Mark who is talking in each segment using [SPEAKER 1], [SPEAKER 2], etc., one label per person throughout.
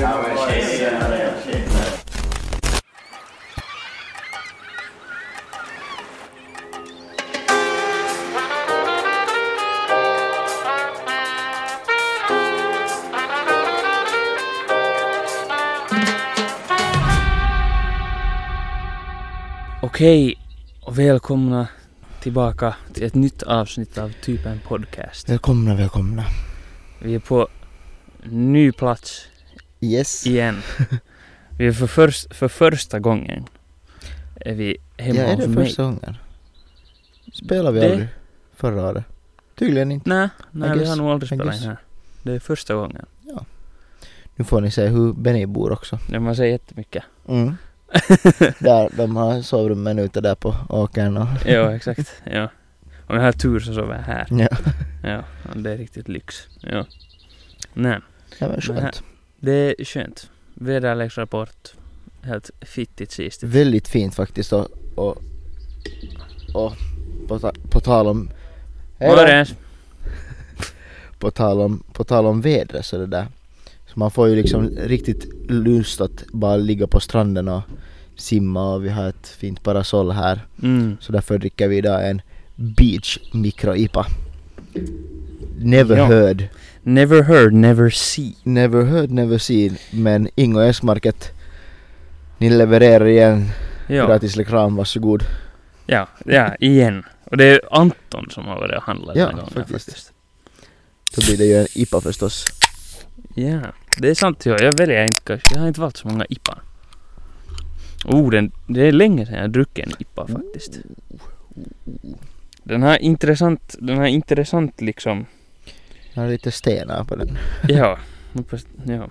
[SPEAKER 1] Ja, men tjenare, tjenare.
[SPEAKER 2] Okej, och välkomna tillbaka till ett nytt avsnitt av Typen Podcast.
[SPEAKER 3] Välkomna, välkomna.
[SPEAKER 2] Vi är på ny plats
[SPEAKER 3] Yes.
[SPEAKER 2] igen. Vi är för, förs- för första gången är vi hemma
[SPEAKER 3] ja, är
[SPEAKER 2] hos
[SPEAKER 3] det
[SPEAKER 2] mig.
[SPEAKER 3] första gången? Spelade vi
[SPEAKER 2] Det-
[SPEAKER 3] aldrig förra året? Tydligen inte.
[SPEAKER 2] Nej, nej vi
[SPEAKER 3] guess,
[SPEAKER 2] har nog aldrig
[SPEAKER 3] I
[SPEAKER 2] spelat in
[SPEAKER 3] guess.
[SPEAKER 2] här. Det är första gången.
[SPEAKER 3] Nu får ni se hur Benny bor också.
[SPEAKER 2] Det man säger jättemycket.
[SPEAKER 3] Mm. där, de har sovrummen ute där på åkern och...
[SPEAKER 2] Ja, exakt. Ja. Om jag har tur så sover jag här.
[SPEAKER 3] Ja,
[SPEAKER 2] Ja, det är riktigt lyx. Ja. Nej,
[SPEAKER 3] ja men
[SPEAKER 2] Men här-
[SPEAKER 3] skönt.
[SPEAKER 2] det är skönt. Väderleksrapport. Helt fittigt sist.
[SPEAKER 3] Väldigt fint faktiskt och... och, och på, ta, på tal om... Hej då!
[SPEAKER 2] Morgens!
[SPEAKER 3] På tal om, på tal om vädret så det där. Så man får ju liksom riktigt lust att bara ligga på stranden och simma och vi har ett fint parasoll här.
[SPEAKER 2] Mm.
[SPEAKER 3] Så därför dricker vi idag en Beach Micro IPA. Never
[SPEAKER 2] Ja.
[SPEAKER 3] heard,
[SPEAKER 2] Never heard, never see.
[SPEAKER 3] never heard, never seen. Men Ingo S-market, ni levererar igen.
[SPEAKER 2] Ja,
[SPEAKER 3] Gratis reklam, varsågod.
[SPEAKER 2] ja, ja, igen. Och det är Anton som har varit och handlat
[SPEAKER 3] Ja,
[SPEAKER 2] den här gången
[SPEAKER 3] faktiskt.
[SPEAKER 2] faktiskt.
[SPEAKER 3] Så blir det ju en IPA förstås.
[SPEAKER 2] Ja, det är sant. Ja, jag väljer inte kanske. Jag har inte valt så många IPA. Oh, den, det är länge sedan jag druckit en IPA faktiskt. Den har intressant, den har intressant liksom.
[SPEAKER 3] Jag har lite stenar på den.
[SPEAKER 2] Ja, hoppas- ja.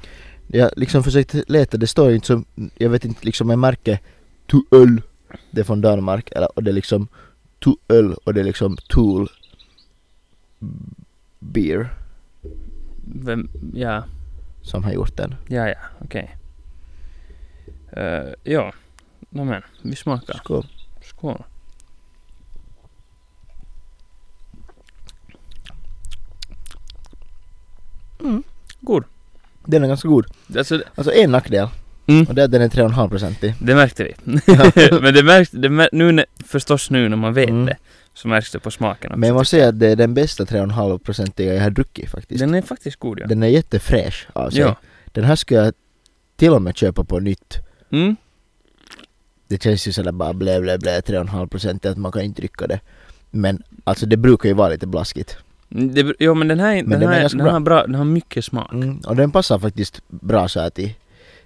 [SPEAKER 3] Jag liksom försökte leta, det står ju inte som, jag vet inte liksom en märke Tuöl. Det är från Danmark eller, och det är liksom Tuöl och det är liksom Tool Beer
[SPEAKER 2] Vem, ja,
[SPEAKER 3] som har gjort den.
[SPEAKER 2] ja, ja, okej. Eh, ja, nämen, vi smakar.
[SPEAKER 3] Skål.
[SPEAKER 2] Skål. God.
[SPEAKER 3] Den är ganska god.
[SPEAKER 2] Alltså,
[SPEAKER 3] Alltså en nackdel.
[SPEAKER 2] Mm.
[SPEAKER 3] Och det är att den är 3,5% i.
[SPEAKER 2] det märkte vi. Men det märkte, det mär, nu när, förstås nu när man vet
[SPEAKER 3] Mm.
[SPEAKER 2] det, så märks det på smaken också.
[SPEAKER 3] Men jag måste säga att det är den bästa 3,5% jag har druckit faktiskt. Den,
[SPEAKER 2] Den är faktiskt god ja.
[SPEAKER 3] är jättefräsch av sig.
[SPEAKER 2] ja.
[SPEAKER 3] Den här ska jag till och med köpa på nytt.
[SPEAKER 2] Mm.
[SPEAKER 3] Det känns ju sådär bara blä blä blä 3,5% att man kan inte dricka det. Men alltså det brukar ju vara lite blaskigt.
[SPEAKER 2] Det, br- jo men den här,
[SPEAKER 3] Men
[SPEAKER 2] den
[SPEAKER 3] den är
[SPEAKER 2] här
[SPEAKER 3] ganska
[SPEAKER 2] den
[SPEAKER 3] bra.
[SPEAKER 2] har, bra, den har mycket smak.
[SPEAKER 3] Mm. Och den passar faktiskt bra så här till,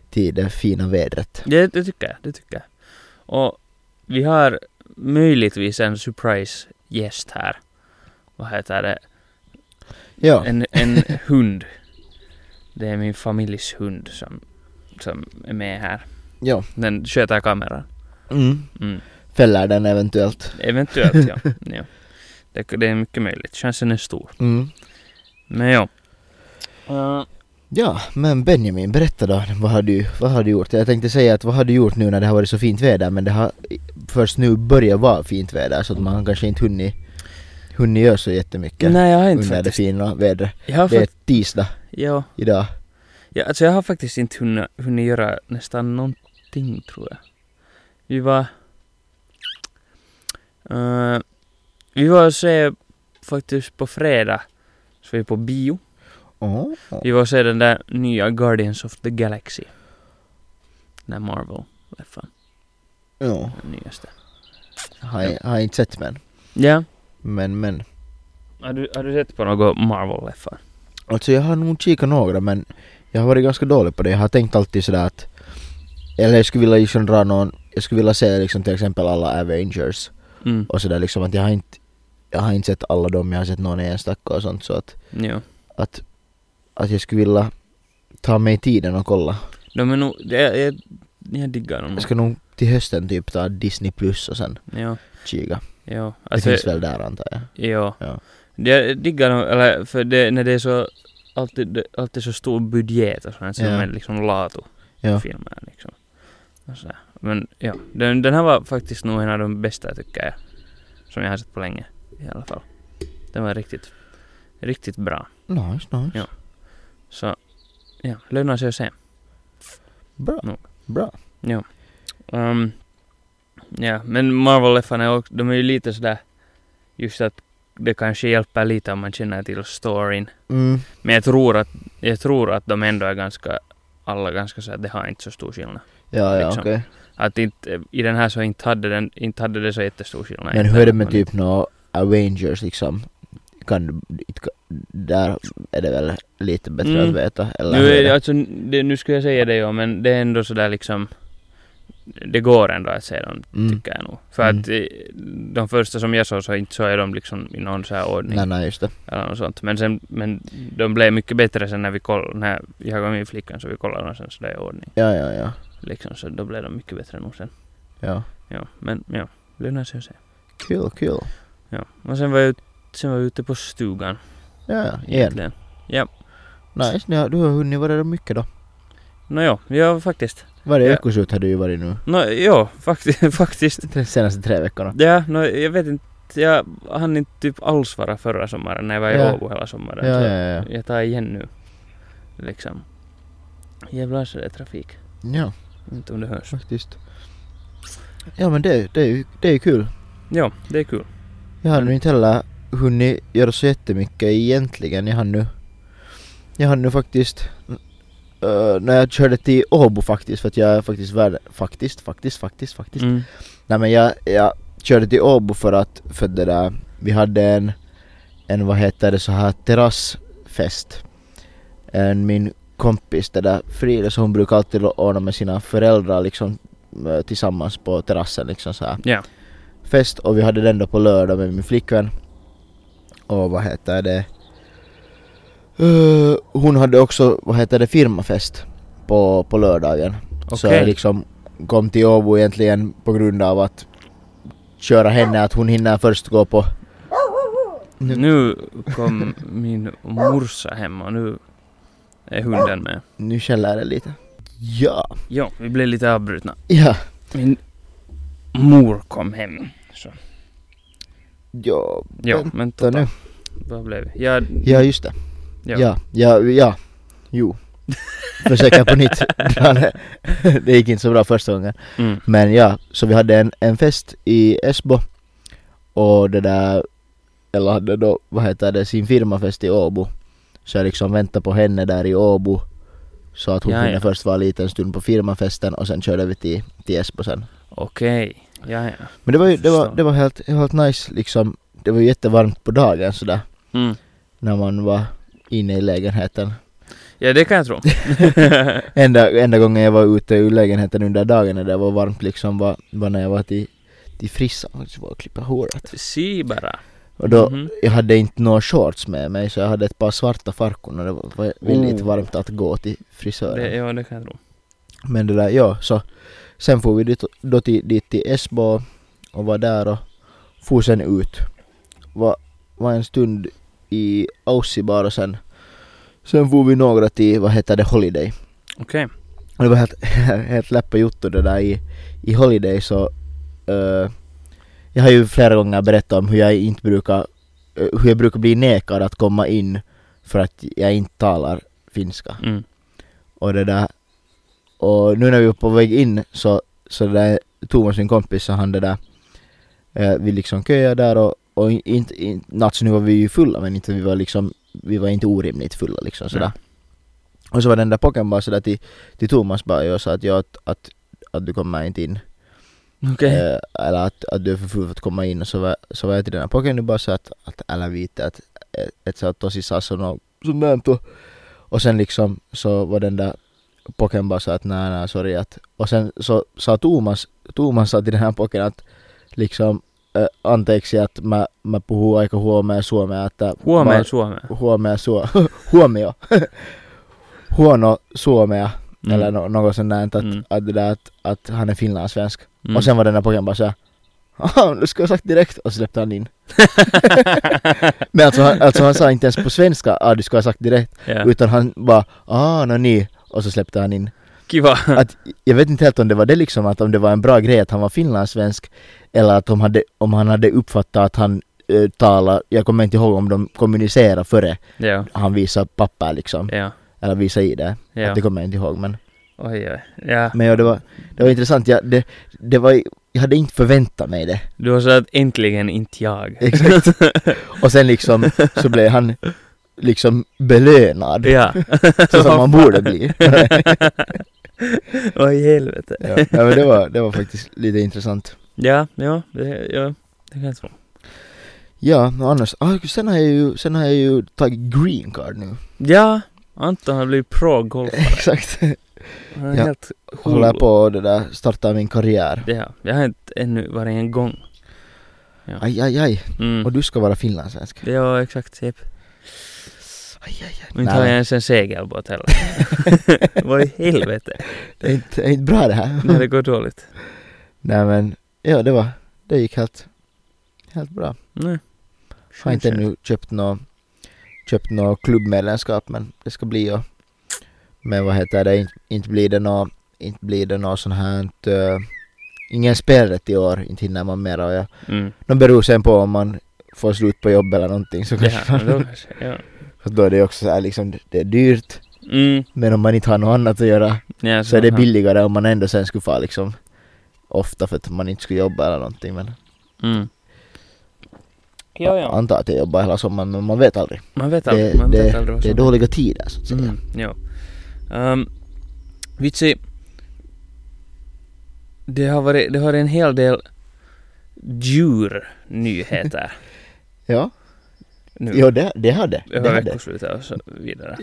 [SPEAKER 3] till det fina vädret.
[SPEAKER 2] Det, det tycker jag, det tycker jag. Och vi har möjligtvis en surprise gäst här. Vad heter det?
[SPEAKER 3] Ja,
[SPEAKER 2] En, en hund. Det är min familjs hund som, som är med här.
[SPEAKER 3] ja.
[SPEAKER 2] Den sköter kameran.
[SPEAKER 3] Mm.
[SPEAKER 2] Mm.
[SPEAKER 3] Fäller den eventuellt.
[SPEAKER 2] Eventuellt ja. ja. Det, det är mycket möjligt. Chansen är stor.
[SPEAKER 3] Mm.
[SPEAKER 2] Men ja. Eh,
[SPEAKER 3] Ja, men Benjamin, berätta då. Vad har, du, vad har du gjort? Jag tänkte säga att vad har du gjort nu när det har varit så fint väder? Men det har först nu börjat vara fint väder så att man kanske inte hunnit, hunnit göra så jättemycket
[SPEAKER 2] nej jag har inte
[SPEAKER 3] under det
[SPEAKER 2] faktiskt.
[SPEAKER 3] fina vädret.
[SPEAKER 2] Jag har,
[SPEAKER 3] Det är
[SPEAKER 2] fakt-
[SPEAKER 3] tisdag
[SPEAKER 2] ja,
[SPEAKER 3] idag.
[SPEAKER 2] ja, alltså jag har faktiskt inte hunnit, hunnit göra nästan någonting tror jag. Vi var... eh, vi var och se faktiskt på fredag. Så vi på bio.
[SPEAKER 3] Åh,
[SPEAKER 2] Vi var och se den där nya Guardians of the Galaxy. Den där Marvel-leffan,
[SPEAKER 3] Ja,
[SPEAKER 2] den nyaste.
[SPEAKER 3] har, jag- har jag inte sett men.
[SPEAKER 2] Ja.
[SPEAKER 3] Men men.
[SPEAKER 2] Har du, har du sett på något Marvel-leffa?
[SPEAKER 3] Alltså jag har nog kikat några men jag har varit ganska dålig på det. Jag har tänkt alltid sådär att eller jag skulle vilja liksom dra någon, jag skulle vilja se liksom till exempel alla Avengers
[SPEAKER 2] Mm.
[SPEAKER 3] och sådär liksom att jag har inte jag har inte sett alla dem, jag har sett någon enstaka och sånt så att,
[SPEAKER 2] Jo.
[SPEAKER 3] att, att jag skulle vilja ta mig tiden och no kolla.
[SPEAKER 2] De är nog, jag, jag, jag diggar dem.
[SPEAKER 3] Jag ska nog till hösten typ ta Disney plus och sen siis
[SPEAKER 2] Ja.
[SPEAKER 3] kika.
[SPEAKER 2] Ja.
[SPEAKER 3] Det
[SPEAKER 2] Alltså,
[SPEAKER 3] finns väl där antar jag.
[SPEAKER 2] ja.
[SPEAKER 3] Ja.
[SPEAKER 2] Jag diggar dem, eller för det, när det är så, alltid, det- alltid så stor budget och sånt, så
[SPEAKER 3] Ja.
[SPEAKER 2] de är liksom lato
[SPEAKER 3] Ja.
[SPEAKER 2] filmer liksom. Och sådär. Men ja, den, den här var faktiskt nog en av de bästa tycker jag. Som jag har sett på länge i alla fall. Den var riktigt, riktigt bra.
[SPEAKER 3] Nice, nice.
[SPEAKER 2] Ja. Så ja, lönar sig att se.
[SPEAKER 3] Bra.
[SPEAKER 2] Ja.
[SPEAKER 3] Bra.
[SPEAKER 2] Ehm, ja, men Marvel-leffarna är också- de är ju lite sådär just att det kanske hjälper lite om man känner till storyn.
[SPEAKER 3] Mm.
[SPEAKER 2] Men jag tror att, jag tror att de ändå är ganska, alla ganska såhär, det har inte så stor skillnad.
[SPEAKER 3] Ja, ja,
[SPEAKER 2] Liksom.
[SPEAKER 3] okej.
[SPEAKER 2] Att inte, i den här så inte hade den, inte hade det så jättestor skillnad.
[SPEAKER 3] Men
[SPEAKER 2] Inte
[SPEAKER 3] hur är det
[SPEAKER 2] att
[SPEAKER 3] med
[SPEAKER 2] man-
[SPEAKER 3] typ nå Avengers liksom? Kan du, it- ka- där är det väl lite bättre
[SPEAKER 2] Mm.
[SPEAKER 3] att veta? Eller
[SPEAKER 2] Nu,
[SPEAKER 3] hur
[SPEAKER 2] är
[SPEAKER 3] är
[SPEAKER 2] det, alltså, det, nu skulle jag säga det ja, men det är ändå sådär liksom, det går ändå att se dem
[SPEAKER 3] Mm.
[SPEAKER 2] tycker jag nog. För
[SPEAKER 3] Mm.
[SPEAKER 2] att eh, de första som jag såg så inte så är de liksom i någon så här ordning.
[SPEAKER 3] Nej, nej, just det.
[SPEAKER 2] eller något sånt. Men, sen, men de blev mycket bättre sen när vi kollade, när jag och min flickvän så vi kollade dem sen sådär i ordning.
[SPEAKER 3] Ja, ja, ja.
[SPEAKER 2] Liksom, så då blev de mycket bättre nog sen.
[SPEAKER 3] ja.
[SPEAKER 2] Ja, men ja, lönar sig att se.
[SPEAKER 3] Kul, kul.
[SPEAKER 2] Ja, och sen var jag, ut- sen var jag ute på stugan.
[SPEAKER 3] Ja, ja, igen.
[SPEAKER 2] Egentligen.
[SPEAKER 3] Nice, ni har, du har hunnit vara där mycket då.
[SPEAKER 2] Nåjo, ja faktiskt.
[SPEAKER 3] Varje
[SPEAKER 2] Ja.
[SPEAKER 3] veckoslut har du ju varit nu.
[SPEAKER 2] Nå, ja, faktiskt. faktiskt.
[SPEAKER 3] De senaste tre veckorna.
[SPEAKER 2] Ja, nå, jag vet inte. Jag hann inte typ alls vara förra sommaren när jag var i
[SPEAKER 3] Ja.
[SPEAKER 2] Åbo hela sommaren.
[SPEAKER 3] Ja, ja,
[SPEAKER 2] så
[SPEAKER 3] ja.
[SPEAKER 2] Jag tar igen nu. Liksom. Jävlar så det är trafik.
[SPEAKER 3] Ja,
[SPEAKER 2] Inte om det hörs.
[SPEAKER 3] faktiskt. Ja, men det, det, är, ju, det är ju kul.
[SPEAKER 2] Ja, det är kul.
[SPEAKER 3] Jag har nu inte heller hunnit göra så jättemycket egentligen. Jag har nu... Jag har nu faktiskt... eh, när jag körde till Åbo faktiskt, för att jag är faktiskt värd... Faktiskt, faktiskt, faktiskt, faktiskt.
[SPEAKER 2] Mm.
[SPEAKER 3] Nej men jag, jag körde till Åbo för att, för det där, vi hade en, en vad heter det så här terrassfest. En, min kompis det där Frida, så hon brukar alltid ordna med sina föräldrar liksom eh, tillsammans på terrassen liksom så här
[SPEAKER 2] Ja.
[SPEAKER 3] fest och vi hade den då på lördag med min flickvän. Och vad heter det? Eh, hon hade också, vad heter det, firmafest på, på lördagen. Så
[SPEAKER 2] Okej.
[SPEAKER 3] jag liksom kom till Åbo egentligen på grund av att köra henne, att hon hinner först gå på... Nu-
[SPEAKER 2] Nu kom min morsa hem och nu är hunden med.
[SPEAKER 3] Nu skäller det lite. Ja.
[SPEAKER 2] Ja, vi blev lite avbrutna.
[SPEAKER 3] Ja.
[SPEAKER 2] Min mor kom hem. Så.
[SPEAKER 3] Ja,
[SPEAKER 2] Ja, men
[SPEAKER 3] vänta
[SPEAKER 2] tota,
[SPEAKER 3] nu.
[SPEAKER 2] vad blev vi? Ja,
[SPEAKER 3] Ja, just det.
[SPEAKER 2] ja.
[SPEAKER 3] Ja, ja, ja. Jo. Försöka på nytt. det gick inte så bra första gången.
[SPEAKER 2] Mm.
[SPEAKER 3] Men ja, så vi hade en, en fest i Esbo och det där, eller hade då, vad heter det, sin firmafest i Åbo. Så jag liksom väntade på henne där i Åbo så att hon
[SPEAKER 2] Ja,
[SPEAKER 3] kunde
[SPEAKER 2] ja.
[SPEAKER 3] först vara lite en stund på firmafesten och sen körde vi till, till Esbo sen.
[SPEAKER 2] Okej, ja, ja.
[SPEAKER 3] Men det var ju, det var,
[SPEAKER 2] Förstår.
[SPEAKER 3] det var helt, helt nice liksom. Det var ju jättevarmt på dagen sådär
[SPEAKER 2] Mm.
[SPEAKER 3] när man var inne i lägenheten.
[SPEAKER 2] Ja, det kan jag tro.
[SPEAKER 3] Enda, enda gången jag var ute ur lägenheten under dagen när det var varmt liksom var, var när jag var till, till frissan och var och klippa håret.
[SPEAKER 2] Si bara.
[SPEAKER 3] Och då,
[SPEAKER 2] Mhm.
[SPEAKER 3] jag hade inte några shorts med mig så jag hade ett par svarta farkon och det var- var väldigt
[SPEAKER 2] Oh.
[SPEAKER 3] varmt att gå till frisören.
[SPEAKER 2] Det, ja, det kan jag tro.
[SPEAKER 3] Men det där, ja så. Sen får vi dit, då till, dit till Esbo och var där och for sen ut. Var, var en stund i Aussie bara och sen sen for vi några till, vad heter det, Holiday.
[SPEAKER 2] Okej.
[SPEAKER 3] Och det var helt, helt läppa gjort och det där i, i Holiday så eh, Jag har ju flera gånger berättat om hur jag inte brukar eh, Hur jag brukar bli nekad att komma in För att jag inte talar finska
[SPEAKER 2] Mm.
[SPEAKER 3] och det där Och nu när vi var på väg in så, så det där Thomas min kompis så han det där eh, Vi liksom köade där och, och inte, in, in, alltså nu var vi ju fulla men inte vi var liksom Vi var inte orimligt fulla liksom sådär Och så var den där pocken bara sådär till, till Thomas bara jag sa att jag att, att, att du kommer inte in
[SPEAKER 2] Mm. Okej.
[SPEAKER 3] eh, Eller att, att du är för full för att komma in och så var, så var jag till den här pocken och bara sa att, att alla vet att ett, ett så att tosi no, sassa något sånt där då. Och sen liksom så var den där pocken bara sa att nej nej sorry att och sen så sa Thomas, Thomas sa till den här pocken att liksom äh, anteeksi att mä, mä puhuu aika huomea suomea että
[SPEAKER 2] Huomeen Suomeen.
[SPEAKER 3] huomea suo, huomio, huono suomea
[SPEAKER 2] Mm.
[SPEAKER 3] eller nå- något sånt där, att,
[SPEAKER 2] Mm.
[SPEAKER 3] att, det där, att, att han är finlandssvensk.
[SPEAKER 2] Mm.
[SPEAKER 3] Och sen var den där pojken bara såhär Aha, nu ska jag ha sagt direkt och så släppte han in. Men alltså han, alltså han sa inte ens på svenska ah du ska ha sagt direkt
[SPEAKER 2] ja.
[SPEAKER 3] utan han bara ah nå ni och så släppte han in.
[SPEAKER 2] Kiva.
[SPEAKER 3] Att, jag vet inte helt om det var det liksom att om det var en bra grej att han var finlandssvensk eller att om, hade, om han hade uppfattat att han eh, tala, jag kommer inte ihåg om de kommunicerar före
[SPEAKER 2] Ja,
[SPEAKER 3] han visar papper liksom.
[SPEAKER 2] ja,
[SPEAKER 3] Eller visar i det.
[SPEAKER 2] ja.
[SPEAKER 3] Det kommer jag inte ihåg men.
[SPEAKER 2] Oj, oj. Ja.
[SPEAKER 3] Men ja, det var, det var intressant. Jag, det, det var, jag hade inte förväntat mig det.
[SPEAKER 2] Du har sagt äntligen inte jag.
[SPEAKER 3] Exakt. Och sen liksom så blev han liksom belönad.
[SPEAKER 2] Ja.
[SPEAKER 3] Så som man borde bli.
[SPEAKER 2] Oj, helvete.
[SPEAKER 3] ja, ja, men det var, det var faktiskt lite intressant.
[SPEAKER 2] Ja, ja, det, ja, det kan jag tro.
[SPEAKER 3] Ja, men annars, ah, sen har jag ju, sen har jag ju tagit green card nu.
[SPEAKER 2] Oh, Ja, Anton har blivit pro-golfare.
[SPEAKER 3] Exakt.
[SPEAKER 2] Han är
[SPEAKER 3] Ja.
[SPEAKER 2] helt
[SPEAKER 3] Håller på och det där, startar min karriär.
[SPEAKER 2] Ja, jag har inte ännu varit en gång.
[SPEAKER 3] Aj, aj, aj. Och
[SPEAKER 2] Mm.
[SPEAKER 3] du ska vara finlandssvensk.
[SPEAKER 2] Ja, exakt. Jep.
[SPEAKER 3] Aj, aj, aj.
[SPEAKER 2] Och inte har jag ens en segelbåt heller. Vad i helvete.
[SPEAKER 3] Det är inte, det är inte bra det här.
[SPEAKER 2] När det går dåligt.
[SPEAKER 3] Nej men, ja det var, det gick helt, helt bra.
[SPEAKER 2] Nej.
[SPEAKER 3] Har inte ännu köpt något, köpt något klubbmedlemskap men det ska bli och Men vad heter det, inte, inte blir det något, inte blir det något sånt här, inte, eh, ingen spelrätt i år, inte hinner man mera och jag,
[SPEAKER 2] Mm.
[SPEAKER 3] de beror sen på om man får slut på jobb eller någonting så
[SPEAKER 2] Ja,
[SPEAKER 3] kanske
[SPEAKER 2] men då
[SPEAKER 3] man,
[SPEAKER 2] kanske. Ja.
[SPEAKER 3] för då är det också så här liksom, det är dyrt
[SPEAKER 2] Mm.
[SPEAKER 3] men om man inte har något annat att göra
[SPEAKER 2] Ja,
[SPEAKER 3] så är det
[SPEAKER 2] aha.
[SPEAKER 3] billigare om man ändå sen skulle få liksom ofta för att man inte skulle jobba eller någonting men
[SPEAKER 2] Mm. Ja,
[SPEAKER 3] Jag
[SPEAKER 2] ja.
[SPEAKER 3] antar att jag jobbar hela sommaren men man vet aldrig.
[SPEAKER 2] Man vet
[SPEAKER 3] Det,
[SPEAKER 2] aldrig. Man vet
[SPEAKER 3] det,
[SPEAKER 2] aldrig vad
[SPEAKER 3] det är
[SPEAKER 2] som
[SPEAKER 3] dåliga tider så att säga.
[SPEAKER 2] Mm, ja. Um, Vitsi, det har, varit, det har varit en hel del djurnyheter
[SPEAKER 3] Ja,
[SPEAKER 2] nu.
[SPEAKER 3] jo, det, det hade det.
[SPEAKER 2] över
[SPEAKER 3] hade.
[SPEAKER 2] veckoslutet och så vidare.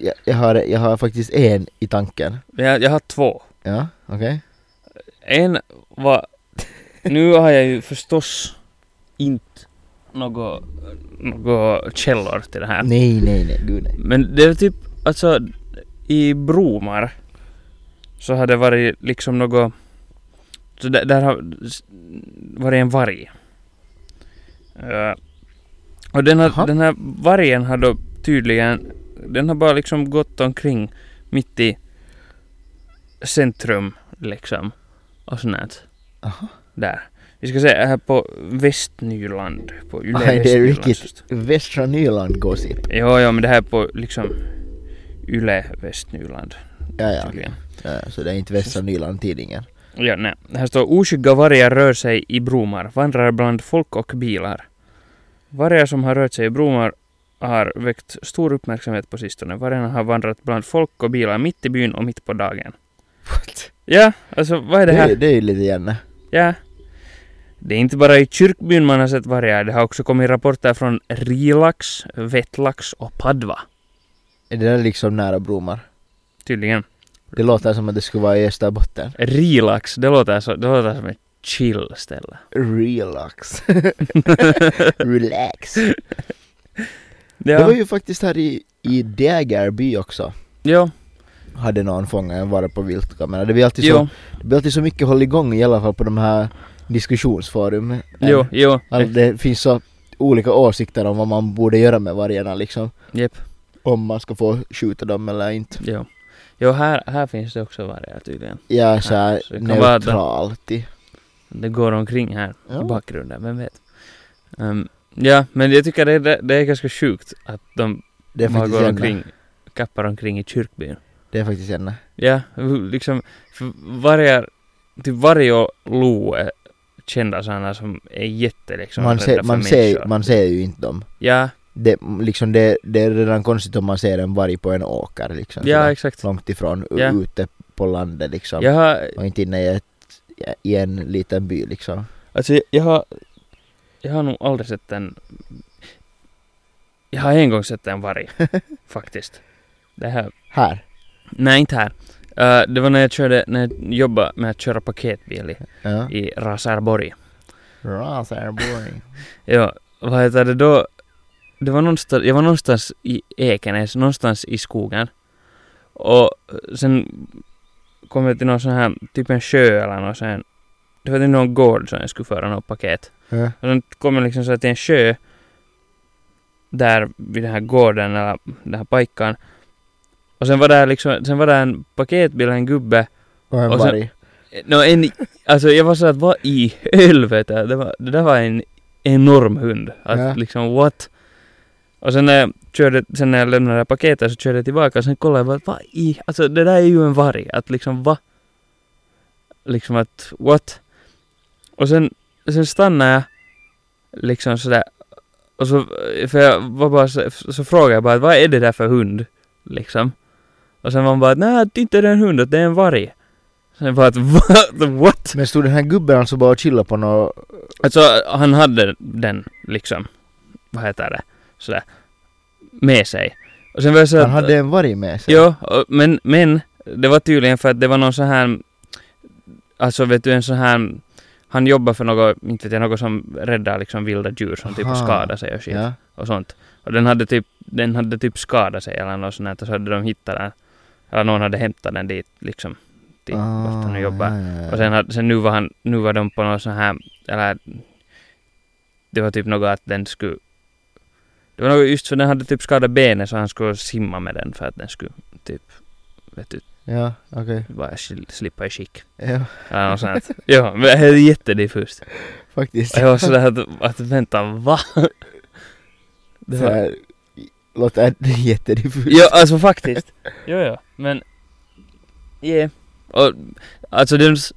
[SPEAKER 3] Jag, jag, har, jag har faktiskt en i tanken.
[SPEAKER 2] Men jag, jag har två.
[SPEAKER 3] Ja, okej.
[SPEAKER 2] En var... Nu har jag ju förstås inte några några källor till det här.
[SPEAKER 3] Nej, nej, nej, gud nej.
[SPEAKER 2] Men det är typ, alltså i Bromar så har det varit liksom något, så där, där har s- varit en varg. Eh, och den
[SPEAKER 3] Jaha.
[SPEAKER 2] har, den här vargen har då tydligen, den har bara liksom gått omkring mitt i centrum liksom och sånt där.
[SPEAKER 3] Aha.
[SPEAKER 2] Där. Vi ska se här på Västnyland, på Yle
[SPEAKER 3] Aj, det är
[SPEAKER 2] Västnyland,
[SPEAKER 3] riktigt.
[SPEAKER 2] så står-
[SPEAKER 3] Västra Nyland gossip.
[SPEAKER 2] Jo, jo, men det här är på liksom Yle Västnyland
[SPEAKER 3] Ja, ja.
[SPEAKER 2] tydligen.
[SPEAKER 3] ja. Så det är inte Västra Nyland tidningen.
[SPEAKER 2] Ja, nej. Här står oskygga vargar rör sig i Bromar, vandrar bland folk och bilar. Vargar som har rört sig i Bromar har väckt stor uppmärksamhet på sistone. Vargarna har vandrat bland folk och bilar mitt i byn och mitt på dagen.
[SPEAKER 3] What?
[SPEAKER 2] Ja, alltså vad är
[SPEAKER 3] Det,
[SPEAKER 2] det
[SPEAKER 3] är-
[SPEAKER 2] här?
[SPEAKER 3] det är ju lite gärna.
[SPEAKER 2] Ja. Det är inte bara i kyrkbyn man har sett vargar. Det har också kommit rapporter från Rilax, Vettlax och Padva.
[SPEAKER 3] Är det där liksom nära Bromar?
[SPEAKER 2] Tydligen.
[SPEAKER 3] Det låter som att det skulle vara i Österbotten.
[SPEAKER 2] Relax, det låter, så, det låter som ett chill ställe.
[SPEAKER 3] Relax. Relax. Det var
[SPEAKER 2] Ja,
[SPEAKER 3] ju faktiskt här i, i Dägerby också.
[SPEAKER 2] ja,
[SPEAKER 3] hade någon fångat en vara på viltkamera. Det blir alltid så,
[SPEAKER 2] jo,
[SPEAKER 3] det blir alltid så mycket håll igång i alla fall på de här diskussionsforumen.
[SPEAKER 2] jo, jo,
[SPEAKER 3] Alltså, det finns så olika åsikter om vad man borde göra med vargarna liksom.
[SPEAKER 2] Japp.
[SPEAKER 3] Om man ska få skjuta dem eller inte.
[SPEAKER 2] jo. Jo, här, här finns det också vargar tydligen.
[SPEAKER 3] Jag är så här
[SPEAKER 2] Ja, så det kan vara
[SPEAKER 3] neutral till.
[SPEAKER 2] Det går omkring här i
[SPEAKER 3] Ja.
[SPEAKER 2] bakgrunden, vem vet. Ehm, ja, men jag tycker det, det, det är ganska sjukt att de
[SPEAKER 3] Det är
[SPEAKER 2] bara
[SPEAKER 3] faktiskt
[SPEAKER 2] går
[SPEAKER 3] gärna.
[SPEAKER 2] omkring, kappar omkring i kyrkbyn.
[SPEAKER 3] Det är faktiskt gärna.
[SPEAKER 2] Ja, hur- liksom för vargar, typ varje och lo är kända sådana som är jätte liksom
[SPEAKER 3] Man
[SPEAKER 2] rädda
[SPEAKER 3] ser,
[SPEAKER 2] för
[SPEAKER 3] man, ser,
[SPEAKER 2] människor.
[SPEAKER 3] man ser ju inte dem.
[SPEAKER 2] Ja,
[SPEAKER 3] Det, liksom det, det är redan konstigt om man ser en varg på en åker liksom.
[SPEAKER 2] ja
[SPEAKER 3] sådär
[SPEAKER 2] exakt.
[SPEAKER 3] Långt ifrån, u-
[SPEAKER 2] Ja.
[SPEAKER 3] ute på landet liksom.
[SPEAKER 2] Jag har,
[SPEAKER 3] Och inte inne i, ett, i en liten by liksom.
[SPEAKER 2] Alltså jag, jag har... Jag har nog aldrig sett en... Jag har en gång sett en varg. faktiskt. Det här...
[SPEAKER 3] Här.
[SPEAKER 2] Nej, inte här. Eh, det var när jag körde, när jag jobbade med att köra paketbil i,
[SPEAKER 3] Ja.
[SPEAKER 2] i Rasarborg.
[SPEAKER 3] Raserborg.
[SPEAKER 2] Ja, vad heter det då? Det var någonstans, jag var någonstans i Ekenäs, någonstans i skogen. Och sen kom jag till någon sån här, typ en sjö eller något sen. Det var till någon gård som jag skulle föra något paket.
[SPEAKER 3] Ja.
[SPEAKER 2] Och sen kom jag liksom så här till en sjö där vid den här gården eller den här pajkan. Och sen var där liksom, sen var där en paketbil, en gubbe.
[SPEAKER 3] Och en
[SPEAKER 2] Och sen-
[SPEAKER 3] varg.
[SPEAKER 2] Nå en, alltså jag var så att vad i helvete, det, var, det där var en, enorm hund. Att
[SPEAKER 3] Ja.
[SPEAKER 2] liksom what? Och sen när jag körde, sen när jag lämnade det här paketet så körde jag tillbaka och sen kollade jag bara, vad i, alltså det där är ju en varg. Att liksom va? Liksom att what? Och sen, sen stannade jag liksom sådär och så, för jag var bara så, så frågade jag bara vad är det där för hund? Liksom. Och sen var hon bara nej det är inte en hund, det är en varg. Sen bara att "Va? what?
[SPEAKER 3] Men stod den här gubben alltså bara och chillade på något...
[SPEAKER 2] Alltså han hade den liksom, vad heter det, sådär, med sig. Och sen var jag så
[SPEAKER 3] Han
[SPEAKER 2] att-
[SPEAKER 3] hade en varg med sig?
[SPEAKER 2] Ja, och- men, men det var tydligen för att det var någon sån här, alltså vet du en sån här, han jobbar för något, inte vet jag, något som räddar liksom vilda djur som typ
[SPEAKER 3] Aha.
[SPEAKER 2] skadar sig och shit
[SPEAKER 3] Ja.
[SPEAKER 2] och sånt. Och den hade typ, den hade typ skadat sig eller något sånt där, och så hade de hittat den, eller någon hade hämtat den dit liksom, dit vart han nu jobbar.
[SPEAKER 3] ja, Ah, ja, ja.
[SPEAKER 2] Eh. Och sen, hade- sen nu, var han, nu var de på någon sån här, eller det var typ något att den skulle det var något just för den hade typ skadat benet så han skulle simma med den för att den skulle typ, vet du,
[SPEAKER 3] Ja, okej.
[SPEAKER 2] bara sk- slippa i skick.
[SPEAKER 3] Ja,
[SPEAKER 2] Eller något sånt. Ja, men det är jättediffust.
[SPEAKER 3] faktiskt.
[SPEAKER 2] Och jag var sådär att, att vänta, va? Det
[SPEAKER 3] Det
[SPEAKER 2] var,
[SPEAKER 3] här låter jättediffust.
[SPEAKER 2] ja, alltså faktiskt. Jo, ja, men, yeah. Och, alltså den, s-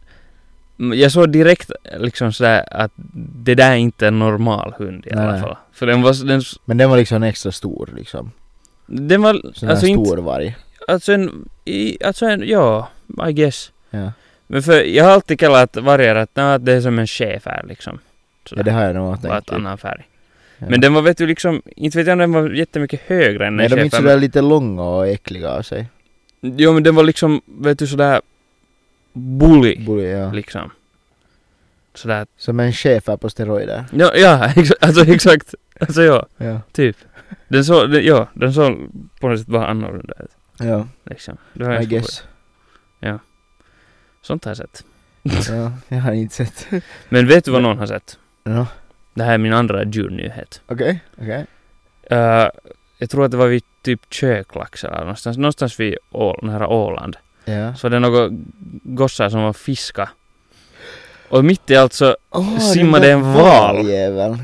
[SPEAKER 2] m- jag såg direkt liksom sådär att det där är inte en normal hund i alla
[SPEAKER 3] Nej.
[SPEAKER 2] fall. För den var, s- den, s-
[SPEAKER 3] Men den var liksom extra stor liksom.
[SPEAKER 2] den var,
[SPEAKER 3] Sån här
[SPEAKER 2] alltså inte,
[SPEAKER 3] stor varg.
[SPEAKER 2] Alltså en, i, alltså en, ja, I guess.
[SPEAKER 3] Ja.
[SPEAKER 2] Men för jag har alltid kallat vargar att, nå, att det är som en schäfer liksom.
[SPEAKER 3] ja, det har jag nog
[SPEAKER 2] Bara
[SPEAKER 3] tänkt.
[SPEAKER 2] ett annan färg.
[SPEAKER 3] Ja.
[SPEAKER 2] Men den var vet du liksom, inte vet jag om den var jättemycket högre än
[SPEAKER 3] Nej,
[SPEAKER 2] en
[SPEAKER 3] de är inte
[SPEAKER 2] schäfer.
[SPEAKER 3] sådär lite långa och äckliga av sig.
[SPEAKER 2] men- Jo men den var liksom, vet du sådär bully
[SPEAKER 3] Borde, ja.
[SPEAKER 2] liksom. Sådär,
[SPEAKER 3] Som en schäfer på steroider.
[SPEAKER 2] ja, ja exa- alltså exakt. Alltså ja,
[SPEAKER 3] Ja.
[SPEAKER 2] typ. Den såg, den, ja, den såg på något sätt bara annorlunda ut.
[SPEAKER 3] Ja,
[SPEAKER 2] Liksom. Det har jag
[SPEAKER 3] I
[SPEAKER 2] svårt-
[SPEAKER 3] guess.
[SPEAKER 2] Sånt har jag sett.
[SPEAKER 3] ja, jag har inte sett.
[SPEAKER 2] Men vet du vad någon har sett?
[SPEAKER 3] Ja.
[SPEAKER 2] Det här är min andra djurnyhet.
[SPEAKER 3] Okej, okej.
[SPEAKER 2] Eh, jag tror att det var vid typ Köklax eller någonstans, någonstans vid Ål, nära Åland.
[SPEAKER 3] Ja.
[SPEAKER 2] Så var det några gossar som var fiska. Och mitt i allt så
[SPEAKER 3] Oh,
[SPEAKER 2] Simmade en val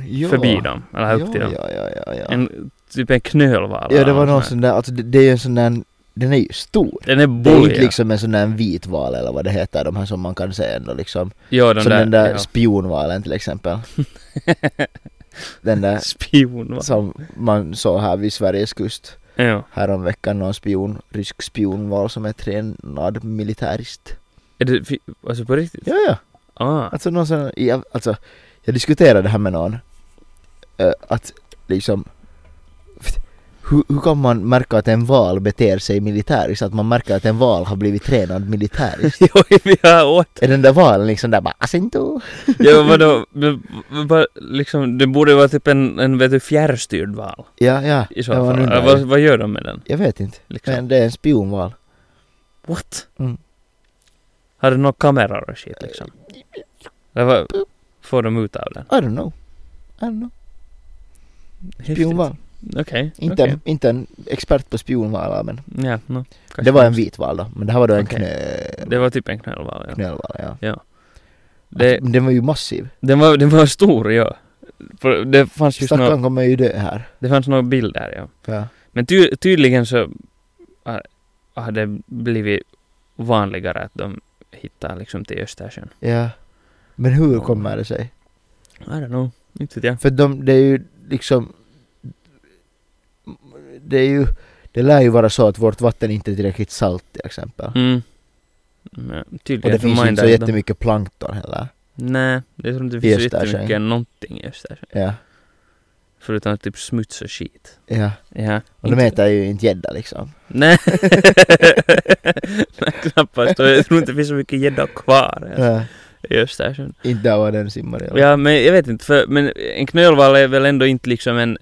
[SPEAKER 3] ja.
[SPEAKER 2] förbi dem, eller upp till
[SPEAKER 3] ja,
[SPEAKER 2] dem.
[SPEAKER 3] Ja, ja, ja, ja.
[SPEAKER 2] En, typ en knölval.
[SPEAKER 3] ja,
[SPEAKER 2] eller
[SPEAKER 3] det var
[SPEAKER 2] något
[SPEAKER 3] någon
[SPEAKER 2] sånt.
[SPEAKER 3] sån där, alltså det, det är ju en sån där, den är ju stor.
[SPEAKER 2] Den är
[SPEAKER 3] Det är
[SPEAKER 2] bullig.
[SPEAKER 3] inte liksom en sån där vit val eller vad det heter, de här som man kan se ändå liksom.
[SPEAKER 2] ja, den
[SPEAKER 3] som
[SPEAKER 2] där,
[SPEAKER 3] den där
[SPEAKER 2] ja.
[SPEAKER 3] spionvalen till exempel. den där
[SPEAKER 2] spionval.
[SPEAKER 3] som man såg här vid Sveriges kust
[SPEAKER 2] Ja.
[SPEAKER 3] häromveckan, någon spion, rysk spionval som är tränad militärist.
[SPEAKER 2] Är det, fi- alltså på riktigt?
[SPEAKER 3] Ja, ja.
[SPEAKER 2] Ah.
[SPEAKER 3] Alltså någon sån, ja, alltså jag diskuterade det här med någon. Eh, att liksom, hur, hur kan man märka att en val beter sig militäriskt? Att man märker att en val har blivit tränad militäriskt?
[SPEAKER 2] Jo, vi har åt.
[SPEAKER 3] är den där valen liksom där bara asinto?
[SPEAKER 2] Ja, vadå? Men- men bara Liksom, det borde vara typ en, en vet du, fjärrstyrd val.
[SPEAKER 3] Ja, ja.
[SPEAKER 2] I så
[SPEAKER 3] Ja, man
[SPEAKER 2] fall.
[SPEAKER 3] undrar
[SPEAKER 2] Eller
[SPEAKER 3] ju.
[SPEAKER 2] vad, vad gör de med den?
[SPEAKER 3] Jag vet inte.
[SPEAKER 2] Liksom?
[SPEAKER 3] Men det är en spionval.
[SPEAKER 2] What?
[SPEAKER 3] Mm.
[SPEAKER 2] Har du några kameror och shit liksom? Eller vad får de ut av den?
[SPEAKER 3] I don't know. I don't know.
[SPEAKER 2] Häftigt.
[SPEAKER 3] Spionval.
[SPEAKER 2] Okej.
[SPEAKER 3] Inte,
[SPEAKER 2] okej.
[SPEAKER 3] inte en expert på spionvalar men
[SPEAKER 2] Ja, no, kanske
[SPEAKER 3] det var en
[SPEAKER 2] inte.
[SPEAKER 3] vit val då. Men det här var då en
[SPEAKER 2] Okej.
[SPEAKER 3] knö...
[SPEAKER 2] Det var typ en knölval, ja.
[SPEAKER 3] knölval. Ja.
[SPEAKER 2] Det,
[SPEAKER 3] Men den var ju massiv.
[SPEAKER 2] den, var, den var stor, ja. För Det fanns just några,
[SPEAKER 3] Stackarn kommer ju dö här.
[SPEAKER 2] det fanns några bilder, ja.
[SPEAKER 3] Ja.
[SPEAKER 2] Men ty, tydligen så har- har det blivit vanligare att de hittar liksom till Östersjön.
[SPEAKER 3] ja. Men hur kommer det sig?
[SPEAKER 2] I don't know. Inte vet jag.
[SPEAKER 3] För de, det är ju liksom... Det är ju... Det lär ju vara så att vårt vatten inte är tillräckligt salt till exempel.
[SPEAKER 2] Mm. Men tydligen.
[SPEAKER 3] Och det
[SPEAKER 2] så
[SPEAKER 3] finns ju inte
[SPEAKER 2] mindar
[SPEAKER 3] så
[SPEAKER 2] de-
[SPEAKER 3] jättemycket plankton heller.
[SPEAKER 2] Nej, det tror inte
[SPEAKER 3] I
[SPEAKER 2] det finns så
[SPEAKER 3] Östersjön.
[SPEAKER 2] jättemycket någonting i Östersjön.
[SPEAKER 3] Ja.
[SPEAKER 2] Förutom typ smuts och skit.
[SPEAKER 3] ja.
[SPEAKER 2] Ja.
[SPEAKER 3] Och de äter ju inte gädda liksom.
[SPEAKER 2] Nej. Nej, knappast. Och Jag tror inte det finns så mycket gädda kvar ens
[SPEAKER 3] Ja.
[SPEAKER 2] i Östersjön.
[SPEAKER 3] Inte där var den simmar i Liksom alla
[SPEAKER 2] Ja, men jag vet inte. För, men en knölval är väl ändå inte liksom en,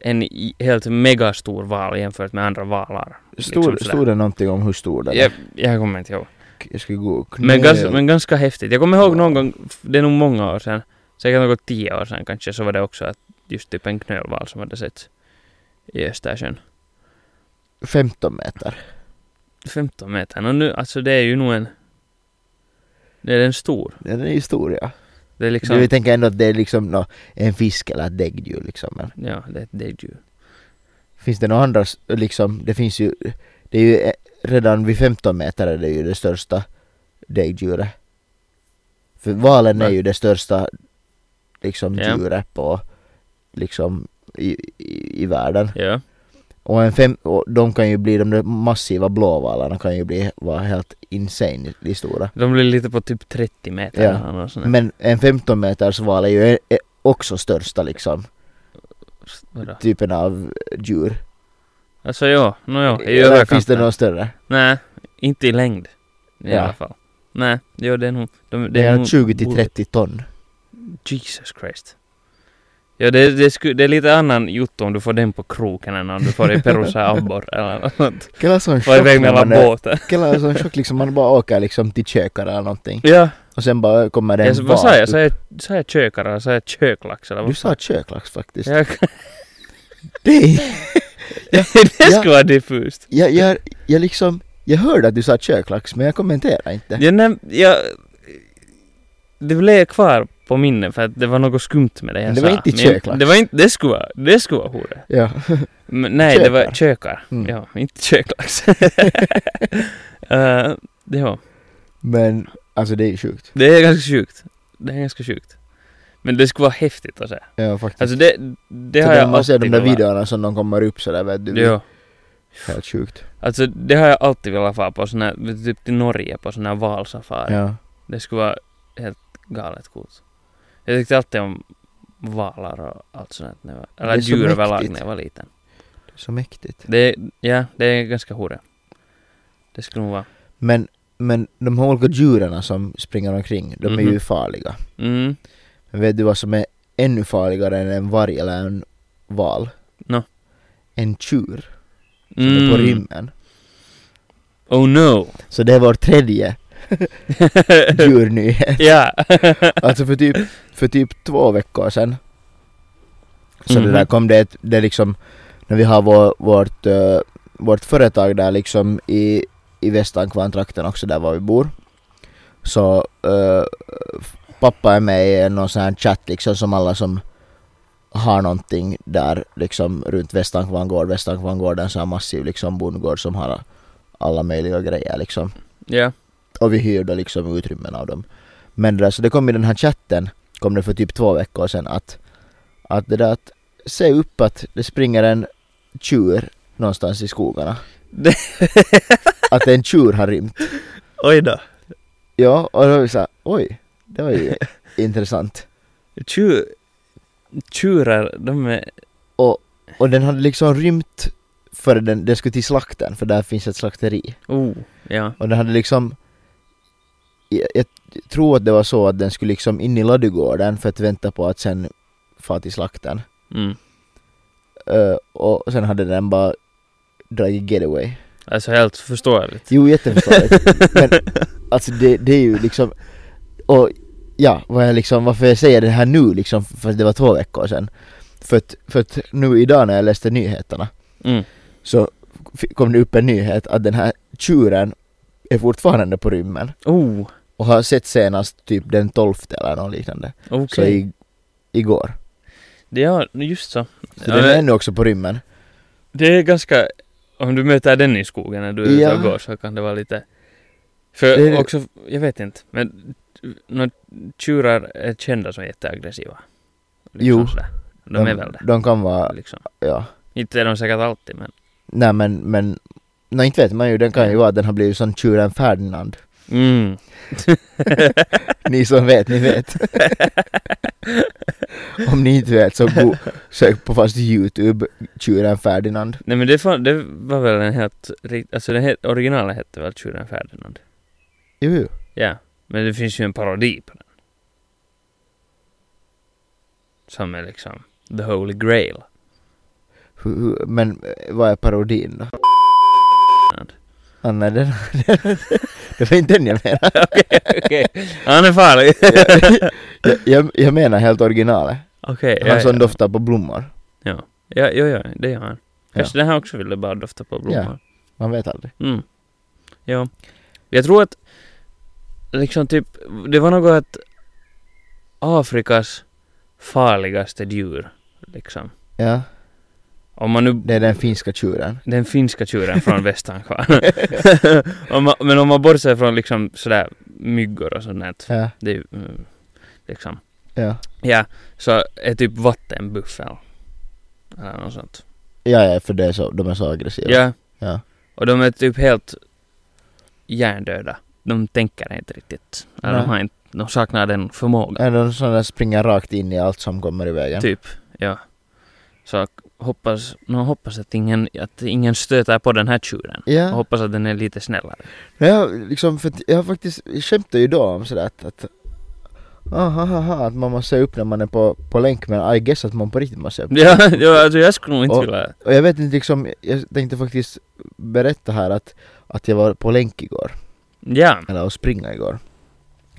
[SPEAKER 2] en i- helt megastor val jämfört med andra valar.
[SPEAKER 3] Stod,
[SPEAKER 2] liksom sådär.
[SPEAKER 3] stod det någonting om hur stor den
[SPEAKER 2] Jag, jag kommer inte ihåg.
[SPEAKER 3] Jag ska gå och knö...
[SPEAKER 2] Men, gans, men ganska häftigt. Jag kommer ihåg någon
[SPEAKER 3] Ja.
[SPEAKER 2] gång, f- det är nog många år sedan, säkert något tio år sedan kanske, så var det också att just typ en knölval som hade setts i Östersjön.
[SPEAKER 3] 15 meter.
[SPEAKER 2] 15 meter, och nu, alltså det är ju nog en... Det är en stor.
[SPEAKER 3] Den är ju stor ja.
[SPEAKER 2] Det är liksom...
[SPEAKER 3] Du tänker ändå att det är liksom nå, en fisk eller ett däggdjur liksom. Men
[SPEAKER 2] Ja, det är ett däggdjur.
[SPEAKER 3] finns det några andra, s- liksom, det finns ju, det är ju eh, redan vid 15 meter är det ju det största däggdjuret. För valen är
[SPEAKER 2] Men-
[SPEAKER 3] ju det största liksom
[SPEAKER 2] Ja.
[SPEAKER 3] djuret på, liksom i, i, i världen.
[SPEAKER 2] Ja.
[SPEAKER 3] Och, en fem, och de kan ju bli, de där massiva blåvalarna kan ju bli, vara helt insane i stora.
[SPEAKER 2] De blir lite på typ 30 meter.
[SPEAKER 3] Ja.
[SPEAKER 2] eller något sånt där.
[SPEAKER 3] Men en 15 meters val är ju eh, eh, också största liksom,
[SPEAKER 2] Vadå?
[SPEAKER 3] typen av djur.
[SPEAKER 2] Alltså ja, nå ja, i
[SPEAKER 3] Eller finns det
[SPEAKER 2] överkanten.
[SPEAKER 3] något större?
[SPEAKER 2] Nej, inte i längd. I
[SPEAKER 3] Ja.
[SPEAKER 2] alla fall. Nej, jo det är nog... De,
[SPEAKER 3] Det är
[SPEAKER 2] nog-
[SPEAKER 3] 20 till 30 ton.
[SPEAKER 2] Jesus Christ. Ja det, det, sku, det är lite annan jotto om du får den på kroken än om du får i Perusa abborre eller något sånt.
[SPEAKER 3] Kela sån
[SPEAKER 2] Far
[SPEAKER 3] chock
[SPEAKER 2] iväg med
[SPEAKER 3] när
[SPEAKER 2] alla
[SPEAKER 3] man är-
[SPEAKER 2] båtar.
[SPEAKER 3] kela sån chock liksom, man bara åker liksom till kökar eller någonting.
[SPEAKER 2] Ja,
[SPEAKER 3] Och sen bara kommer det
[SPEAKER 2] jag,
[SPEAKER 3] en
[SPEAKER 2] vad sa
[SPEAKER 3] val
[SPEAKER 2] jag?
[SPEAKER 3] upp.
[SPEAKER 2] Sa jag, sa jag kökare eller sa jag köklax eller
[SPEAKER 3] Du
[SPEAKER 2] vad?
[SPEAKER 3] sa köklax faktiskt.
[SPEAKER 2] Jag,
[SPEAKER 3] Det är,
[SPEAKER 2] det
[SPEAKER 3] Ja.
[SPEAKER 2] skulle vara diffust.
[SPEAKER 3] jag, jag, jag liksom, jag hörde att du sa köklax men jag kommenterar inte.
[SPEAKER 2] Jag näm, jag, det blev kvar på minnet för att det var något skumt med det jag
[SPEAKER 3] Men det
[SPEAKER 2] sa.
[SPEAKER 3] var inte
[SPEAKER 2] Men jag-
[SPEAKER 3] köklax.
[SPEAKER 2] Det var inte, det skulle vara, det skulle vara hore.
[SPEAKER 3] Ja.
[SPEAKER 2] Men, nej, det var kökar.
[SPEAKER 3] Mm.
[SPEAKER 2] Ja, inte köklax. Eh, ja.
[SPEAKER 3] Men alltså det är ju sjukt.
[SPEAKER 2] Det är ganska sjukt. Det är ganska sjukt. Men det skulle vara häftigt att se.
[SPEAKER 3] Ja faktiskt.
[SPEAKER 2] Alltså det, det
[SPEAKER 3] För
[SPEAKER 2] har
[SPEAKER 3] när
[SPEAKER 2] jag
[SPEAKER 3] man ser de
[SPEAKER 2] alltid
[SPEAKER 3] där
[SPEAKER 2] velat.
[SPEAKER 3] videorna som de kommer upp sådär vet du.
[SPEAKER 2] Ja.
[SPEAKER 3] Helt sjukt.
[SPEAKER 2] Alltså det har jag alltid velat fara på sån här, typ till Norge på sån här valsafari.
[SPEAKER 3] Ja.
[SPEAKER 2] Det skulle vara helt galet coolt. Jag tyckte alltid om valar och allt sånt när jag var, eller
[SPEAKER 3] Det är så
[SPEAKER 2] djur överlag
[SPEAKER 3] mäktigt.
[SPEAKER 2] när jag var liten.
[SPEAKER 3] Det är så mäktigt.
[SPEAKER 2] Det, ja, det är ganska hore. Det skulle nog vara.
[SPEAKER 3] Men, men de här olika djuren som springer omkring, de är ju
[SPEAKER 2] Mhm.
[SPEAKER 3] farliga.
[SPEAKER 2] Mm,
[SPEAKER 3] Men vet du vad som är ännu farligare än en varg eller en val?
[SPEAKER 2] Nå.
[SPEAKER 3] En tjur som är
[SPEAKER 2] mm.
[SPEAKER 3] på rymmen.
[SPEAKER 2] Oh no!
[SPEAKER 3] Så det är vår tredje djurnyhet.
[SPEAKER 2] ja!
[SPEAKER 3] Alltså för typ, för typ två veckor sedan så
[SPEAKER 2] Mhm.
[SPEAKER 3] det där kom det, ett- det liksom, när vi har vår, vårt, eh, vårt företag där liksom i, i Västankvarntrakten också där var vi bor. Så eh, f- pappa är med i någon sån här chatt liksom som alla som har någonting där liksom runt Västankvarn gård. Västankvarn gård är en sån här massiv liksom bondgård som har alla möjliga grejer liksom
[SPEAKER 2] ja.
[SPEAKER 3] och vi hyrde liksom utrymmen av dem. Men det där, så det kom i den här chatten, kom det för typ två veckor sedan att, att det där att se upp att det springer en tjur någonstans i skogarna.
[SPEAKER 2] Det-
[SPEAKER 3] att en tjur har rymt.
[SPEAKER 2] Oj då.
[SPEAKER 3] Ja, och då var vi såhär, oj, det var ju intressant.
[SPEAKER 2] Tjur, tjurar, de är...
[SPEAKER 3] Och den hade liksom rymt före den, den skulle till slakten, för där finns ett slakteri.
[SPEAKER 2] Oh, ja.
[SPEAKER 3] Och den hade liksom jag, jag tror att det var så att den skulle liksom in i ladugården för att vänta på att sen få till slakten.
[SPEAKER 2] Mm.
[SPEAKER 3] Eh, och sen hade den bara dragit getaway.
[SPEAKER 2] Alltså helt förståeligt.
[SPEAKER 3] Jo, jätteförståeligt. Men alltså det, det är ju liksom... Och ja, vad jag liksom, varför jag säger det här nu liksom, för det var två veckor sedan. För att, för att nu idag när jag läste nyheterna
[SPEAKER 2] Mm.
[SPEAKER 3] så f- kom det upp en nyhet att den här tjuren är fortfarande på rymmen
[SPEAKER 2] Oh,
[SPEAKER 3] och har sett senast typ den 12 eller något liknande.
[SPEAKER 2] okej.
[SPEAKER 3] Så i, igår.
[SPEAKER 2] Ja, just så.
[SPEAKER 3] Så
[SPEAKER 2] Ja,
[SPEAKER 3] den är
[SPEAKER 2] men
[SPEAKER 3] ännu också på rymmen.
[SPEAKER 2] det är ganska... Om du möter den i skogen när du är ute
[SPEAKER 3] Ja.
[SPEAKER 2] och går så kan det vara lite...
[SPEAKER 3] Det
[SPEAKER 2] För
[SPEAKER 3] är-
[SPEAKER 2] också, jag vet inte, men nå, tjurar är kända som jätteaggressiva. Liksom
[SPEAKER 3] Jo.
[SPEAKER 2] sådär. De är väl det.
[SPEAKER 3] De kan vara,
[SPEAKER 2] Liksom.
[SPEAKER 3] ja.
[SPEAKER 2] Inte är de säkert alltid, men...
[SPEAKER 3] Nej men, men Nej inte vet man ju, den kan ju vara att den har blivit som tjuren Ferdinand.
[SPEAKER 2] Mm.
[SPEAKER 3] Ni som vet, ni vet. Om ni inte vet så go- sök på fast youtube, tjuren Ferdinand.
[SPEAKER 2] Nej men det, fan, det var väl en helt... rikt- Alltså den het, originalen hette väl Tjuren Ferdinand?
[SPEAKER 3] Jo, jo.
[SPEAKER 2] Ja, men det finns ju en parodi på den. Som är liksom the holy grail.
[SPEAKER 3] Hu- hu- Men eh, vad är parodin då? Ah, nej, den, det var inte den jag menade.
[SPEAKER 2] Okej, okej. Han är farlig.
[SPEAKER 3] Jag, jag, jag menar helt originalet.
[SPEAKER 2] Okej,
[SPEAKER 3] Han som
[SPEAKER 2] ja, ja.
[SPEAKER 3] doftar på blommor.
[SPEAKER 2] ja, ja, ja, det gör han. Kanske den här också ville bara dofta på blommor.
[SPEAKER 3] Man vet aldrig.
[SPEAKER 2] Mm. Ja. Jag tror att, liksom typ, det var något att Afrikas farligaste djur. Liksom.
[SPEAKER 3] Ja,
[SPEAKER 2] Om man nu...
[SPEAKER 3] det är den finska tjuren.
[SPEAKER 2] Den finska tjuren från västankvarn. Om man- Men om man bortser från liksom sådär myggor och sånt där.
[SPEAKER 3] Ja,
[SPEAKER 2] Det är ju mm, liksom.
[SPEAKER 3] ja.
[SPEAKER 2] Ja, så är typ vattenbuffel. Eller något sånt.
[SPEAKER 3] Ja, ja, för det är så, de är så aggressiva.
[SPEAKER 2] Ja.
[SPEAKER 3] Typ. Ja.
[SPEAKER 2] Och de är typ helt hjärndöda. De tänker inte riktigt. Eller de,
[SPEAKER 3] Nej.
[SPEAKER 2] har inte, de saknar den förmågan.
[SPEAKER 3] Är de sådana där springer rakt in i allt som kommer i vägen?
[SPEAKER 2] Typ, ja. Så hoppas, nå hoppas att, ingen, att ingen stöter på den här tjuren.
[SPEAKER 3] Ja.
[SPEAKER 2] Och hoppas att den är lite snällare.
[SPEAKER 3] Nej, jag, liksom, för att jag har faktiskt, jag skämtade ju då om sådär att, att ah, ha, ha, ha, att man måste se upp när man är på, på länk men I guess att man på riktigt måste se upp.
[SPEAKER 2] Ja, ja alltså jag skulle nog inte
[SPEAKER 3] Och-
[SPEAKER 2] vilja...
[SPEAKER 3] Och jag vet inte liksom, jag tänkte faktiskt berätta här att, att jag var på länk igår,
[SPEAKER 2] Ja,
[SPEAKER 3] eller och springa igår.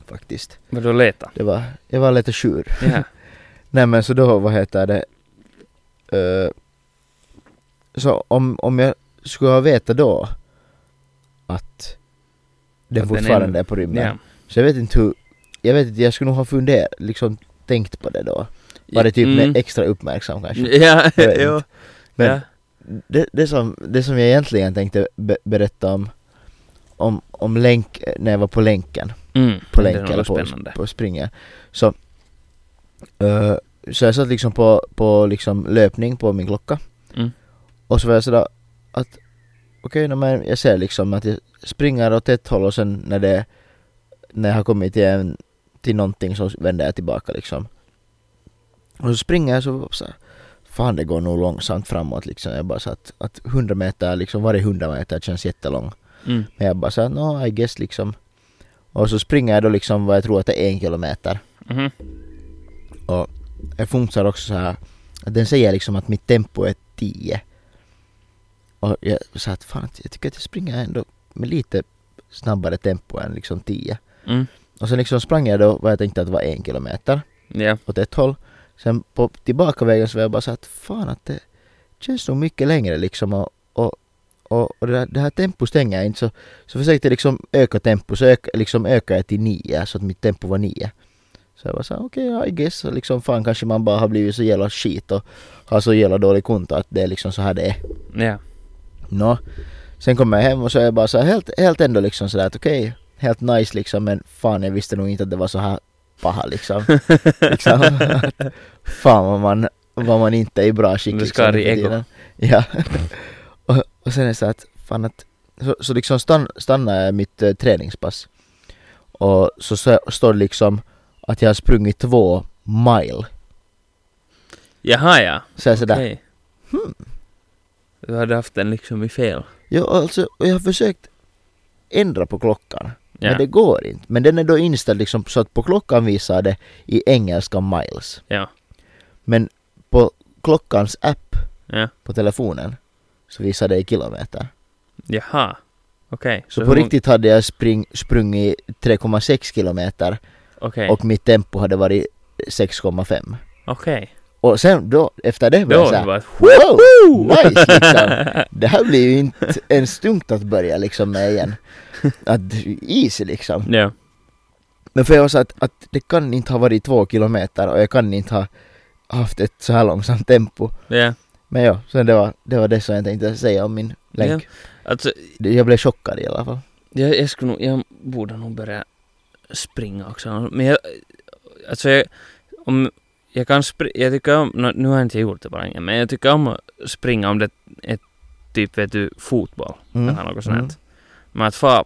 [SPEAKER 3] Faktiskt.
[SPEAKER 2] vadå leta?
[SPEAKER 3] Det var, jag var lite tjur.
[SPEAKER 2] Ja.
[SPEAKER 3] Nej men så då, vad heter det? eh, så om, om jag skulle ha vetat då att den
[SPEAKER 2] Att den är-
[SPEAKER 3] fortfarande är på rymden.
[SPEAKER 2] ja.
[SPEAKER 3] Så jag vet inte hur, jag vet inte, jag skulle nog ha funderat, liksom tänkt på det då. Varit typ
[SPEAKER 2] Mm.
[SPEAKER 3] med extra uppmärksam kanske.
[SPEAKER 2] Ja,
[SPEAKER 3] Jag vet inte.
[SPEAKER 2] jo.
[SPEAKER 3] Men
[SPEAKER 2] ja.
[SPEAKER 3] det, det, som, det som jag egentligen tänkte be- berätta om, om, om länk, eh, när jag var på länken,
[SPEAKER 2] Mm.
[SPEAKER 3] på
[SPEAKER 2] det är
[SPEAKER 3] länk eller
[SPEAKER 2] något
[SPEAKER 3] på,
[SPEAKER 2] spännande.
[SPEAKER 3] på springa. Så, eh, så jag satt liksom på, på liksom löpning på min klocka.
[SPEAKER 2] Mm.
[SPEAKER 3] Och så var jag sådär att, okej, nå, men jag ser liksom att jag springer åt ett håll och sen när det, när jag har kommit till, en, till någonting så vänder jag tillbaka liksom. Och så springer jag så, så här, fan det går nog långsamt framåt liksom. Jag bara så att, att 100 meter, liksom varje 100 meter känns jättelång.
[SPEAKER 2] Mm.
[SPEAKER 3] Men jag bara såhär, no I guess liksom. Och så springer jag då liksom vad jag tror att det är en kilometer.
[SPEAKER 2] Mhm.
[SPEAKER 3] Och jag funkar också så här att den säger liksom att mitt tempo är 10. Och jag sa att fan jag tycker att jag springer ändå med lite snabbare tempo än liksom 10.
[SPEAKER 2] Mm.
[SPEAKER 3] Och sen liksom sprang jag då vad jag tänkte att var en kilometer
[SPEAKER 2] Ja.
[SPEAKER 3] åt ett håll. Sen på tillbakavägen så var jag bara så att fan att det känns nog mycket längre liksom och, och, och, och det, där, det här tempo stänger jag inte så, så försökte jag liksom öka tempo så ök, liksom ökade jag till nio så att mitt tempo var nio. Så jag var så här, okej I guess så liksom fan kanske man bara har blivit så jävla skit och har så jävla dålig konto att det är liksom så här det är.
[SPEAKER 2] Ja.
[SPEAKER 3] Nå, sen kommer jag hem och så är jag bara så här helt, helt ändå liksom sådär att okej, helt nice liksom men fan jag visste nog inte att det var så här paha liksom. liksom. att fan vad man, vad man inte är i bra skick
[SPEAKER 2] Det
[SPEAKER 3] liksom.
[SPEAKER 2] skar i
[SPEAKER 3] nu för
[SPEAKER 2] ego.
[SPEAKER 3] tiden. Ja. och, och sen är det så att fan att, så, så liksom stann, stannar jag mitt eh, träningspass. Och så, så står det liksom att jag har sprungit två mile.
[SPEAKER 2] Jaha ja.
[SPEAKER 3] Så jag Äh, sådär, Hmm.
[SPEAKER 2] Okej. Du hade haft den liksom i fel.
[SPEAKER 3] Ja, alltså, och jag har försökt ändra på klockan.
[SPEAKER 2] Ja.
[SPEAKER 3] Men det går inte. Men den är då inställd liksom så att på klockan visar det i engelska miles.
[SPEAKER 2] Ja.
[SPEAKER 3] Men på klockans app
[SPEAKER 2] Ja.
[SPEAKER 3] på telefonen så visar det i kilometer.
[SPEAKER 2] Jaha. Okej.
[SPEAKER 3] Så, på
[SPEAKER 2] hur-
[SPEAKER 3] riktigt hade jag spring, sprungit 3,6 kilometer
[SPEAKER 2] Okej.
[SPEAKER 3] och mitt tempo hade varit 6,5.
[SPEAKER 2] Okej.
[SPEAKER 3] Och sen då, efter det var
[SPEAKER 2] Då
[SPEAKER 3] jag
[SPEAKER 2] var det
[SPEAKER 3] såhär
[SPEAKER 2] bara...
[SPEAKER 3] Wow! Nice liksom! Det här blir ju inte ens tungt att börja liksom med igen. Att, easy liksom.
[SPEAKER 2] Ja.
[SPEAKER 3] Men för jag var så att, att det kan inte ha varit två kilometer och jag kan inte ha haft ett så här långsamt tempo.
[SPEAKER 2] Ja.
[SPEAKER 3] Men ja, sen det var det, var det som jag tänkte säga om min länk.
[SPEAKER 2] Alltså,
[SPEAKER 3] Det- Jag blev chockad i alla fall.
[SPEAKER 2] jag, jag skulle nog, jag borde nog börja springa också. Men jag, alltså jag, om, jag kan springa, jag tycker om, nå, nu har jag inte gjort det på länge, men jag tycker om att springa om det är typ, vet du, fotboll
[SPEAKER 3] Mm.
[SPEAKER 2] eller något sånt.
[SPEAKER 3] Mm.
[SPEAKER 2] Men att få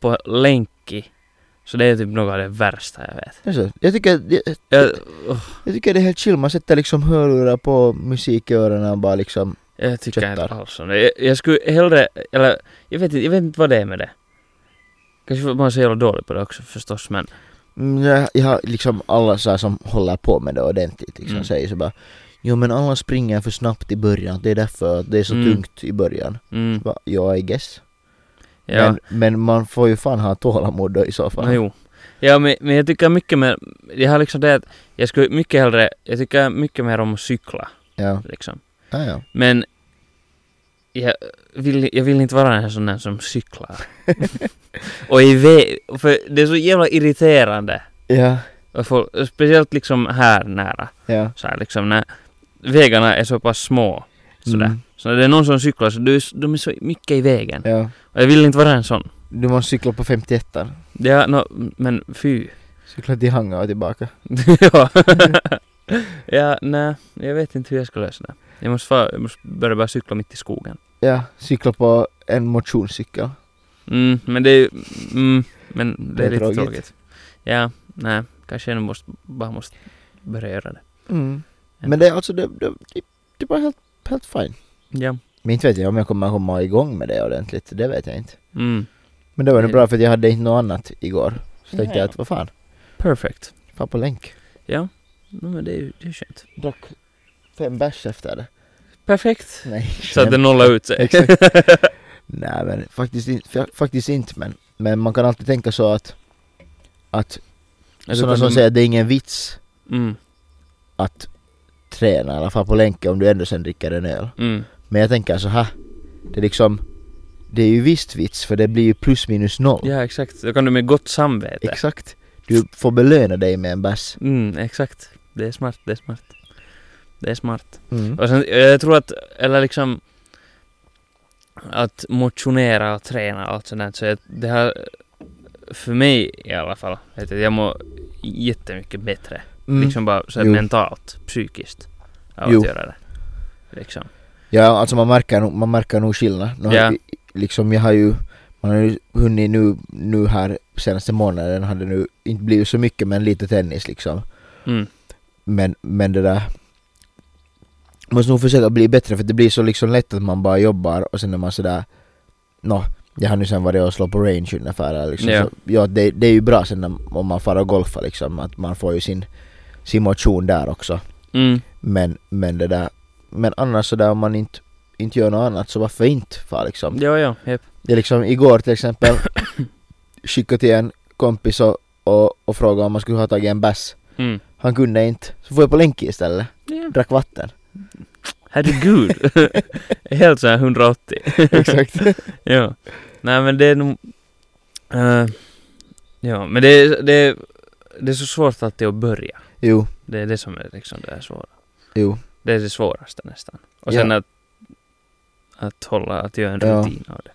[SPEAKER 2] på länki, så det är typ något av det värsta jag vet.
[SPEAKER 3] Alltså, jag, tycker, jag,
[SPEAKER 2] Jag, åh,
[SPEAKER 3] jag tycker det är helt chill, man sätter liksom hörlurar på musik i öronen och bara liksom
[SPEAKER 2] jag tycker inte
[SPEAKER 3] Köttar.
[SPEAKER 2] alls om det. Jag, jag skulle hellre, eller jag vet, inte, jag vet inte vad det är med det. Kanske för att man är så jävla dålig på det också förstås, men
[SPEAKER 3] Mm, jag, jag har liksom alla så här som håller på med det ordentligt liksom
[SPEAKER 2] Mm.
[SPEAKER 3] säger så bara Jo men alla springer för snabbt i början, det är därför att det är så
[SPEAKER 2] Mm.
[SPEAKER 3] tungt i början.
[SPEAKER 2] mm,
[SPEAKER 3] Va? Ja, I guess.
[SPEAKER 2] ja.
[SPEAKER 3] Men, men man får ju fan ha tålamod då i så fall.
[SPEAKER 2] No, jo. Ja, men, men jag tycker mycket mer, jag har liksom det att jag skulle mycket hellre, jag tycker mycket mer om att cykla
[SPEAKER 3] Ja,
[SPEAKER 2] liksom.
[SPEAKER 3] ja, ja.
[SPEAKER 2] Men jag vill, jag vill inte vara en sån där som cyklar. och i vä- för det är så jävla irriterande
[SPEAKER 3] Ja,
[SPEAKER 2] Och folk- Speciellt liksom här nära.
[SPEAKER 3] Ja.
[SPEAKER 2] Så här liksom när vägarna är så pass små. Sådär.
[SPEAKER 3] Mm.
[SPEAKER 2] Så när det är någon som cyklar så du är, s- de är så mycket i vägen.
[SPEAKER 3] ja.
[SPEAKER 2] Och jag vill inte vara en sån.
[SPEAKER 3] Du måste cykla på 51
[SPEAKER 2] Ja, no, men fy.
[SPEAKER 3] Cykla till Hanga och tillbaka.
[SPEAKER 2] ja. ja, nej. Jag vet inte hur jag ska lösa det. Jag måste, fa- jag måste börja bara cykla mitt i skogen.
[SPEAKER 3] Ja, cykla på en motionscykel.
[SPEAKER 2] Mm, men det är ju- mm, men det,
[SPEAKER 3] Det är
[SPEAKER 2] är lite
[SPEAKER 3] tråkigt.
[SPEAKER 2] tråkigt. Ja, nej. Kanske jag måste, bara måste börja göra det.
[SPEAKER 3] Mm. Men det är alltså, det, det, det, det var helt, helt fine.
[SPEAKER 2] Ja.
[SPEAKER 3] Men inte vet jag om jag kommer komma igång med det ordentligt, det vet jag inte.
[SPEAKER 2] Mm.
[SPEAKER 3] Men det var nog
[SPEAKER 2] Nej.
[SPEAKER 3] bra för att jag hade inte något annat igår. Så tänkte
[SPEAKER 2] Ja.
[SPEAKER 3] jag att vad fan,
[SPEAKER 2] Perfect.
[SPEAKER 3] fan på länk.
[SPEAKER 2] Ja. No, men det är ju det är skönt.
[SPEAKER 3] Drack fem bärs efter det.
[SPEAKER 2] Perfekt.
[SPEAKER 3] Nej.
[SPEAKER 2] Så att det nollar ut sig.
[SPEAKER 3] Exakt. Nej men faktiskt inte, faktiskt inte men, men man kan alltid tänka så att, att
[SPEAKER 2] Jag
[SPEAKER 3] sådana
[SPEAKER 2] tycker
[SPEAKER 3] som
[SPEAKER 2] de-
[SPEAKER 3] säger att det är ingen vits
[SPEAKER 2] Mm,
[SPEAKER 3] att träna i alla fall på länken om du ändå sen dricker en öl.
[SPEAKER 2] mm,
[SPEAKER 3] Men jag tänker så här. Det är liksom, det är ju visst vits för det blir ju plus minus noll.
[SPEAKER 2] ja exakt. Då kan du med gott samvete.
[SPEAKER 3] Exakt. Du får belöna dig med en bärs.
[SPEAKER 2] mm, exakt. Det är smart, det är smart. Det är smart. Och sen, jag tror att, eller liksom att motionera och träna och allt sånt där, så jag, det här för mig i alla fall, vet jag, jag mår jättemycket bättre.
[SPEAKER 3] Mm.
[SPEAKER 2] Liksom bara så här
[SPEAKER 3] Jo.
[SPEAKER 2] mentalt, psykiskt av
[SPEAKER 3] Jo.
[SPEAKER 2] att göra det. Liksom.
[SPEAKER 3] Ja, alltså man märker, nog- man märker nog skillnad. Nu har,
[SPEAKER 2] Ja.
[SPEAKER 3] i- Liksom jag har ju, man har ju hunnit nu, nu här senaste månaden har det nu inte blivit så mycket men lite tennis liksom.
[SPEAKER 2] Mm,
[SPEAKER 3] Men, men det där måste nog försöka bli bättre för det blir så liksom lätt att man bara jobbar och sen är man sådär nå, jag har nu sen varit och slå på range ungefär eller liksom.
[SPEAKER 2] Ja.
[SPEAKER 3] Så, ja det, det är ju bra sen när, om man far och golfar liksom att man får ju sin, sin motion där också.
[SPEAKER 2] mm,
[SPEAKER 3] Men, men det där Men annars sådär om man inte, inte gör något annat så varför inte far liksom?
[SPEAKER 2] ja, ja, japp.
[SPEAKER 3] Jag liksom igår till exempel skickade till en kompis och, och, och frågade om man skulle ha tagit en bass
[SPEAKER 2] Mm.
[SPEAKER 3] Han kunde inte, så får jag på länk istället,
[SPEAKER 2] Ja.
[SPEAKER 3] drack vatten
[SPEAKER 2] Herregud! Helt såhär 180.
[SPEAKER 3] Exakt
[SPEAKER 2] ja. Nej men det är nog... eh, ja, men det är, det, är, det är så svårt alltid att börja.
[SPEAKER 3] Jo,
[SPEAKER 2] Det är det som är liksom det är svåra.
[SPEAKER 3] jo,
[SPEAKER 2] Det är det svåraste nästan. Och sen att, att hålla, att göra en
[SPEAKER 3] Ja.
[SPEAKER 2] rutin av det.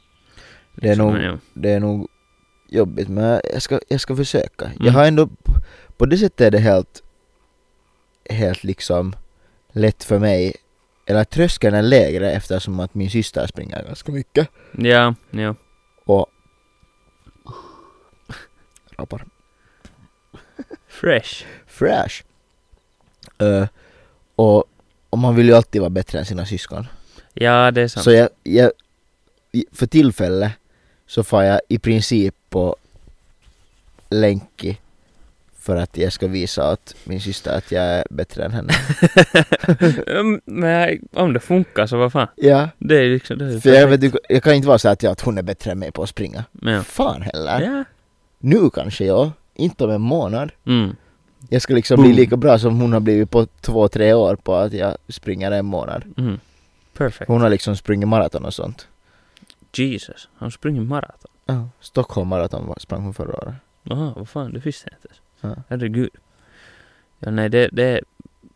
[SPEAKER 3] Det är nog-
[SPEAKER 2] men ja.
[SPEAKER 3] det är nog jobbigt men jag ska, jag ska försöka Jag
[SPEAKER 2] Mm.
[SPEAKER 3] har ändå, på det sättet är det helt Helt liksom lätt för mig Eller tröskeln är lägre eftersom att min syster springer ganska mycket
[SPEAKER 2] Ja, ja.
[SPEAKER 3] och rapar
[SPEAKER 2] Fresh.
[SPEAKER 3] fresh. Eh, och, och man vill ju alltid vara bättre än sina syskon.
[SPEAKER 2] Ja, det är sant.
[SPEAKER 3] Så jag, jag, i- för tillfället så får jag i princip på länki för att jag ska visa att min syster att jag är bättre än henne.
[SPEAKER 2] Mm, men om det funkar så vad fan.
[SPEAKER 3] ja,
[SPEAKER 2] Det är liksom... Det är
[SPEAKER 3] för jag, vet, ju- jag kan inte vara så att, jag, att hon är bättre än mig på att springa.
[SPEAKER 2] ja.
[SPEAKER 3] Fan heller.
[SPEAKER 2] ja.
[SPEAKER 3] Nu kanske jag, inte om en månad.
[SPEAKER 2] Mm.
[SPEAKER 3] Jag ska liksom
[SPEAKER 2] Boom.
[SPEAKER 3] bli lika bra som hon har blivit på två, tre år på att jag springer en månad.
[SPEAKER 2] Mm. Perfect.
[SPEAKER 3] Hon har liksom sprungit maraton och sånt.
[SPEAKER 2] Jesus, han springer maraton.
[SPEAKER 3] Ja. Stockholm maraton var- sprang hon förra året.
[SPEAKER 2] Jaha, vad fan, det visste jag inte ens.
[SPEAKER 3] Ja.
[SPEAKER 2] Herregud. Ja, nej, det, det,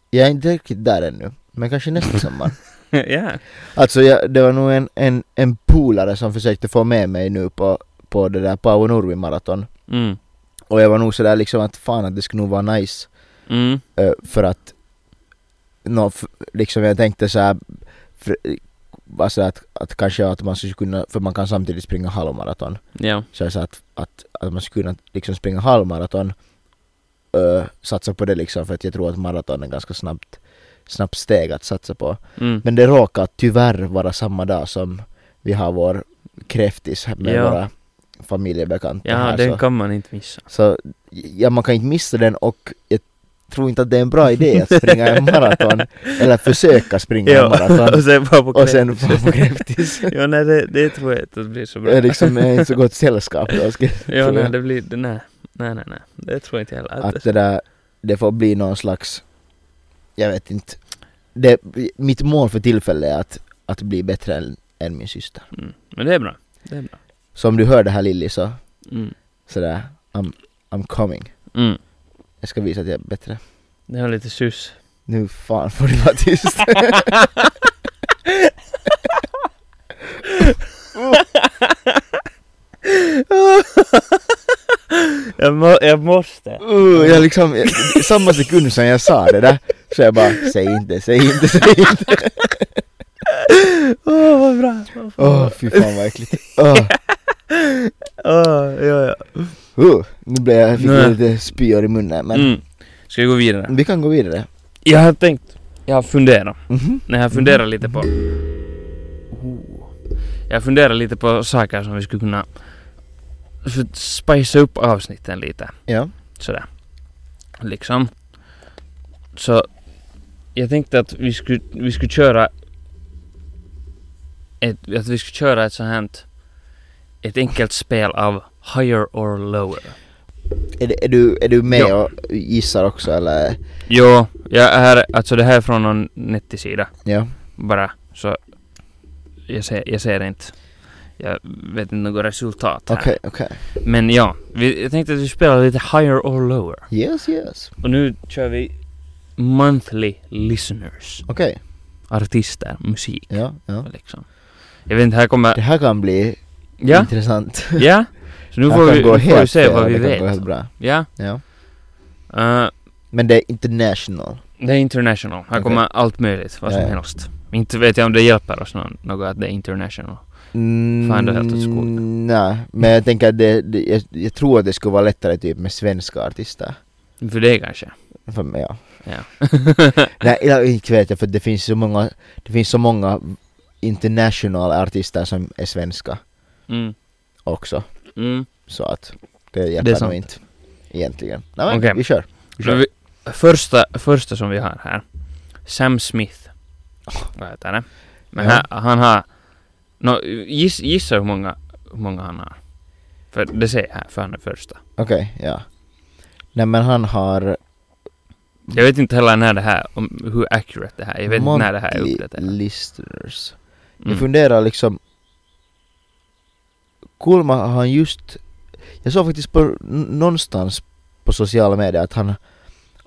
[SPEAKER 3] Jag är inte riktigt där ännu, men kanske nästa sommar.
[SPEAKER 2] ja.
[SPEAKER 3] Alltså jag, det var nog en, en, en polare som försökte få med mig nu på, på det där Paavo Nurmi maraton.
[SPEAKER 2] Mm.
[SPEAKER 3] Och jag var nog sådär liksom att fan att det skulle nog vara nice.
[SPEAKER 2] Mm.
[SPEAKER 3] eh, för att, nå f- liksom jag tänkte såhär, för, alltså att, att kanske att man skulle kunna, för man kan samtidigt springa halvmaraton.
[SPEAKER 2] Ja.
[SPEAKER 3] så jag sa att, att, att man skulle kunna liksom springa halvmaraton ö, satsa på det liksom för att jag tror att maraton är ganska snabbt snabbt steg att satsa på.
[SPEAKER 2] Mm.
[SPEAKER 3] Men det råkar tyvärr vara samma dag som vi har vår kräftis med
[SPEAKER 2] Ja.
[SPEAKER 3] våra familjebekanta
[SPEAKER 2] ja,
[SPEAKER 3] här
[SPEAKER 2] den
[SPEAKER 3] så,
[SPEAKER 2] kan man inte missa.
[SPEAKER 3] så ja, man kan inte missa den och jag tror inte att det är en bra idé att springa en maraton eller försöka springa en maraton
[SPEAKER 2] och sen bara på
[SPEAKER 3] och sen
[SPEAKER 2] kväll.
[SPEAKER 3] vara på kräftis.
[SPEAKER 2] Ja, nej, det, det tror jag inte att det blir så bra.
[SPEAKER 3] Jag är liksom inte så gott sällskap då ska
[SPEAKER 2] ja,
[SPEAKER 3] tror
[SPEAKER 2] nej,
[SPEAKER 3] jag.
[SPEAKER 2] det blir, det, nej. Nej, nej, nej. Det tror jag inte heller. Att,
[SPEAKER 3] att det där, det får bli någon slags, jag vet inte. Det, mitt mål för tillfället är att, att bli bättre än, än min syster.
[SPEAKER 2] mm. Men det är bra. Det är bra.
[SPEAKER 3] Så om du hör det här Lilly så,
[SPEAKER 2] Mm.
[SPEAKER 3] sådär, I'm, I'm coming.
[SPEAKER 2] Mm.
[SPEAKER 3] Jag ska visa att jag är bättre.
[SPEAKER 2] Det var lite sus.
[SPEAKER 3] Nu fan får du vara tyst.
[SPEAKER 2] Jag, må, jag måste.
[SPEAKER 3] Uh, jag liksom, jag, samma sekund som jag sa det där så jag bara säg inte, säg inte, säg inte.
[SPEAKER 2] Åh vad bra. Vad fan.
[SPEAKER 3] Åh fy fan vad äckligt. Åh,
[SPEAKER 2] Åh, ja, ja.
[SPEAKER 3] uh, nu blev jag, fick
[SPEAKER 2] Nej.
[SPEAKER 3] jag lite spyor i munnen men
[SPEAKER 2] Mm. Ska vi gå vidare?
[SPEAKER 3] vi kan gå vidare.
[SPEAKER 2] Jag har tänkt. Jag har funderat.
[SPEAKER 3] Mhm.
[SPEAKER 2] Nej, jag funderar lite på... Oh. Jag funderar lite på saker som vi skulle kunna... För spicea upp avsnitten lite.
[SPEAKER 3] Ja.
[SPEAKER 2] Sådär. Liksom. Så jag tänkte att vi skulle, vi skulle köra ett, att vi skulle köra ett sånt här ett enkelt spel av higher or lower.
[SPEAKER 3] Är, det- är, du, är du med
[SPEAKER 2] Ja.
[SPEAKER 3] och gissar också eller?
[SPEAKER 2] Jo, jag är, alltså det här är från någon nettisida
[SPEAKER 3] Ja.
[SPEAKER 2] bara så jag ser, jag ser inte jag vet inte något resultat här.
[SPEAKER 3] Okej, okej.
[SPEAKER 2] Men ja, vi, jag tänkte att vi spelar lite higher or lower.
[SPEAKER 3] Yes, yes.
[SPEAKER 2] Och nu kör vi monthly listeners.
[SPEAKER 3] Okej.
[SPEAKER 2] Artister, musik.
[SPEAKER 3] Ja, ja.
[SPEAKER 2] Liksom. Jag vet inte, här kommer...
[SPEAKER 3] Det här kan bli
[SPEAKER 2] Ja,
[SPEAKER 3] intressant.
[SPEAKER 2] ja. Så nu
[SPEAKER 3] Det här
[SPEAKER 2] får
[SPEAKER 3] kan
[SPEAKER 2] vi,
[SPEAKER 3] gå
[SPEAKER 2] nu får vi
[SPEAKER 3] helt
[SPEAKER 2] se
[SPEAKER 3] fel,
[SPEAKER 2] vad vi
[SPEAKER 3] det kan gå
[SPEAKER 2] vet.
[SPEAKER 3] helt bra.
[SPEAKER 2] Ja.
[SPEAKER 3] Ja.
[SPEAKER 2] eh,
[SPEAKER 3] Men det är international.
[SPEAKER 2] det är international. Här
[SPEAKER 3] Okej.
[SPEAKER 2] kommer allt möjligt, vad som
[SPEAKER 3] Ja, ja.
[SPEAKER 2] helst. Inte vet jag om det hjälper oss nå- något att det är international.
[SPEAKER 3] Mm,
[SPEAKER 2] Fan, det är helt åt skogen.
[SPEAKER 3] Nej, men jag tänker att det, det, jag, jag tror att det skulle vara lättare typ med svenska artister.
[SPEAKER 2] För det kanske.
[SPEAKER 3] För mig, ja.
[SPEAKER 2] Ja.
[SPEAKER 3] Nej, jag- inte vet jag för det finns så många, det finns så många international artister som är svenska
[SPEAKER 2] mm.
[SPEAKER 3] också.
[SPEAKER 2] Mm.
[SPEAKER 3] Så att det hjälper
[SPEAKER 2] sant.
[SPEAKER 3] nog inte egentligen. Nej, men
[SPEAKER 2] Okej.
[SPEAKER 3] vi kör. Vi
[SPEAKER 2] Men
[SPEAKER 3] kör.
[SPEAKER 2] vi, första, första som vi har här. Sam Smith. Vad heter det? Men
[SPEAKER 3] Ja.
[SPEAKER 2] här, han har... nå giss, gissa hur många, hur många han har. För det ser jag här, för han är första.
[SPEAKER 3] Okej, ja. Nej men han har
[SPEAKER 2] Jag vet inte heller när det här, om, hur accurate det här är. Jag vet inte när det här är
[SPEAKER 3] monthly
[SPEAKER 2] uppdaterat.
[SPEAKER 3] listeners. Jag
[SPEAKER 2] Mm.
[SPEAKER 3] funderar liksom Kulma har han just Jag såg faktiskt på, n- någonstans på sociala medier att han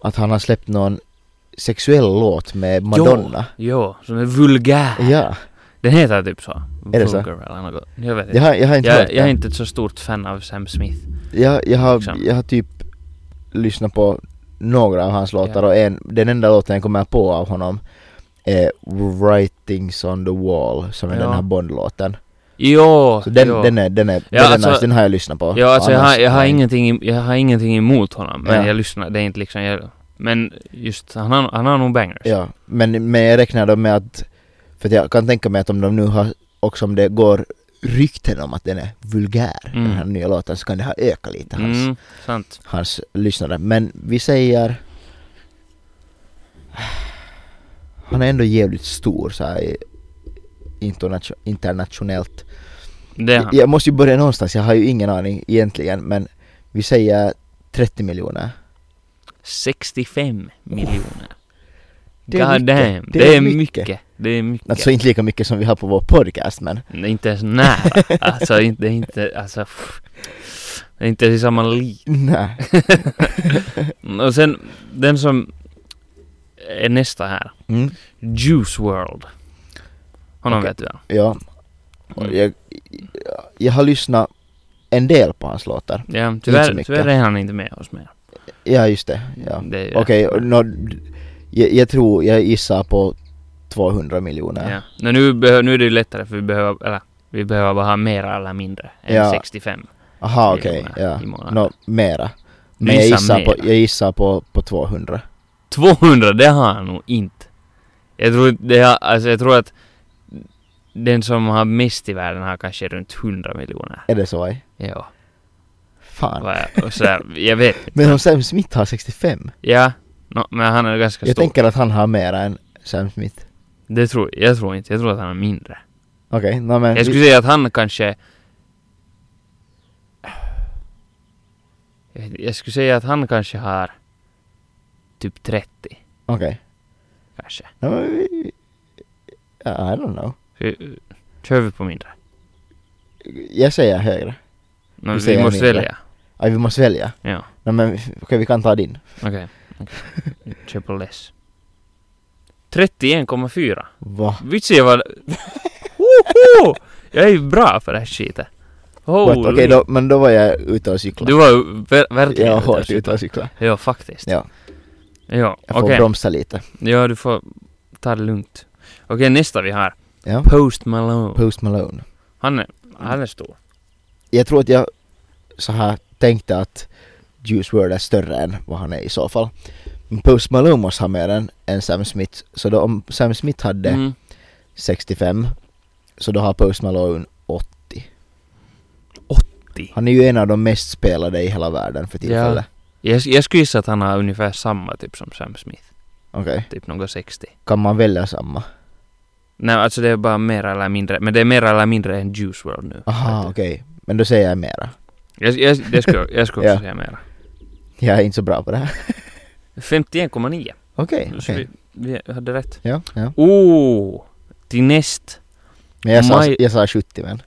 [SPEAKER 3] Att han har släppt någon sexuell låt med Madonna
[SPEAKER 2] Jo, som är vulgär.
[SPEAKER 3] Ja,
[SPEAKER 2] Den heter typ så.
[SPEAKER 3] Är det så?
[SPEAKER 2] Vulgar eller något. Jag vet
[SPEAKER 3] jag
[SPEAKER 2] inte.
[SPEAKER 3] har, jag har inte hört
[SPEAKER 2] Jag,
[SPEAKER 3] den.
[SPEAKER 2] jag är inte ett så stort fan av Sam Smith.
[SPEAKER 3] jag, jag, har,
[SPEAKER 2] Liksom.
[SPEAKER 3] jag har typ lyssnat på några av hans låtar
[SPEAKER 2] Ja.
[SPEAKER 3] och en, den enda låten jag kommer på av honom är Writings on the wall som är
[SPEAKER 2] Ja.
[SPEAKER 3] den här Bond-låten.
[SPEAKER 2] Jo,
[SPEAKER 3] Så den,
[SPEAKER 2] jo.
[SPEAKER 3] den är, den är,
[SPEAKER 2] Ja,
[SPEAKER 3] den, är
[SPEAKER 2] alltså-
[SPEAKER 3] nice, den har jag lyssnat på.
[SPEAKER 2] Ja, alltså jag har,
[SPEAKER 3] Annars-
[SPEAKER 2] jag, har
[SPEAKER 3] nej.
[SPEAKER 2] ingenting, em- jag har ingenting emot honom, men
[SPEAKER 3] Ja.
[SPEAKER 2] jag lyssnar, det är inte liksom jag, Men just, han har, han har nog bangers.
[SPEAKER 3] Ja, men, men jag räknar då med att, för att jag kan tänka mig att om de nu har, också om det går rykten om att den är vulgär,
[SPEAKER 2] Mm.
[SPEAKER 3] den här nya låten, så kan det ha ökat lite hans,
[SPEAKER 2] Mm, sant.
[SPEAKER 3] hans lyssnare. Men vi säger... Han är ändå jävligt stor så här, i- internatio- internationellt.
[SPEAKER 2] Det är han.
[SPEAKER 3] Jag måste ju börja någonstans, jag har ju ingen aning egentligen, men vi säger 30 miljoner.
[SPEAKER 2] 65 miljoner.
[SPEAKER 3] Det
[SPEAKER 2] Det
[SPEAKER 3] är
[SPEAKER 2] är
[SPEAKER 3] mycket.
[SPEAKER 2] God damn,
[SPEAKER 3] Det
[SPEAKER 2] det,
[SPEAKER 3] är
[SPEAKER 2] är
[SPEAKER 3] mycket.
[SPEAKER 2] mycket. Det är mycket.
[SPEAKER 3] Alltså inte lika mycket som vi har på vår podcast, men
[SPEAKER 2] Det är inte ens nära. alltså inte, det är inte, alltså. pff. Det är inte ens i samma liv.
[SPEAKER 3] nej.
[SPEAKER 2] Och sen, den som är nästa här.
[SPEAKER 3] Mm.
[SPEAKER 2] Juice World. Honom
[SPEAKER 3] Okej.
[SPEAKER 2] vet du väl?
[SPEAKER 3] Ja. Och
[SPEAKER 2] Mm.
[SPEAKER 3] Jag, jag har lyssnat en del på hans låtar.
[SPEAKER 2] Ja,
[SPEAKER 3] så
[SPEAKER 2] tyvärr,
[SPEAKER 3] mycket.
[SPEAKER 2] tyvärr är han inte med oss mer.
[SPEAKER 3] Ja, just det. Ja.
[SPEAKER 2] Mm, Det är ju det.
[SPEAKER 3] Okej, och nå- jag, jag tror, jag gissar på 200 miljoner.
[SPEAKER 2] Ja. Men nu, behö- nu är det ju lättare för vi behöver, eller, vi behöver bara ha mera eller mindre än
[SPEAKER 3] Ja.
[SPEAKER 2] 65.
[SPEAKER 3] Aha,
[SPEAKER 2] I
[SPEAKER 3] okej.
[SPEAKER 2] månaden.
[SPEAKER 3] Ja.
[SPEAKER 2] I månaden.
[SPEAKER 3] Nå, mera.
[SPEAKER 2] Du
[SPEAKER 3] Men jag
[SPEAKER 2] gissar
[SPEAKER 3] gissar, på,
[SPEAKER 2] mera.
[SPEAKER 3] jag gissar på, på 200.
[SPEAKER 2] 200, det har han nog inte. Jag tror, inte- det har, alltså, jag tror att den som har mest i världen har kanske runt 100 miljoner.
[SPEAKER 3] Är det så? Aj?
[SPEAKER 2] Ja.
[SPEAKER 3] Fan.
[SPEAKER 2] Och- Och så här, jag vet inte.
[SPEAKER 3] Men om Sam Smith har 65?
[SPEAKER 2] Ja. nå, men han är ganska
[SPEAKER 3] Jag
[SPEAKER 2] stor.
[SPEAKER 3] tänker att han har mera än Sam Smith.
[SPEAKER 2] Det tror, jag tror inte. Jag tror att han är mindre.
[SPEAKER 3] Okej, nå men...
[SPEAKER 2] Jag
[SPEAKER 3] vi-
[SPEAKER 2] skulle säga att han kanske... Jag vet inte, Jag skulle säga att han kanske har typ 30,
[SPEAKER 3] Okej.
[SPEAKER 2] kanske.
[SPEAKER 3] Nå, men vi- Ja, I don't know.
[SPEAKER 2] Ska- eh, Kör vi på mindre?
[SPEAKER 3] Jag säger högre.
[SPEAKER 2] No,
[SPEAKER 3] Du
[SPEAKER 2] vi
[SPEAKER 3] säger
[SPEAKER 2] måste
[SPEAKER 3] mindre.
[SPEAKER 2] välja.
[SPEAKER 3] Aj, vi måste välja.
[SPEAKER 2] Ja,
[SPEAKER 3] Nej men okej vi kan ta din.
[SPEAKER 2] okej. okej. Jag Kör på less. 31,4.
[SPEAKER 3] Va?
[SPEAKER 2] Vitsen var... Woho! Jag är ju bra för det här skiten.
[SPEAKER 3] What?
[SPEAKER 2] Holy.
[SPEAKER 3] Okej då, men då var jag ute och cyklade.
[SPEAKER 2] Du var ju ver- verkligen
[SPEAKER 3] jag
[SPEAKER 2] ute och
[SPEAKER 3] var ute
[SPEAKER 2] cyklade.
[SPEAKER 3] och cyklade.
[SPEAKER 2] Ja, faktiskt.
[SPEAKER 3] Ja.
[SPEAKER 2] Ja,
[SPEAKER 3] Jag får
[SPEAKER 2] okej.
[SPEAKER 3] bromsa lite.
[SPEAKER 2] Ja, du får ta det lugnt. Okej, nästa vi har.
[SPEAKER 3] Ja.
[SPEAKER 2] Post Malone.
[SPEAKER 3] Post Malone.
[SPEAKER 2] Han är, han är stor.
[SPEAKER 3] Jag tror att jag så här tänkte att Juice WRLD är större än vad han är i så fall. Men Post Malone måste ha mer än, än Sam Smith. Så då om Sam Smith hade
[SPEAKER 2] Mm.
[SPEAKER 3] 65 så då har Post Malone 80.
[SPEAKER 2] 80.
[SPEAKER 3] Han är ju en av de mest spelade i hela världen för tillfället.
[SPEAKER 2] Jag, jag skulle gissa att han har ungefär samma typ som Sam Smith.
[SPEAKER 3] Okej.
[SPEAKER 2] Typ någon 60.
[SPEAKER 3] Kan man välja samma?
[SPEAKER 2] Nej, alltså det är bara mer eller mindre. Men det är mer eller mindre än Juice World nu.
[SPEAKER 3] Aha, okej. Men då säger jag mera.
[SPEAKER 2] Jag, jag, det skulle, jag skulle också
[SPEAKER 3] Ja.
[SPEAKER 2] säga mera.
[SPEAKER 3] Jag är inte så bra på det här.
[SPEAKER 2] 51,9.
[SPEAKER 3] Okej,
[SPEAKER 2] Så
[SPEAKER 3] okej.
[SPEAKER 2] vi, vi hade rätt.
[SPEAKER 3] Ja, ja.
[SPEAKER 2] Oh! Till näst.
[SPEAKER 3] Men jag sa,
[SPEAKER 2] Maj-
[SPEAKER 3] jag sa 70 men.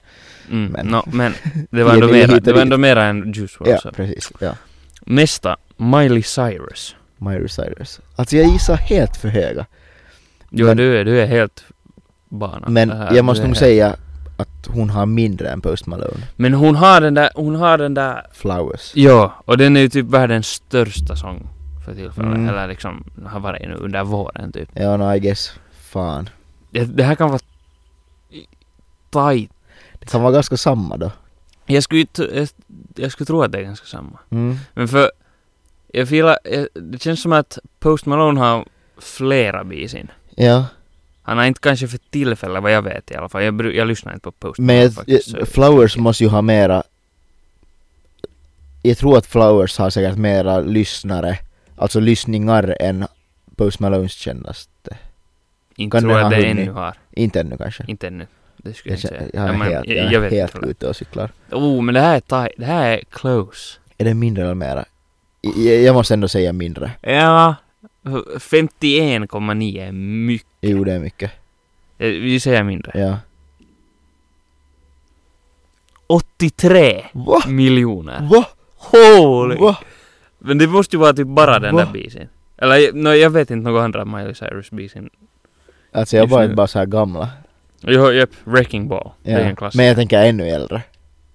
[SPEAKER 2] Mm,
[SPEAKER 3] Men.
[SPEAKER 2] men. men det var ändå
[SPEAKER 3] Det är lite
[SPEAKER 2] mera, det var
[SPEAKER 3] dit.
[SPEAKER 2] ändå mera än Juice WRLD.
[SPEAKER 3] Ja,
[SPEAKER 2] så.
[SPEAKER 3] precis. Ja.
[SPEAKER 2] Nästa, Miley Cyrus.
[SPEAKER 3] Miley Cyrus. Alltså jag gissar helt för höga.
[SPEAKER 2] Jo,
[SPEAKER 3] Men-
[SPEAKER 2] du, är, du är helt bana.
[SPEAKER 3] Men
[SPEAKER 2] Det här-
[SPEAKER 3] jag måste
[SPEAKER 2] det
[SPEAKER 3] nog
[SPEAKER 2] här.
[SPEAKER 3] säga att hon har mindre än Post Malone.
[SPEAKER 2] Men hon har den där, hon har den där
[SPEAKER 3] Flowers.
[SPEAKER 2] Ja, och den är ju typ världens största sång för tillfället.
[SPEAKER 3] Mm.
[SPEAKER 2] Eller liksom, har varit nu under våren typ.
[SPEAKER 3] Ja, no, I guess. Fan.
[SPEAKER 2] Det, det här kan vara tight.
[SPEAKER 3] Det kan vara ganska samma då.
[SPEAKER 2] Jag skulle, ju t- jag, jag skulle tro att det är ganska samma.
[SPEAKER 3] Mm.
[SPEAKER 2] Men för, jag filar, jag, det känns som att Post Malone har flera bisin.
[SPEAKER 3] Ja.
[SPEAKER 2] Han har inte kanske för tillfället vad jag vet i alla fall. Jag, bru- jag lyssnar inte på Post
[SPEAKER 3] Men
[SPEAKER 2] Malone
[SPEAKER 3] jag,
[SPEAKER 2] faktiskt.
[SPEAKER 3] jag,
[SPEAKER 2] så-
[SPEAKER 3] Flowers måste ju ha mera... Jag tror att Flowers har säkert mera lyssnare, alltså lyssningar än Post Malones kändaste.
[SPEAKER 2] inte
[SPEAKER 3] kan
[SPEAKER 2] tror
[SPEAKER 3] den
[SPEAKER 2] att
[SPEAKER 3] ha
[SPEAKER 2] det
[SPEAKER 3] hunnit?
[SPEAKER 2] ännu har.
[SPEAKER 3] Inte ännu kanske.
[SPEAKER 2] Inte ännu. Det skulle jag
[SPEAKER 3] Jag,
[SPEAKER 2] inte
[SPEAKER 3] typ. kän-
[SPEAKER 2] säga.
[SPEAKER 3] jag är
[SPEAKER 2] Ja, men
[SPEAKER 3] helt,
[SPEAKER 2] jag,
[SPEAKER 3] jag
[SPEAKER 2] jag
[SPEAKER 3] är
[SPEAKER 2] vet
[SPEAKER 3] helt
[SPEAKER 2] inte.
[SPEAKER 3] ute och cyklar.
[SPEAKER 2] Oh, men det här är tight. Det här är close.
[SPEAKER 3] Är det mindre eller mera? I- Jag, jag måste ändå säga mindre.
[SPEAKER 2] Ja, 51,9 är mycket.
[SPEAKER 3] Jo, det är mycket.
[SPEAKER 2] Eh, Vi säger mindre.
[SPEAKER 3] Ja.
[SPEAKER 2] 83
[SPEAKER 3] Va?
[SPEAKER 2] miljoner.
[SPEAKER 3] Va?
[SPEAKER 2] Holy!
[SPEAKER 3] Va?
[SPEAKER 2] Men det måste ju vara typ bara den
[SPEAKER 3] Va?
[SPEAKER 2] där bisen. Eller no, jag vet inte någon andra Miley Cyrus-bisen.
[SPEAKER 3] Alltså jag
[SPEAKER 2] Just
[SPEAKER 3] var
[SPEAKER 2] nu.
[SPEAKER 3] bara så här gamla.
[SPEAKER 2] Jo, japp, Wrecking Ball. Det är
[SPEAKER 3] Ja.
[SPEAKER 2] en klassiker.
[SPEAKER 3] Men jag tänker ännu äldre.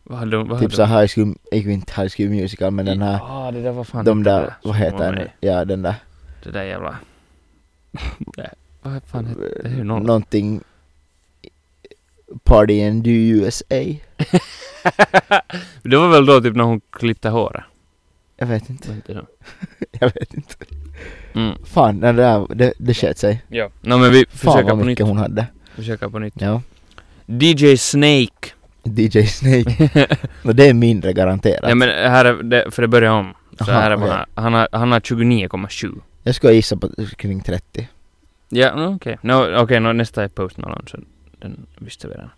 [SPEAKER 2] Vad hade de? Vad
[SPEAKER 3] Typ så
[SPEAKER 2] hade
[SPEAKER 3] här High School, inte inte High School Musical men
[SPEAKER 2] de?
[SPEAKER 3] den här,
[SPEAKER 2] Ah, det där var fan
[SPEAKER 3] de
[SPEAKER 2] inte det
[SPEAKER 3] där, vad
[SPEAKER 2] som
[SPEAKER 3] heter
[SPEAKER 2] var
[SPEAKER 3] den?
[SPEAKER 2] med.
[SPEAKER 3] Ja den där.
[SPEAKER 2] Det där jävla... Nej, vad fan heter det? är ju noll.
[SPEAKER 3] Någonting Party in the USA?
[SPEAKER 2] Det var väl då typ när hon klippte håret?
[SPEAKER 3] Jag vet inte.
[SPEAKER 2] Var inte det?
[SPEAKER 3] Jag vet inte.
[SPEAKER 2] Mm.
[SPEAKER 3] Fan, den där, det, det sket sig.
[SPEAKER 2] Ja. No, men vi
[SPEAKER 3] Fan
[SPEAKER 2] försöker
[SPEAKER 3] vad
[SPEAKER 2] på nytt.
[SPEAKER 3] mycket hon hade.
[SPEAKER 2] Försöker på nytt.
[SPEAKER 3] Ja.
[SPEAKER 2] DJ Snake.
[SPEAKER 3] DJ Snake. Och det är mindre garanterat.
[SPEAKER 2] Ja men här är det, för det börjar om. Så
[SPEAKER 3] Aha,
[SPEAKER 2] här är
[SPEAKER 3] okej.
[SPEAKER 2] bara, han har, han har 29,7.
[SPEAKER 3] Jag skulle gissa på kring 30.
[SPEAKER 2] Ja, no, okej. No, Okej, no, nästa är Post Malone, så den visste vi redan.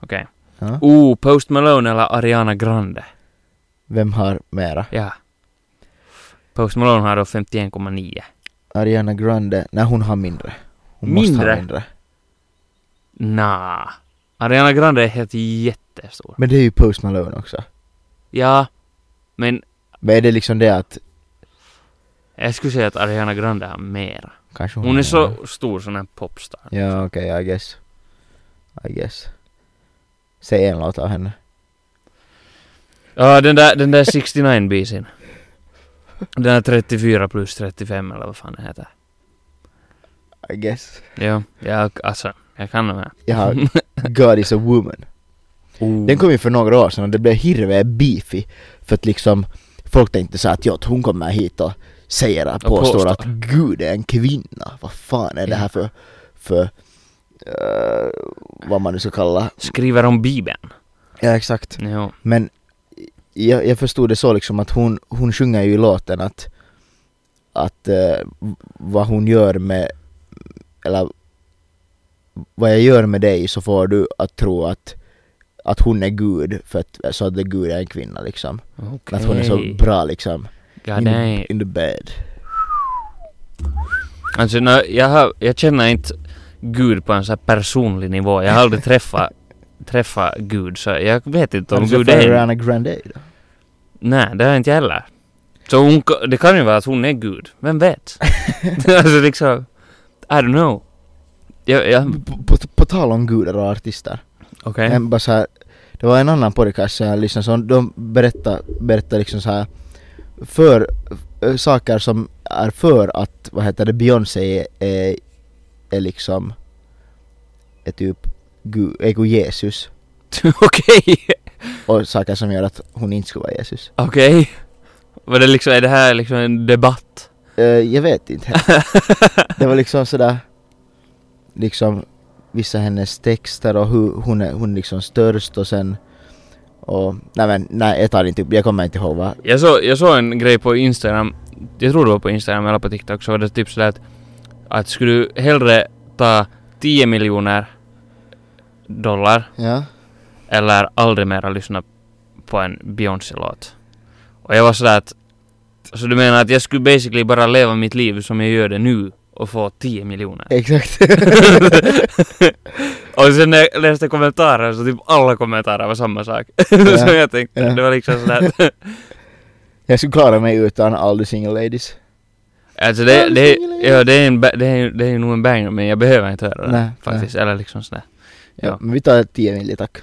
[SPEAKER 2] Okej.
[SPEAKER 3] Ja.
[SPEAKER 2] Oh, Post Malone eller Ariana Grande?
[SPEAKER 3] Vem har mera?
[SPEAKER 2] Ja. Post Malone har då 51,9.
[SPEAKER 3] Ariana Grande? Nej hon har mindre. Hon måste
[SPEAKER 2] Mindre?
[SPEAKER 3] ha mindre.
[SPEAKER 2] Nah. Ariana Grande är helt jättestor.
[SPEAKER 3] Men det är ju Post Malone också.
[SPEAKER 2] Ja, men
[SPEAKER 3] Men är det liksom det att
[SPEAKER 2] jag skulle säga att Ariana Grande har mera.
[SPEAKER 3] kanske hon,
[SPEAKER 2] Hon är
[SPEAKER 3] har mera?
[SPEAKER 2] så stor sån här popstar.
[SPEAKER 3] Ja okej, I guess. I guess. Säg en låt av henne.
[SPEAKER 2] Ja, den där, den där 69-bisen. Den där 34 plus 35 eller vad fan det heter.
[SPEAKER 3] I guess.
[SPEAKER 2] Ja, jag, alltså, jag kan de här.
[SPEAKER 3] Jag har God is a woman.
[SPEAKER 2] Oh. Mm.
[SPEAKER 3] Den kom ju för några år sedan och det blev hirve beefy. För att liksom folk tänkte så här att ja, att hon kommer hit och säger att
[SPEAKER 2] Och
[SPEAKER 3] påstår,
[SPEAKER 2] påstår.
[SPEAKER 3] att Gud är en kvinna. Vad fan är det här för, för eh, vad man nu ska kalla.
[SPEAKER 2] Skriver om Bibeln.
[SPEAKER 3] Ja exakt.
[SPEAKER 2] Jo.
[SPEAKER 3] Men jag, jag förstod det så liksom att hon, hon sjunger ju i låten att, att eh, vad hon gör med, eller vad jag gör med dig så får du att tro att, att hon är Gud, för att, så att det Gud är en kvinna liksom.
[SPEAKER 2] Okej.
[SPEAKER 3] Att hon är så bra liksom.
[SPEAKER 2] God
[SPEAKER 3] in,
[SPEAKER 2] damn.
[SPEAKER 3] in the bed.
[SPEAKER 2] Alltså, nå, jag, har, jag känner inte Gud på en sån här personlig nivå. Jag har aldrig träffat, träffat Gud, så jag vet inte om
[SPEAKER 3] Har du
[SPEAKER 2] Gud
[SPEAKER 3] träffat
[SPEAKER 2] är...
[SPEAKER 3] Ariana Grande då?
[SPEAKER 2] Nej, det har jag inte heller. Så hon, ka- det kan ju vara att hon är gud. Vem vet? alltså liksom... I don't know. Ja, ja.
[SPEAKER 3] På, på, på tal om gudar och artister.
[SPEAKER 2] Okej.
[SPEAKER 3] En, bara så här, det var en annan podcast som jag lyssnade som de berättade, berättade liksom så här för eh, saker som är för att, vad heter det, Beyoncé är, är, är liksom är typ Gu- är Gud Jesus
[SPEAKER 2] Okej.
[SPEAKER 3] och saker som gör att hon inte skulle vara Jesus.
[SPEAKER 2] Okej. Var det liksom, är det här liksom en debatt?
[SPEAKER 3] Eh, jag vet inte. det var liksom sådär liksom vissa hennes texter och hur hon är hon liksom störst och sen och nej men nej jag tar inte upp, jag kommer inte ihåg vad
[SPEAKER 2] Jag, så, jag såg en grej på Instagram, jag tror det var på Instagram eller på TikTok, så var det typ sådär att, att skulle du hellre ta 10 miljoner dollar
[SPEAKER 3] Ja.
[SPEAKER 2] eller aldrig mera lyssna på en Beyoncé-låt. Och jag var sådär att, så du menar att jag skulle basically bara leva mitt liv som jag gör det nu och få 10 miljoner?
[SPEAKER 3] Exakt.
[SPEAKER 2] och sen när jag läste kommentarer så typ alla kommentarer var samma sak. som jag tänkte.
[SPEAKER 3] Ja.
[SPEAKER 2] Det var liksom sådär att-
[SPEAKER 3] jag skulle klara mig utan all the single ladies.
[SPEAKER 2] Alltså det, det,
[SPEAKER 3] Single
[SPEAKER 2] ja, det, är en, ba- det, är, det är nog en banger men jag behöver inte höra det
[SPEAKER 3] Nej,
[SPEAKER 2] faktiskt. Eller liksom sådär.
[SPEAKER 3] Ja.
[SPEAKER 2] Ja.
[SPEAKER 3] Men vi tar 10 miljoner tack.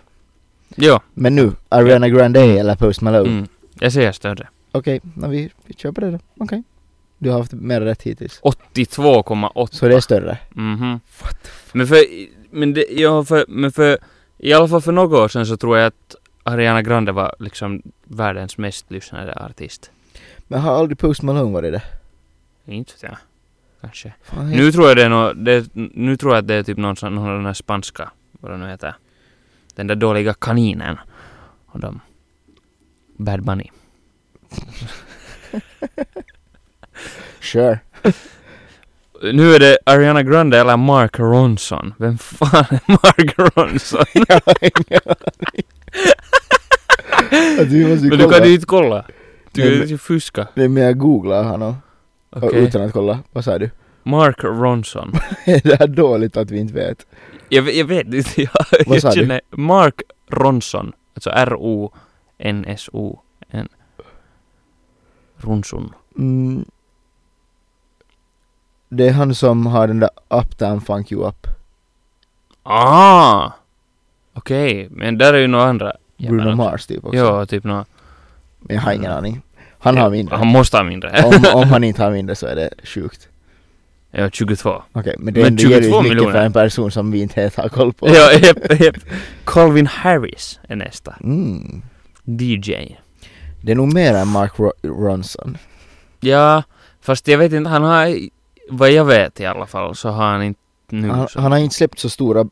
[SPEAKER 2] Jo,
[SPEAKER 3] Men nu, Ariana Grande eller Post Malone?
[SPEAKER 2] mm. jag ser större.
[SPEAKER 3] Okej, men vi, vi kör på det då. Okej. Du har haft mer rätt hittills.
[SPEAKER 2] 82,8.
[SPEAKER 3] Så det är större?
[SPEAKER 2] Mhm. Men för, men det, ja, för, men för, i alla fall för några år sedan så tror jag att Ariana Grande var liksom världens mest lyssnade artist.
[SPEAKER 3] Men har aldrig Post Malone varit det?
[SPEAKER 2] Inte vet jag. Kanske.
[SPEAKER 3] Fan,
[SPEAKER 2] Nu tror jag det är nå, det, nu tror jag att det är typ någon, sån- någon av den här spanska, vad det nu heter. Den där dåliga kaninen. Och de. Bad Bunny.
[SPEAKER 3] Sure.
[SPEAKER 2] Nu är det Ariana Grande eller Mark Ronson. Vem fan är Mark Ronson?
[SPEAKER 3] du Alltså, måste
[SPEAKER 2] Men
[SPEAKER 3] ju
[SPEAKER 2] du kan
[SPEAKER 3] kolla.
[SPEAKER 2] ju inte kolla. Du
[SPEAKER 3] Nej,
[SPEAKER 2] kan ju
[SPEAKER 3] men-
[SPEAKER 2] inte fuska.
[SPEAKER 3] Nej men jag googlar honom. och
[SPEAKER 2] Okej.
[SPEAKER 3] Utan att kolla. Vad sa du?
[SPEAKER 2] Mark Ronson.
[SPEAKER 3] det är dåligt att vi inte vet.
[SPEAKER 2] Jag, ve- jag vet inte. Jag,
[SPEAKER 3] Vad sa
[SPEAKER 2] jag
[SPEAKER 3] du?
[SPEAKER 2] känner Mark Ronson. Alltså R-O-N-S-O-N. Ronson.
[SPEAKER 3] Mm. Det är han som har den där Uptown Funk You Up.
[SPEAKER 2] Ah! Okej, men där är ju några andra. jävlar
[SPEAKER 3] Bruno
[SPEAKER 2] också.
[SPEAKER 3] Mars typ också.
[SPEAKER 2] Ja, typ några.
[SPEAKER 3] Men jag har ingen aning. Han har mindre.
[SPEAKER 2] Han måste ha mindre.
[SPEAKER 3] om, om han inte har mindre så är det sjukt.
[SPEAKER 2] ja, 22.
[SPEAKER 3] Okej, men det
[SPEAKER 2] Men
[SPEAKER 3] ändå ger ju
[SPEAKER 2] 22
[SPEAKER 3] mycket för
[SPEAKER 2] miljoner.
[SPEAKER 3] en person som vi inte helt har koll på.
[SPEAKER 2] Ja, jep, jep. Calvin Harris är nästa.
[SPEAKER 3] Mm.
[SPEAKER 2] DJ.
[SPEAKER 3] Det är nog mer än Mark Ro- Ronson.
[SPEAKER 2] Ja, fast jag vet inte, han har, vad jag vet i alla fall, så har han inte nu.
[SPEAKER 3] Han,
[SPEAKER 2] så.
[SPEAKER 3] han har inte släppt så stora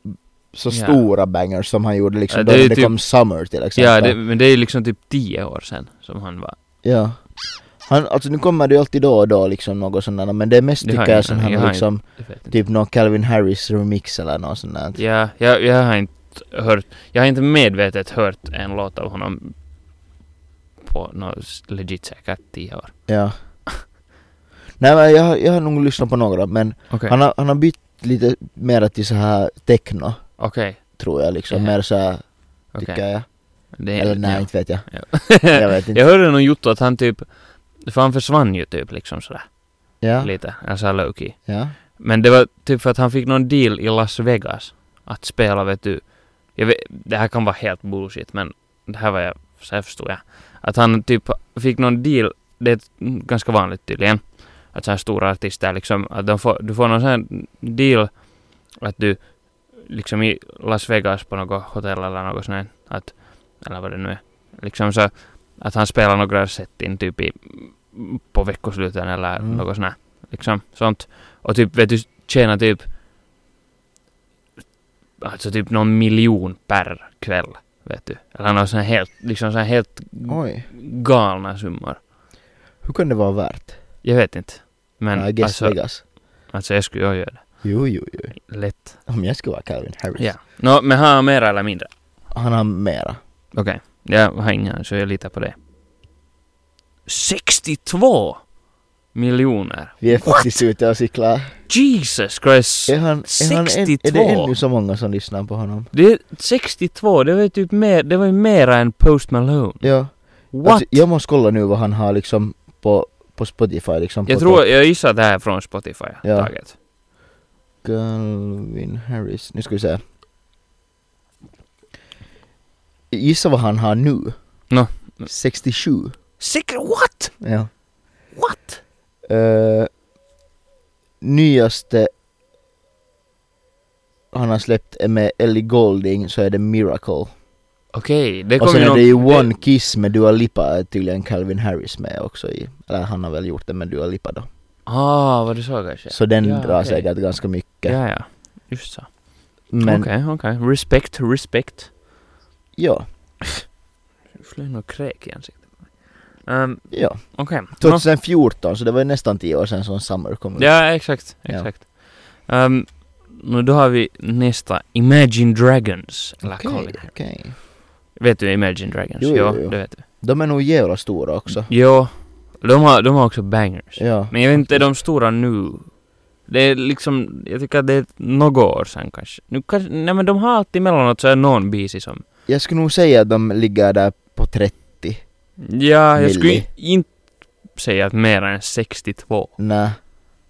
[SPEAKER 3] så
[SPEAKER 2] Ja.
[SPEAKER 3] stora bangers som han gjorde liksom
[SPEAKER 2] Ja,
[SPEAKER 3] då
[SPEAKER 2] det är
[SPEAKER 3] när
[SPEAKER 2] ju
[SPEAKER 3] det
[SPEAKER 2] typ-
[SPEAKER 3] kom Summer till exempel.
[SPEAKER 2] ja, det, men det är liksom typ tio år sedan som han var.
[SPEAKER 3] Ja. Han, alltså nu kommer det ju alltid då och då liksom något sånt där, men det är mest
[SPEAKER 2] Det har
[SPEAKER 3] tycker
[SPEAKER 2] jag
[SPEAKER 3] jag som
[SPEAKER 2] ingen
[SPEAKER 3] han
[SPEAKER 2] aning, jag
[SPEAKER 3] har
[SPEAKER 2] har
[SPEAKER 3] liksom
[SPEAKER 2] Jag vet inte.
[SPEAKER 3] typ någon Calvin Harris remix eller något sånt där.
[SPEAKER 2] Ja, jag, jag har inte hört, jag har inte medvetet hört en låt av honom på något legit säkert tio år.
[SPEAKER 3] Ja. Nej men jag, jag har nog lyssnat på några men
[SPEAKER 2] Okej.
[SPEAKER 3] han, har, han har bytt lite mer till så här techno
[SPEAKER 2] Okej.
[SPEAKER 3] tror jag liksom,
[SPEAKER 2] Ja.
[SPEAKER 3] mer så här, tycker
[SPEAKER 2] Okej.
[SPEAKER 3] jag.
[SPEAKER 2] Det-
[SPEAKER 3] Eller nej,
[SPEAKER 2] ja.
[SPEAKER 3] inte vet jag. Jag
[SPEAKER 2] jag,
[SPEAKER 3] vet inte.
[SPEAKER 2] hörde någon jotto att han typ, för han försvann ju typ liksom sådär
[SPEAKER 3] Ja,
[SPEAKER 2] lite, alltså Loki.
[SPEAKER 3] ja.
[SPEAKER 2] Men det var typ för att han fick någon deal i Las Vegas att spela, vet du. Jag vet, det här kan vara helt bullshit, men det här var jag, så här förstod jag. Att han typ fick någon deal, det är mm, ganska vanligt tydligen, att så här stora artister liksom, att de får, du får någon sån här deal att du liksom i Las Vegas på något hotell eller något sånt här, att, eller vad det nu är, liksom så att han spelar några set in typ i, på veckosluten eller
[SPEAKER 3] Mm.
[SPEAKER 2] något sånt här, liksom sånt. Och typ, vet du, tjäna typ... Alltså typ någon miljon per kväll, vet du. Eller någon sån här helt, liksom sån här helt
[SPEAKER 3] Oj.
[SPEAKER 2] galna summor.
[SPEAKER 3] Hur kan det vara värt?
[SPEAKER 2] Jag vet inte. Men
[SPEAKER 3] I guess
[SPEAKER 2] alltså,
[SPEAKER 3] Vegas.
[SPEAKER 2] alltså, jag skulle ju göra det.
[SPEAKER 3] Jo, jo, jo.
[SPEAKER 2] Lätt.
[SPEAKER 3] Om jag skulle vara Calvin Harris.
[SPEAKER 2] Ja. Nå, men har han mera eller mindre?
[SPEAKER 3] Han har mera.
[SPEAKER 2] Okej. Jag har inga, så jag litar på det. 62 miljoner!
[SPEAKER 3] Vi är faktiskt ute och cyklar.
[SPEAKER 2] Jesus Christ!
[SPEAKER 3] Är, han, är, han en, är det
[SPEAKER 2] 62?
[SPEAKER 3] ännu så många som lyssnar på honom?
[SPEAKER 2] Det är 62, det var ju typ mer, det var ju mera än Post Malone.
[SPEAKER 3] Ja.
[SPEAKER 2] What?
[SPEAKER 3] Alltså, jag måste kolla nu vad han har liksom på, på Spotify liksom.
[SPEAKER 2] jag
[SPEAKER 3] på
[SPEAKER 2] tror, jag gissar att det här är från Spotify.
[SPEAKER 3] Ja.
[SPEAKER 2] Taget.
[SPEAKER 3] Calvin Harris. Nu ska vi se. Gissa vad han har nu?
[SPEAKER 2] Nå.
[SPEAKER 3] 67.
[SPEAKER 2] Sick, what?
[SPEAKER 3] Ja.
[SPEAKER 2] What?
[SPEAKER 3] Eh, nyaste han har släppt är med Ellie Golding så är det Miracle.
[SPEAKER 2] Okej, det
[SPEAKER 3] Och
[SPEAKER 2] kommer
[SPEAKER 3] sen är det ju
[SPEAKER 2] någon-
[SPEAKER 3] One Kiss med Dua Lipa är tydligen Calvin Harris med också i. Eller han har väl gjort det med Dua Lipa då.
[SPEAKER 2] Ah, vad du sa kanske.
[SPEAKER 3] Så den
[SPEAKER 2] Ja,
[SPEAKER 3] drar
[SPEAKER 2] okej.
[SPEAKER 3] säkert ganska mycket.
[SPEAKER 2] Ja, ja. Just så. Okej,
[SPEAKER 3] Men
[SPEAKER 2] okej. Respect, respect.
[SPEAKER 3] ja,
[SPEAKER 2] Nu flög nog kräk i ansiktet på mig. Ehm,
[SPEAKER 3] ja.
[SPEAKER 2] Okej. Nå.
[SPEAKER 3] 2014 så det var ju nästan 10 år sedan som Summer kom ut.
[SPEAKER 2] Ja, exakt.
[SPEAKER 3] Ja.
[SPEAKER 2] exakt. Ehm, nu då har vi nästa, Imagine Dragons. Eller
[SPEAKER 3] Okej,
[SPEAKER 2] Colin Harris.
[SPEAKER 3] okej.
[SPEAKER 2] Vet du Imagine Dragons?
[SPEAKER 3] Jo, jo,
[SPEAKER 2] ja,
[SPEAKER 3] jo.
[SPEAKER 2] det vet du.
[SPEAKER 3] De är nog jävla stora också.
[SPEAKER 2] Ja, de har, de har också bangers.
[SPEAKER 3] Ja.
[SPEAKER 2] Mm. Men jag vet inte, är de stora nu? Det är liksom, jag tycker att det är några år sedan kanske. Nu kanske, nej men de har alltid emellanåt så är någon busy som...
[SPEAKER 3] Jag skulle nog säga att de ligger där på 30.
[SPEAKER 2] Ja, jag skulle
[SPEAKER 3] Milli.
[SPEAKER 2] inte säga att mer än 62.
[SPEAKER 3] Nej,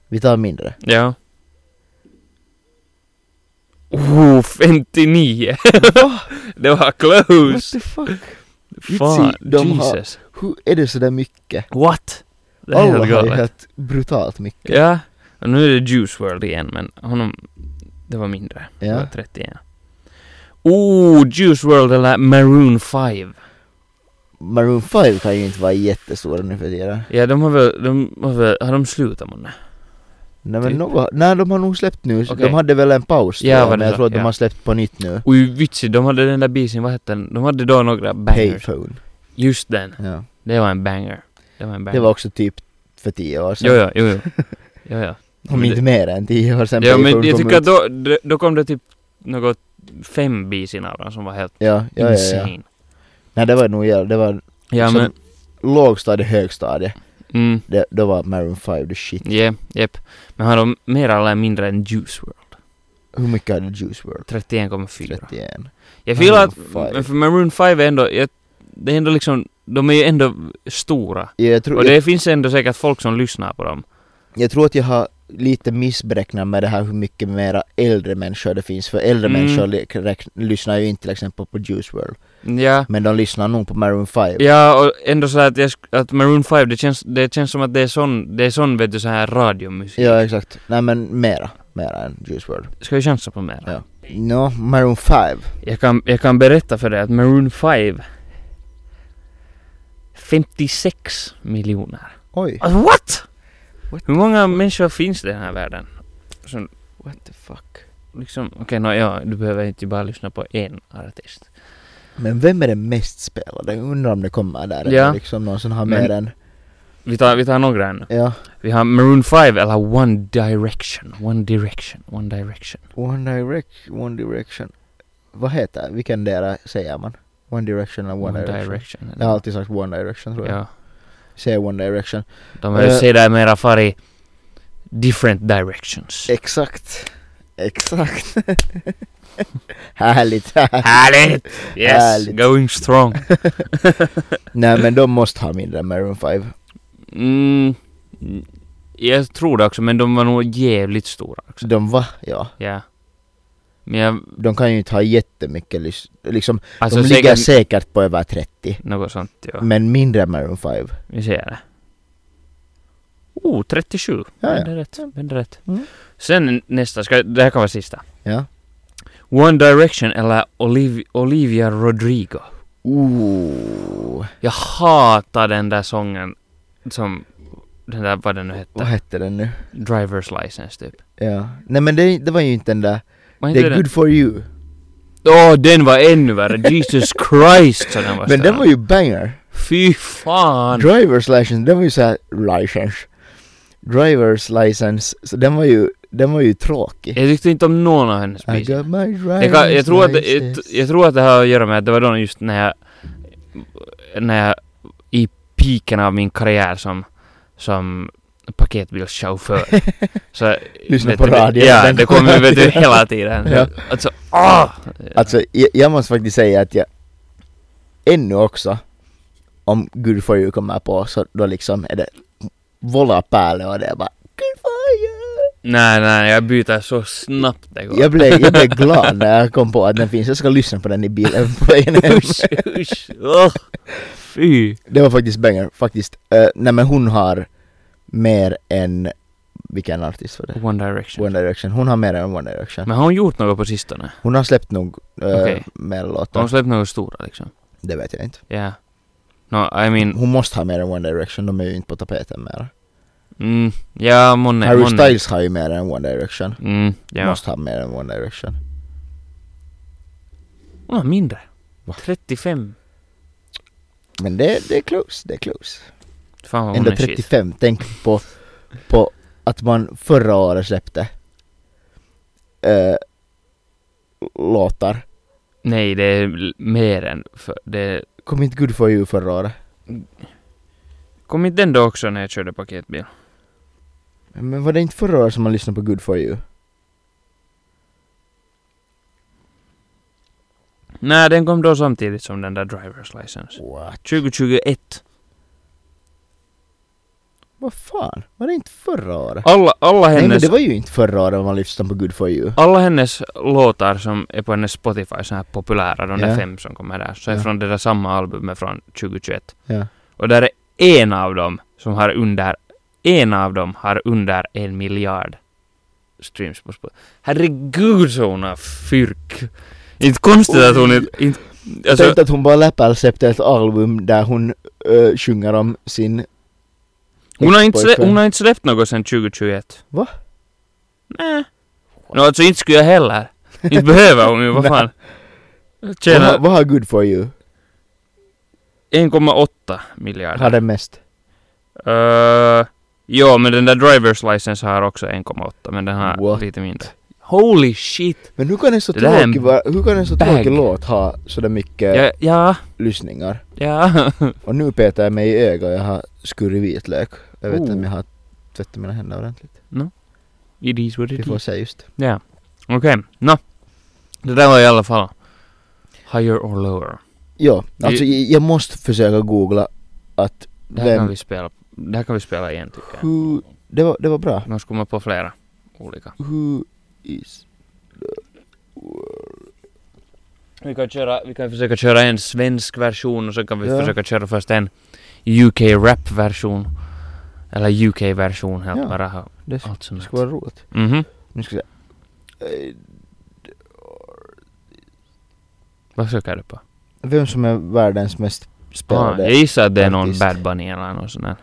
[SPEAKER 3] vi tar mindre.
[SPEAKER 2] Ja. Oh, 59! det var
[SPEAKER 3] What
[SPEAKER 2] close!
[SPEAKER 3] the fuck?
[SPEAKER 2] Fan,
[SPEAKER 3] Vitsi, de har- Oh,
[SPEAKER 2] Jesus.
[SPEAKER 3] Hur är det sådär mycket?
[SPEAKER 2] What? Det är
[SPEAKER 3] Alla
[SPEAKER 2] helt
[SPEAKER 3] har ju
[SPEAKER 2] galet.
[SPEAKER 3] helt brutalt mycket.
[SPEAKER 2] Ja. Och nu är det Juice World igen, men honom... Det var mindre. Det
[SPEAKER 3] Ja.
[SPEAKER 2] var 31. Oh, Juice World eller Maroon 5.
[SPEAKER 3] Maroon 5 kan ju inte vara jättestora nu för tiden.
[SPEAKER 2] Ja, de har väl... De har, väl, har de slutat månne?
[SPEAKER 3] Nej men
[SPEAKER 2] Typ.
[SPEAKER 3] något, nej de har nog släppt nu,
[SPEAKER 2] Okej.
[SPEAKER 3] de hade väl en paus tror
[SPEAKER 2] Ja,
[SPEAKER 3] jag,
[SPEAKER 2] vad det
[SPEAKER 3] men jag
[SPEAKER 2] var,
[SPEAKER 3] tror att
[SPEAKER 2] ja.
[SPEAKER 3] de har släppt på nytt nu.
[SPEAKER 2] Oj, vitsi, de hade den där bisen, vad hette den? De hade då några bangers.
[SPEAKER 3] Payphone.
[SPEAKER 2] Just den.
[SPEAKER 3] Ja.
[SPEAKER 2] Det var en banger. Det var en banger.
[SPEAKER 3] Det var också typ för tio år sedan.
[SPEAKER 2] Jo, ja, jo, jo. jo, ja.
[SPEAKER 3] Om inte mer än tio år sedan
[SPEAKER 2] ja, men
[SPEAKER 3] Payphone
[SPEAKER 2] jag
[SPEAKER 3] kom
[SPEAKER 2] tycker
[SPEAKER 3] ut.
[SPEAKER 2] att då, då- då kom det typ något fem bisin av dem som var helt
[SPEAKER 3] Ja, ja, ja, ja.
[SPEAKER 2] insane.
[SPEAKER 3] Nej det var nog jävla, det var
[SPEAKER 2] Mm. Ja,
[SPEAKER 3] Så-
[SPEAKER 2] men...
[SPEAKER 3] lågstadie, högstadie.
[SPEAKER 2] Mm,
[SPEAKER 3] Det, då var Maroon 5 the shit.
[SPEAKER 2] yeah, yep. Men har de mer eller mindre än Juice World?
[SPEAKER 3] Hur mycket hade Juice World?
[SPEAKER 2] 31,4.
[SPEAKER 3] 31.
[SPEAKER 2] Jag gillar att...
[SPEAKER 3] Maroon five.
[SPEAKER 2] Men för Maroon 5 är ändå... Jag, det är ändå liksom... De är ju ändå stora.
[SPEAKER 3] Ja, Jag tror,
[SPEAKER 2] Och det finns ändå säkert folk som lyssnar på dem.
[SPEAKER 3] Jag tror att jag har lite missberäknat med det här hur mycket mera äldre människor det finns. För äldre
[SPEAKER 2] Mm.
[SPEAKER 3] människor li- räkn- lyssnar ju inte till exempel på Juice World.
[SPEAKER 2] Ja.
[SPEAKER 3] Men de lyssnar nog på Maroon 5.
[SPEAKER 2] Ja, och ändå så här att, jag, sk- att Maroon 5, det känns, det känns som att det är sån, det är sån vet du, så här radiomusik.
[SPEAKER 3] Ja, exakt. Nej men mera. Mera än Juice World.
[SPEAKER 2] Ska vi chansa på mer?
[SPEAKER 3] Ja. Nå, Maroon 5.
[SPEAKER 2] Jag kan, jag kan berätta för dig att Maroon 5 56 miljoner.
[SPEAKER 3] Oj.
[SPEAKER 2] Alltså, what?
[SPEAKER 3] What
[SPEAKER 2] Hur många människor finns det i den här världen? Som
[SPEAKER 3] What the fuck.
[SPEAKER 2] liksom, okej nå ja, du behöver inte bara lyssna på en artist.
[SPEAKER 3] Men vem är den mest spelade? Jag undrar om det kommer där.
[SPEAKER 2] Ja.
[SPEAKER 3] Ja. Liksom någon som har
[SPEAKER 2] Men-
[SPEAKER 3] mer än...
[SPEAKER 2] Vi tar, vi tar några ännu.
[SPEAKER 3] Ja.
[SPEAKER 2] Vi har Maroon 5 eller One Direction. One Direction. One Direction.
[SPEAKER 3] One, direct, one Direction. Vad heter Vilken dera säger man? One Direction eller One, Direction? Jag har alltid sagt One Direction tror jag.
[SPEAKER 2] Ja.
[SPEAKER 3] Säger One Direction.
[SPEAKER 2] De har ju
[SPEAKER 3] Eh.
[SPEAKER 2] sedermera farit different directions.
[SPEAKER 3] Eh. Exakt. Exakt. härligt, härligt.
[SPEAKER 2] Härligt! Yes!
[SPEAKER 3] Härligt.
[SPEAKER 2] Going strong.
[SPEAKER 3] Nej men de måste ha mindre än Maroon 5.
[SPEAKER 2] Mm, mm, jag tror det också, men de var nog jävligt stora också.
[SPEAKER 3] De va? Ja.
[SPEAKER 2] Ja. Men jag,
[SPEAKER 3] De kan ju inte ha jättemycket lys- liksom,
[SPEAKER 2] alltså
[SPEAKER 3] de ligger
[SPEAKER 2] säkert
[SPEAKER 3] säkert på över 30.
[SPEAKER 2] något sånt ja.
[SPEAKER 3] Men mindre än Maroon 5.
[SPEAKER 2] Vi ser det. Oh, 37.
[SPEAKER 3] Ja,
[SPEAKER 2] Men
[SPEAKER 3] ja.
[SPEAKER 2] det är rätt. Men det är rätt.
[SPEAKER 3] Mm.
[SPEAKER 2] Sen nästa, ska, det här kan vara sista.
[SPEAKER 3] Ja.
[SPEAKER 2] One Direction eller Oliv, Olivia Rodrigo.
[SPEAKER 3] Ooh.
[SPEAKER 2] Jag hatar den där sången som, den där vad den nu
[SPEAKER 3] Vad
[SPEAKER 2] hette,
[SPEAKER 3] hette den nu?
[SPEAKER 2] Driver's License typ.
[SPEAKER 3] Ja. Nej men det, det var ju inte den där.
[SPEAKER 2] Var
[SPEAKER 3] Det
[SPEAKER 2] inte
[SPEAKER 3] är
[SPEAKER 2] den?
[SPEAKER 3] Good for you.
[SPEAKER 2] Åh, den var ännu värre! Jesus Christ så den var
[SPEAKER 3] Men den
[SPEAKER 2] stram.
[SPEAKER 3] var ju banger.
[SPEAKER 2] Fy fan!
[SPEAKER 3] Drivers license, den var ju såhär license. Drivers license, så den var ju, den var ju tråkig.
[SPEAKER 2] Jag tyckte inte om någon av hennes
[SPEAKER 3] I
[SPEAKER 2] bitar.
[SPEAKER 3] got my drivers
[SPEAKER 2] Jag, kan, jag, tror att, det- jag,
[SPEAKER 3] license.
[SPEAKER 2] jag tror att det har att göra med att det var då just när jag, när jag i piken av min karriär som, som paketbilschaufför. Så,
[SPEAKER 3] Lyssna
[SPEAKER 2] vet
[SPEAKER 3] på
[SPEAKER 2] du,
[SPEAKER 3] radion.
[SPEAKER 2] Ja,
[SPEAKER 3] Den
[SPEAKER 2] det kommer
[SPEAKER 3] kommer
[SPEAKER 2] vet du
[SPEAKER 3] alltid.
[SPEAKER 2] hela tiden.
[SPEAKER 3] Ja.
[SPEAKER 2] Alltså, åh!
[SPEAKER 3] Alltså jag, jag måste faktiskt säga att jag ännu också om Good For You kommer på så då liksom är det volla pärle och det är bara Good For You!
[SPEAKER 2] Nej, nej, jag byter så snabbt det går.
[SPEAKER 3] Jag blev, jag blev glad när jag kom på att den finns, jag ska lyssna på den i bilen på vägen hem.
[SPEAKER 2] Usch, usch, åh, fy.
[SPEAKER 3] Det var faktiskt banger, faktiskt. Uh, nej men hon har mer än, vilken artist var det?
[SPEAKER 2] One Direction.
[SPEAKER 3] One Direction, hon har mer än One Direction.
[SPEAKER 2] Men har hon gjort något på sistone?
[SPEAKER 3] Hon har släppt nog uh,
[SPEAKER 2] Okej.
[SPEAKER 3] mer
[SPEAKER 2] Har
[SPEAKER 3] låtar,
[SPEAKER 2] hon släppt något stora liksom?
[SPEAKER 3] det vet jag inte.
[SPEAKER 2] Ja. No, I mean,
[SPEAKER 3] Hon måste ha mer än One Direction, de är ju inte på tapeten mer.
[SPEAKER 2] mm, ja, månne,
[SPEAKER 3] Harry
[SPEAKER 2] månne.
[SPEAKER 3] Styles har ju mer än One Direction.
[SPEAKER 2] Mm, ja.
[SPEAKER 3] Måste ha mer än One Direction.
[SPEAKER 2] Hon har mindre.
[SPEAKER 3] Va?
[SPEAKER 2] 35.
[SPEAKER 3] Men det, det är close, det är close.
[SPEAKER 2] Fan vad hon
[SPEAKER 3] Ändå
[SPEAKER 2] är shit.
[SPEAKER 3] 35, tänk på, på att man förra året släppte eh, låtar.
[SPEAKER 2] Nej, det är l- mer än för, det är
[SPEAKER 3] Kom inte Good For You förra året?
[SPEAKER 2] Kom inte den då också när jag körde paketbil?
[SPEAKER 3] Men var det inte förra året som man lyssnade på Good For You?
[SPEAKER 2] Nej, den kom då samtidigt som den där Driver's License.
[SPEAKER 3] What?
[SPEAKER 2] 2021.
[SPEAKER 3] Vad fan? Var det inte förra året?
[SPEAKER 2] Alla, alla
[SPEAKER 3] Nej men
[SPEAKER 2] hennes...
[SPEAKER 3] det var ju inte förra året man lyssnade på Good For You.
[SPEAKER 2] Alla hennes låtar som är på hennes Spotify, så här populära, de där
[SPEAKER 3] Ja.
[SPEAKER 2] fem som kommer där, så är
[SPEAKER 3] Ja.
[SPEAKER 2] från det där samma albumet från 2021.
[SPEAKER 3] Ja.
[SPEAKER 2] Och där är en av dem som har under... En av dem har under en miljard streams på Spotify. Herregud så hon har fyrk! Inte konstigt att hon inte... inte alltså,
[SPEAKER 3] Tänk att hon bara läppar släppte ett album där hon eh, sjunger om sin...
[SPEAKER 2] Hon har, inte slä,
[SPEAKER 3] ex-pojkvän.
[SPEAKER 2] hon har inte släppt något sedan 2021.
[SPEAKER 3] Va?
[SPEAKER 2] Nej. Nå alltså inte skulle jag heller. Inte behöver hon ju, vad fan.
[SPEAKER 3] Vad har-
[SPEAKER 2] Tjänar
[SPEAKER 3] Vad har Good For You?
[SPEAKER 2] 1,8
[SPEAKER 3] Har
[SPEAKER 2] miljarder.
[SPEAKER 3] den mest?
[SPEAKER 2] Uh, ja, men den där driver's license har också 1,8 men den har
[SPEAKER 3] What?
[SPEAKER 2] lite mindre. Holy shit!
[SPEAKER 3] Men hur kan en så
[SPEAKER 2] Det där är en
[SPEAKER 3] tråkig, va- hur kan en så
[SPEAKER 2] bag.
[SPEAKER 3] tråkig låt ha sådär mycket
[SPEAKER 2] Ja, ja,
[SPEAKER 3] lyssningar?
[SPEAKER 2] ja.
[SPEAKER 3] Och nu petar jag mig i ögat, jag har skurit vitlök. Jag vet inte om
[SPEAKER 2] Oh.
[SPEAKER 3] jag har tvättat mina händer ordentligt.
[SPEAKER 2] It is what
[SPEAKER 3] Vi
[SPEAKER 2] it
[SPEAKER 3] får
[SPEAKER 2] is.
[SPEAKER 3] se just.
[SPEAKER 2] Ja. Okej, nå. Det där var i alla fall higher or lower.
[SPEAKER 3] Ja, alltså jag, jag måste försöka googla att
[SPEAKER 2] Det här kan
[SPEAKER 3] vem...
[SPEAKER 2] vi spela, det här kan vi spela igen tycker jag.
[SPEAKER 3] Who, det, var, det var bra.
[SPEAKER 2] Nu ska man på flera olika.
[SPEAKER 3] Who is...
[SPEAKER 2] Vi kan, köra, vi kan försöka köra en svensk version och så kan vi
[SPEAKER 3] Ja.
[SPEAKER 2] försöka köra först en UK rap version. Eller UK version helt
[SPEAKER 3] Ja.
[SPEAKER 2] bara. ha
[SPEAKER 3] Det sk-
[SPEAKER 2] Allt som
[SPEAKER 3] skulle vara roligt.
[SPEAKER 2] Mhm.
[SPEAKER 3] Nu ska vi se. Eh,
[SPEAKER 2] Vad söker du på?
[SPEAKER 3] Vem som är världens mest
[SPEAKER 2] Ah,
[SPEAKER 3] spelade?
[SPEAKER 2] jag gissar att det är någon
[SPEAKER 3] artist.
[SPEAKER 2] Bad Bunny eller någon sån där.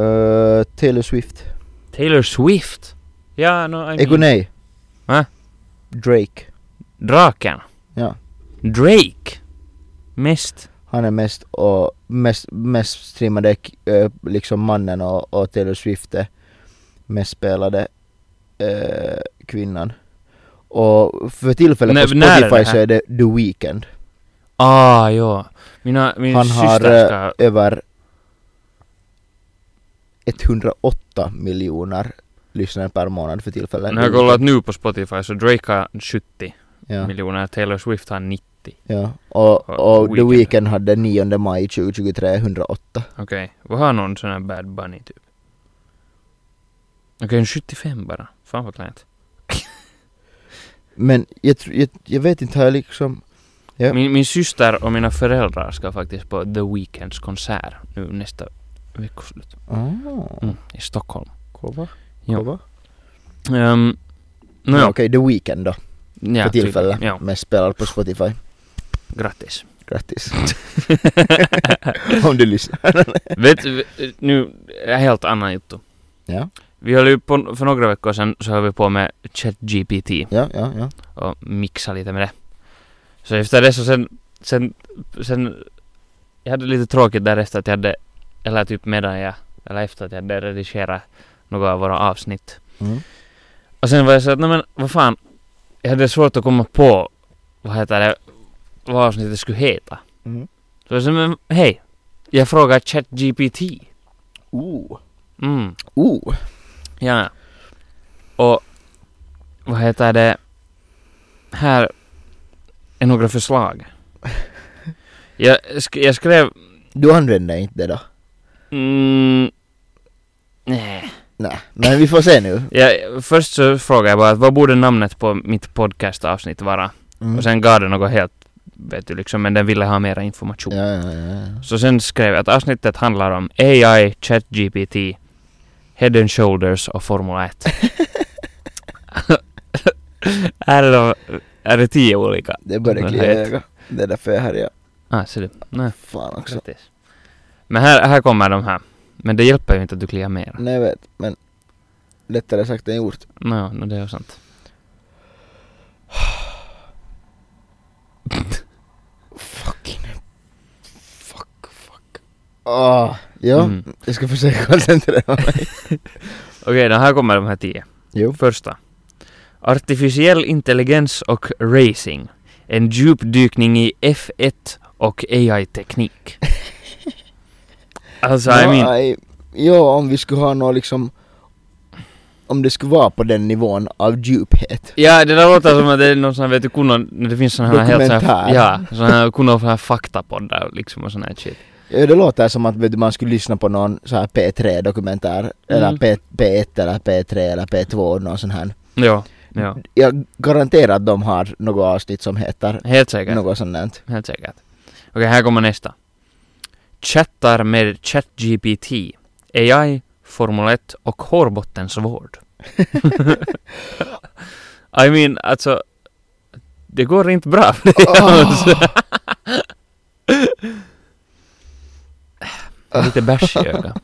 [SPEAKER 3] Eh, Taylor Swift.
[SPEAKER 2] Taylor Swift? Ja, no, I
[SPEAKER 3] Ego
[SPEAKER 2] mean,
[SPEAKER 3] nej.
[SPEAKER 2] Va?
[SPEAKER 3] Drake.
[SPEAKER 2] Draken?
[SPEAKER 3] Ja.
[SPEAKER 2] Drake? Mest?
[SPEAKER 3] Han är mest och mest, mest streamade eh, liksom mannen och, och Taylor Swift är mest spelade eh, kvinnan. Och för tillfället
[SPEAKER 2] När-
[SPEAKER 3] på
[SPEAKER 2] när är det
[SPEAKER 3] Spotify
[SPEAKER 2] här?
[SPEAKER 3] så är det The Weeknd.
[SPEAKER 2] Ah, jo. Mina, min
[SPEAKER 3] Han har
[SPEAKER 2] syster
[SPEAKER 3] eh,
[SPEAKER 2] ska...
[SPEAKER 3] över 108 miljoner lyssnare per månad för tillfället.
[SPEAKER 2] när jag kollat nu på Spotify så Drake har 70
[SPEAKER 3] Ja,
[SPEAKER 2] miljoner, Taylor Swift har 90.
[SPEAKER 3] ja. Och,
[SPEAKER 2] Och
[SPEAKER 3] och The
[SPEAKER 2] Weeknd.
[SPEAKER 3] Weeknd hade 9 maj 2023 108.
[SPEAKER 2] Okej, vad har någon sån här Bad Bunny typ? Okej, en 75 bara. Fan vad klent.
[SPEAKER 3] Men jag, tr- jag, jag vet inte, har jag liksom... Ja.
[SPEAKER 2] Min, min syster och mina föräldrar ska faktiskt på The Weeknds konsert nu nästa veckoslut.
[SPEAKER 3] Ah.
[SPEAKER 2] Mm, I Stockholm.
[SPEAKER 3] Kova?
[SPEAKER 2] Ja.
[SPEAKER 3] Kova?
[SPEAKER 2] Um,
[SPEAKER 3] Ja,
[SPEAKER 2] Nåja,
[SPEAKER 3] Okej, The Weeknd då,
[SPEAKER 2] ja,
[SPEAKER 3] för
[SPEAKER 2] tydligen.
[SPEAKER 3] tillfället.
[SPEAKER 2] Ja,
[SPEAKER 3] Men spelar på Spotify.
[SPEAKER 2] grattis.
[SPEAKER 3] Grattis. Om du lyssnar.
[SPEAKER 2] Vet vet- nu, en helt annan jotto.
[SPEAKER 3] Ja.
[SPEAKER 2] Vi höll ju på, för några veckor sedan så höll vi på med ChatGPT.
[SPEAKER 3] Ja, ja, ja.
[SPEAKER 2] och mixa lite med det. Så efter det så sen, sen, sen jag hade lite tråkigt därefter att jag hade, eller typ medan jag, eller efter att jag hade redigerat några av våra avsnitt.
[SPEAKER 3] Mm.
[SPEAKER 2] Och sen var jag så att, nej men vad fan, jag hade svårt att komma på, vad heter det, vad avsnittet skulle heta.
[SPEAKER 3] Mm.
[SPEAKER 2] Så jag sa, men hej, jag frågar ChatGPT.
[SPEAKER 3] Oh.
[SPEAKER 2] Mm,
[SPEAKER 3] Oh.
[SPEAKER 2] ja. Och, vad heter det, här är några förslag. Jag, sk- jag skrev...
[SPEAKER 3] Du använder inte det då?
[SPEAKER 2] Mm, nej.
[SPEAKER 3] Nej, men vi får se nu.
[SPEAKER 2] Jag, först så frågade jag bara vad borde namnet på mitt podcastavsnitt vara?
[SPEAKER 3] Mm.
[SPEAKER 2] Och sen gav det något helt, vet du liksom, men den ville ha mera information.
[SPEAKER 3] Ja, ja, ja.
[SPEAKER 2] Så sen skrev jag att avsnittet handlar om AI, ChatGPT, Head and Shoulders och Formel 1. är, det då, är det tio olika?
[SPEAKER 3] Det börjar
[SPEAKER 2] Den
[SPEAKER 3] klia
[SPEAKER 2] här
[SPEAKER 3] i
[SPEAKER 2] heter-
[SPEAKER 3] ögat. Det är därför jag är här. Ja.
[SPEAKER 2] Ah, ser du. Nej,
[SPEAKER 3] Fan också.
[SPEAKER 2] grattis. Men här, här kommer de här. Men det hjälper ju inte att du kliar mer.
[SPEAKER 3] Nej jag vet, men lättare sagt än gjort.
[SPEAKER 2] Nå, no, det är ju sant.
[SPEAKER 3] Fucking Fuck, fuck. Ah, ja,
[SPEAKER 2] Mm.
[SPEAKER 3] jag ska försöka koncentrera mig.
[SPEAKER 2] Okej, då här kommer de här tio.
[SPEAKER 3] jo.
[SPEAKER 2] Första. Artificiell intelligens och racing. En djupdykning i F1 och AI-teknik. alltså, I
[SPEAKER 3] Ja,
[SPEAKER 2] mean...
[SPEAKER 3] I- ja, om vi skulle ha något liksom... Om det skulle vara på den nivån av djuphet.
[SPEAKER 2] Ja, det där låter som att det är någon sån här, vet du, kunnon, när det finns såna här helt sån här,
[SPEAKER 3] Dokumentär.
[SPEAKER 2] ja, sån här kunnon sån här faktapoddar liksom och sån här shit.
[SPEAKER 3] Ja, Det låter som att vet du, man skulle lyssna på någon så här P3-dokumentär. Eller
[SPEAKER 2] Mm.
[SPEAKER 3] P, P1 eller P3 eller P2 någon sån här.
[SPEAKER 2] Ja, ja,
[SPEAKER 3] Jag garanterar att de har något avsnitt som heter
[SPEAKER 2] helt säkert,
[SPEAKER 3] något sånt där.
[SPEAKER 2] helt säkert. Okej, här kommer nästa. Chattar med ChatGPT, AI, Formel 1 och Hårbottens vård. I mean, alltså, det går inte bra för dig
[SPEAKER 3] Oh,
[SPEAKER 2] alltså. Lite bärs i ögat.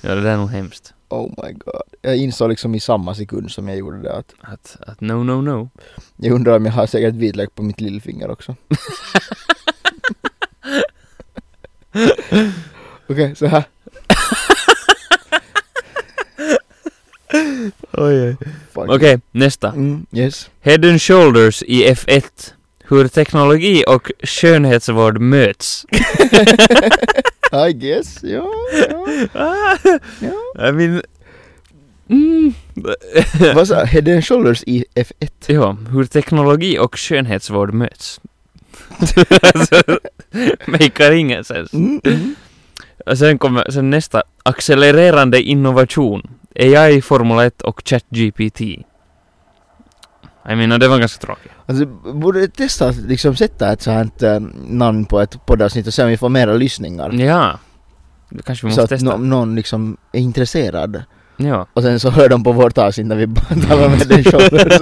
[SPEAKER 2] ja, det där är nog hemskt.
[SPEAKER 3] Oh my god. Jag insåg liksom i samma sekund som jag gjorde det att
[SPEAKER 2] Att, att no, no, no.
[SPEAKER 3] jag undrar om jag har säkert vitlök på mitt lillfinger också. Okej, så här. Fuck.
[SPEAKER 2] Okej, nästa.
[SPEAKER 3] Mm, yes.
[SPEAKER 2] Head and shoulders i F1. Hur teknologi och skönhetsvård möts.
[SPEAKER 3] I guess, ja. ja.
[SPEAKER 2] I mean... Mm.
[SPEAKER 3] Vad sa Head and Shoulders i F1?
[SPEAKER 2] ja, hur teknologi och skönhetsvård möts. alltså, makear ingen sens.
[SPEAKER 3] Mm, mm.
[SPEAKER 2] Och sen kommer sen nästa. Accelererande innovation. AI, Formel 1 och ChatGPT. I mean, och det var ganska tråkigt.
[SPEAKER 3] Alltså, borde testa att liksom sätta ett sånt här eh, namn på ett poddavsnitt och se om vi får mera lyssningar.
[SPEAKER 2] Ja. Det kanske vi
[SPEAKER 3] Så
[SPEAKER 2] Mm, måste
[SPEAKER 3] att
[SPEAKER 2] testa.
[SPEAKER 3] nå- någon liksom är intresserad.
[SPEAKER 2] Ja.
[SPEAKER 3] Och sen så hör de på vårt avsnitt när vi bara talar med den shoulders.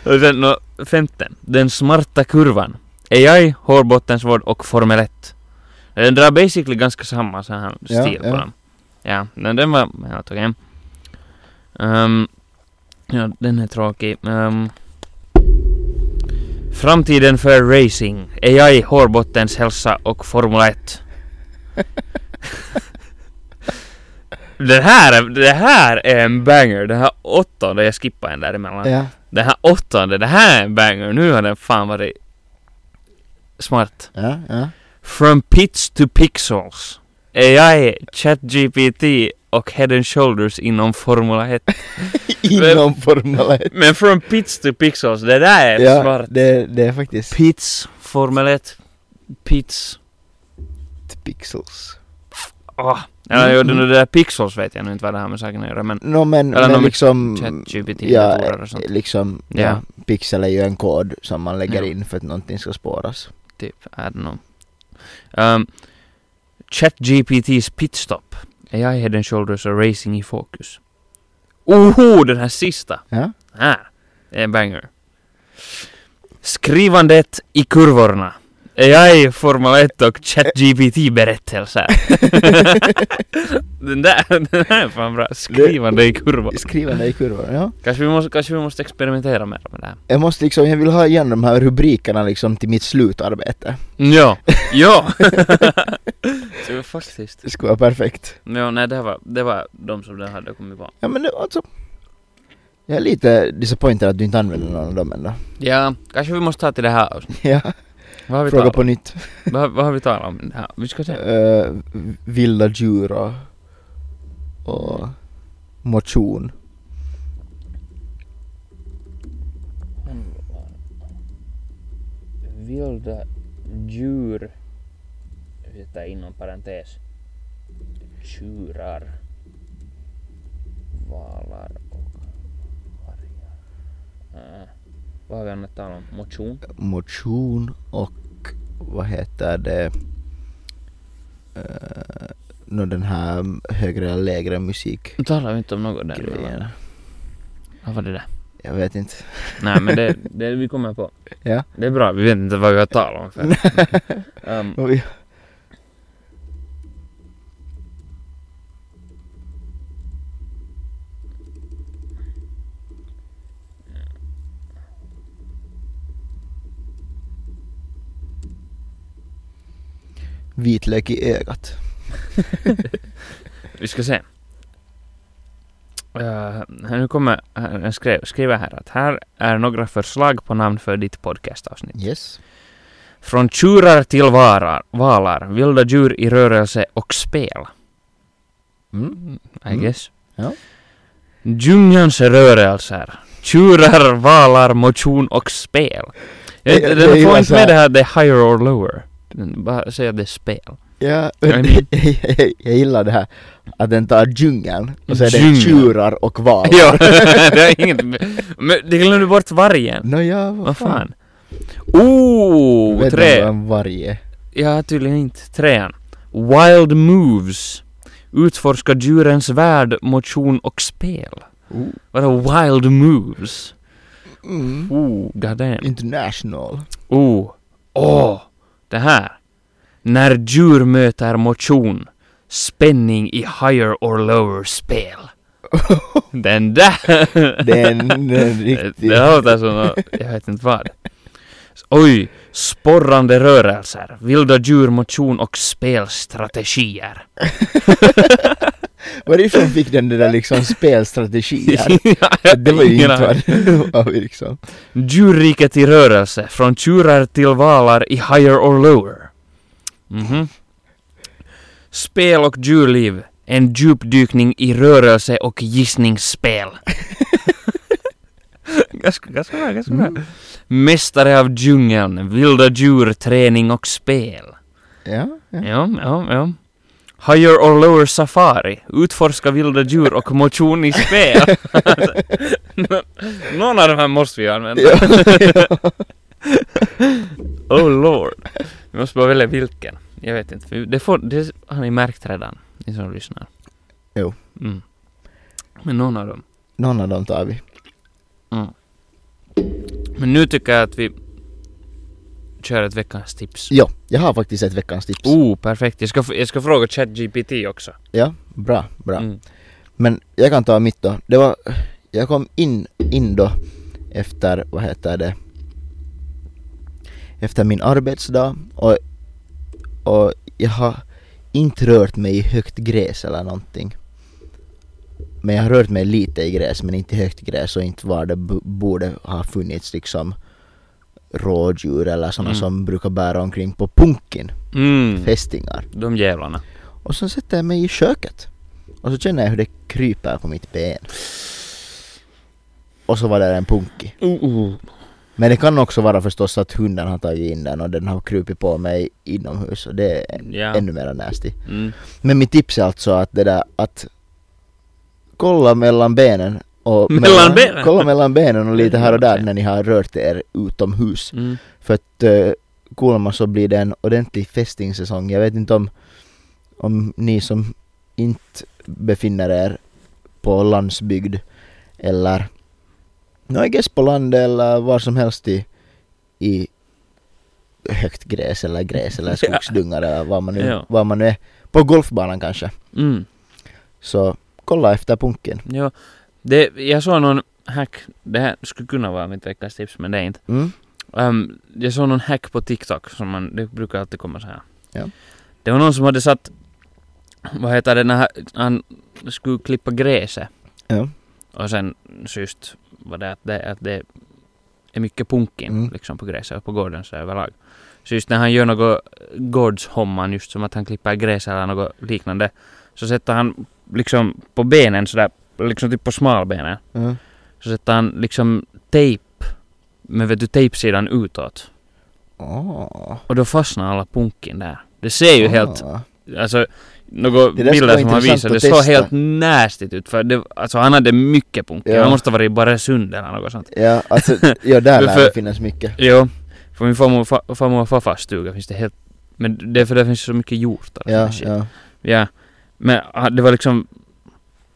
[SPEAKER 2] och sen nå, femten. Den smarta kurvan. AI, hårbottensvård och Formel 1. Den drar basically ganska samma så här
[SPEAKER 3] Ja,
[SPEAKER 2] stil på
[SPEAKER 3] ja.
[SPEAKER 2] dem. Ja, men den var helt okej. Ehm, ja, den är tråkig. Ehm, framtiden för racing. AI, hårbottens hälsa och Formel 1. den här, är- det här är en banger. Den här åttonde, jag skippade en däremellan.
[SPEAKER 3] ja.
[SPEAKER 2] Den här åttonde, det här är en banger. Nu har den fan varit smart.
[SPEAKER 3] Ja, ja.
[SPEAKER 2] From pits to pixels. AI, ChatGPT och Head and Shoulders inom Formula 1.
[SPEAKER 3] Inom Formel 1.
[SPEAKER 2] Men from pits to pixels, det där är
[SPEAKER 3] Ja,
[SPEAKER 2] smart.
[SPEAKER 3] det, det är faktiskt
[SPEAKER 2] Pits, Formel 1, pits.
[SPEAKER 3] pixels.
[SPEAKER 2] Åh. Ah, Ja,
[SPEAKER 3] Mm,
[SPEAKER 2] jag gjorde
[SPEAKER 3] mm.
[SPEAKER 2] nog det där pixels vet jag nu inte vad det har med saken att göra men
[SPEAKER 3] No, men,
[SPEAKER 2] Eller nå,
[SPEAKER 3] men
[SPEAKER 2] men
[SPEAKER 3] liksom...
[SPEAKER 2] ChatGPT
[SPEAKER 3] Ja,
[SPEAKER 2] datorer och sånt.
[SPEAKER 3] liksom, ja.
[SPEAKER 2] Ja.
[SPEAKER 3] pixel är ju en kod som man lägger
[SPEAKER 2] Ja.
[SPEAKER 3] in för att någonting ska spåras.
[SPEAKER 2] Typ, I don't know. Um, ChatGPT's pitstop. AI head and shoulders och racing i fokus. Oho, den här sista!
[SPEAKER 3] Ja?
[SPEAKER 2] Här! är En banger. Skrivandet i kurvorna. AI, Formel 1 och ChatGPT berättelser. den, där, den här är fan bra. Skrivande i kurvor.
[SPEAKER 3] Skrivande i kurvor, ja.
[SPEAKER 2] Kanske vi måste, kanske vi måste experimentera mer med det här.
[SPEAKER 3] Jag måste liksom, jag vill ha igen de här rubrikerna liksom till mitt slutarbete.
[SPEAKER 2] Ja, ja! Så faktiskt.
[SPEAKER 3] Det skulle vara perfekt.
[SPEAKER 2] Ja, nej det var, det var de som den hade kommit på.
[SPEAKER 3] Ja men det, alltså. Jag är lite disappointed att du inte använder någon av dem ändå.
[SPEAKER 2] Ja, kanske vi måste ta till det här avsnittet.
[SPEAKER 3] Ja,
[SPEAKER 2] Vad har vi
[SPEAKER 3] fråga
[SPEAKER 2] talat
[SPEAKER 3] på
[SPEAKER 2] om?
[SPEAKER 3] nytt.
[SPEAKER 2] Vad, vad har vi talat om? Det här? Vi ska se.
[SPEAKER 3] Eh, vilda djur och, och motion.
[SPEAKER 2] vilda djur. Sätta inom parentes. Tjurar. Valar och vargar. Äh. Vad har vi annat talat om? Motion?
[SPEAKER 3] motion och vad heter det uh, den här högre eller lägre musikgrejen.
[SPEAKER 2] Nu talar vi inte om något där. emellan. Vad var det där?
[SPEAKER 3] Jag vet inte.
[SPEAKER 2] Nej men det, det vi kommer på.
[SPEAKER 3] Ja.
[SPEAKER 2] Det är bra, vi vet inte vad vi har talat om för. Ehm,
[SPEAKER 3] Vad vi- Vitlök i ögat.
[SPEAKER 2] Vi ska se. Eh, nu kommer, här- jag skrev, skriver här att här är några förslag på namn för ditt podcastavsnitt.
[SPEAKER 3] Yes.
[SPEAKER 2] Från tjurar till varar, valar, vilda djur i rörelse och spel.
[SPEAKER 3] Mm.
[SPEAKER 2] I
[SPEAKER 3] Mm.
[SPEAKER 2] guess.
[SPEAKER 3] Ja.
[SPEAKER 2] Djungelns rörelser. Tjurar, valar, motion och spel. Jag,
[SPEAKER 3] Det- det är
[SPEAKER 2] den får
[SPEAKER 3] ju alltså-
[SPEAKER 2] inte
[SPEAKER 3] så
[SPEAKER 2] med
[SPEAKER 3] här-
[SPEAKER 2] det här det är higher or lower. Den Bara säga att det är spel.
[SPEAKER 3] Ja,
[SPEAKER 2] Jag är-
[SPEAKER 3] jag gillar det här att den tar djungeln och så är
[SPEAKER 2] Djungeln.
[SPEAKER 3] det tjurar och val.
[SPEAKER 2] Ja, det är inget... med- Men det glömde bort vargen.
[SPEAKER 3] Nåja, vad,
[SPEAKER 2] Vad fan? Oh,
[SPEAKER 3] Vet du vad
[SPEAKER 2] tre!
[SPEAKER 3] en varg är?
[SPEAKER 2] Ja, tydligen inte. Trean. Wild Moves. Utforska djurens värld, motion och spel.
[SPEAKER 3] Oh.
[SPEAKER 2] Vadå Wild Moves?
[SPEAKER 3] Mm.
[SPEAKER 2] Oh, goddamn.
[SPEAKER 3] International.
[SPEAKER 2] Oh. Åh! Oh. Det här. När djur möter motion. Spänning i higher or lower spel. Den där!
[SPEAKER 3] Det är en, en riktig...
[SPEAKER 2] Det låter som nå- jag vet inte vad. Oj! Sporrande rörelser, vilda djur, motion och spelstrategier.
[SPEAKER 3] Varifrån fick den det där liksom spelstrategier? Det var ju
[SPEAKER 2] Ingen
[SPEAKER 3] inte
[SPEAKER 2] aning.
[SPEAKER 3] vad det var liksom.
[SPEAKER 2] Djurriket i rörelse, från tjurar till valar i higher or lower. Mhm. Spel och djurliv, en djupdykning i rörelse och gissningsspel. ganska, ganska bra, ganska bra. Mm. Mästare av djungeln, vilda djur, träning och spel.
[SPEAKER 3] Ja, ja.
[SPEAKER 2] Ja, ja, ja. Higher or lower safari. Utforska vilda djur och motion i spel. Nå- Någon av de här måste vi använda. oh lord. Vi måste bara välja vilken. Jag vet inte. för Det, får, det har ni märkt redan, ni som lyssnar.
[SPEAKER 3] Jo.
[SPEAKER 2] Mm. Men någon av dem.
[SPEAKER 3] Någon av dem tar vi.
[SPEAKER 2] Men nu tycker jag att vi kör ett veckans tips.
[SPEAKER 3] Ja, jag har faktiskt ett veckans tips.
[SPEAKER 2] Oh, perfekt. Jag ska, f- jag ska fråga ChatGPT också.
[SPEAKER 3] Ja, bra, bra.
[SPEAKER 2] Mm.
[SPEAKER 3] Men jag kan ta mitt då. Det var, jag kom in, in då efter, vad heter det, efter min arbetsdag och, och jag har inte rört mig i högt gräs eller någonting. Men jag har rört mig lite i gräs men inte i högt gräs och inte var det b- borde ha funnits liksom rådjur eller sådana
[SPEAKER 2] Mm.
[SPEAKER 3] som brukar bära omkring på punkin,
[SPEAKER 2] Mm.
[SPEAKER 3] fästingar.
[SPEAKER 2] De jävlarna.
[SPEAKER 3] Och sen sätter jag mig i köket. Och så känner jag hur det kryper på mitt ben. Och så var där en punky.
[SPEAKER 2] Mm,
[SPEAKER 3] Men det kan också vara förstås att hunden har tagit in den och den har krupit på mig inomhus och det är än-
[SPEAKER 2] Ja.
[SPEAKER 3] ännu mer nasty.
[SPEAKER 2] Mm.
[SPEAKER 3] Men mitt tips är alltså att det där att kolla mellan benen och
[SPEAKER 2] Mellan benen?
[SPEAKER 3] kolla mellan benen och lite här och där när ni har rört er utomhus.
[SPEAKER 2] Mm.
[SPEAKER 3] För att uh, Kulma så blir det en ordentlig fästingsäsong. Jag vet inte om, om ni som inte befinner er på landsbygd eller no, I guess på landet eller var som helst i, i högt gräs eller gräs eller skogsdungar eller var man, nu,
[SPEAKER 2] Ja.
[SPEAKER 3] var man nu är. På golfbanan kanske.
[SPEAKER 2] Mm.
[SPEAKER 3] Så kolla efter punken.
[SPEAKER 2] Ja. Det, jag såg någon hack, det här skulle kunna vara mitt veckans tips men det är inte.
[SPEAKER 3] Mm?
[SPEAKER 2] Ehm, jag såg någon hack på TikTok som man, det brukar alltid komma så här.
[SPEAKER 3] Ja.
[SPEAKER 2] Det var någon som hade satt, vad heter det, när han skulle klippa gräset
[SPEAKER 3] Ja.
[SPEAKER 2] och sen så just var det att det, att det är mycket punkin
[SPEAKER 3] Mm.
[SPEAKER 2] liksom på gräset och på gården så överlag. Så just när han gör något gårdshomman, just som att han klipper gräs eller något liknande, så sätter han liksom på benen sådär, liksom typ på smalbenen,
[SPEAKER 3] Ja.
[SPEAKER 2] så sätter han liksom tejp, men vet du tejpsidan utåt.
[SPEAKER 3] Ah.
[SPEAKER 2] Och då fastnar alla punkin där. Det ser ju helt,
[SPEAKER 3] Ah.
[SPEAKER 2] alltså några
[SPEAKER 3] Det där skulle
[SPEAKER 2] bilder
[SPEAKER 3] vara
[SPEAKER 2] som han visade,
[SPEAKER 3] intressant
[SPEAKER 2] det
[SPEAKER 3] att
[SPEAKER 2] såg
[SPEAKER 3] testa.
[SPEAKER 2] helt nästigt ut för det, alltså han hade mycket punkin.
[SPEAKER 3] Ja.
[SPEAKER 2] Han måste ha varit i Barösund eller något sånt.
[SPEAKER 3] Ja, alltså, ja där lär
[SPEAKER 2] För-
[SPEAKER 3] det finnas mycket.
[SPEAKER 2] Jo, för min farmor och fa- farmor och farfars stuga finns det helt, men det är för där finns så mycket hjortar och
[SPEAKER 3] Ja,
[SPEAKER 2] sån shit.
[SPEAKER 3] ja.
[SPEAKER 2] ja. Men ah, det var liksom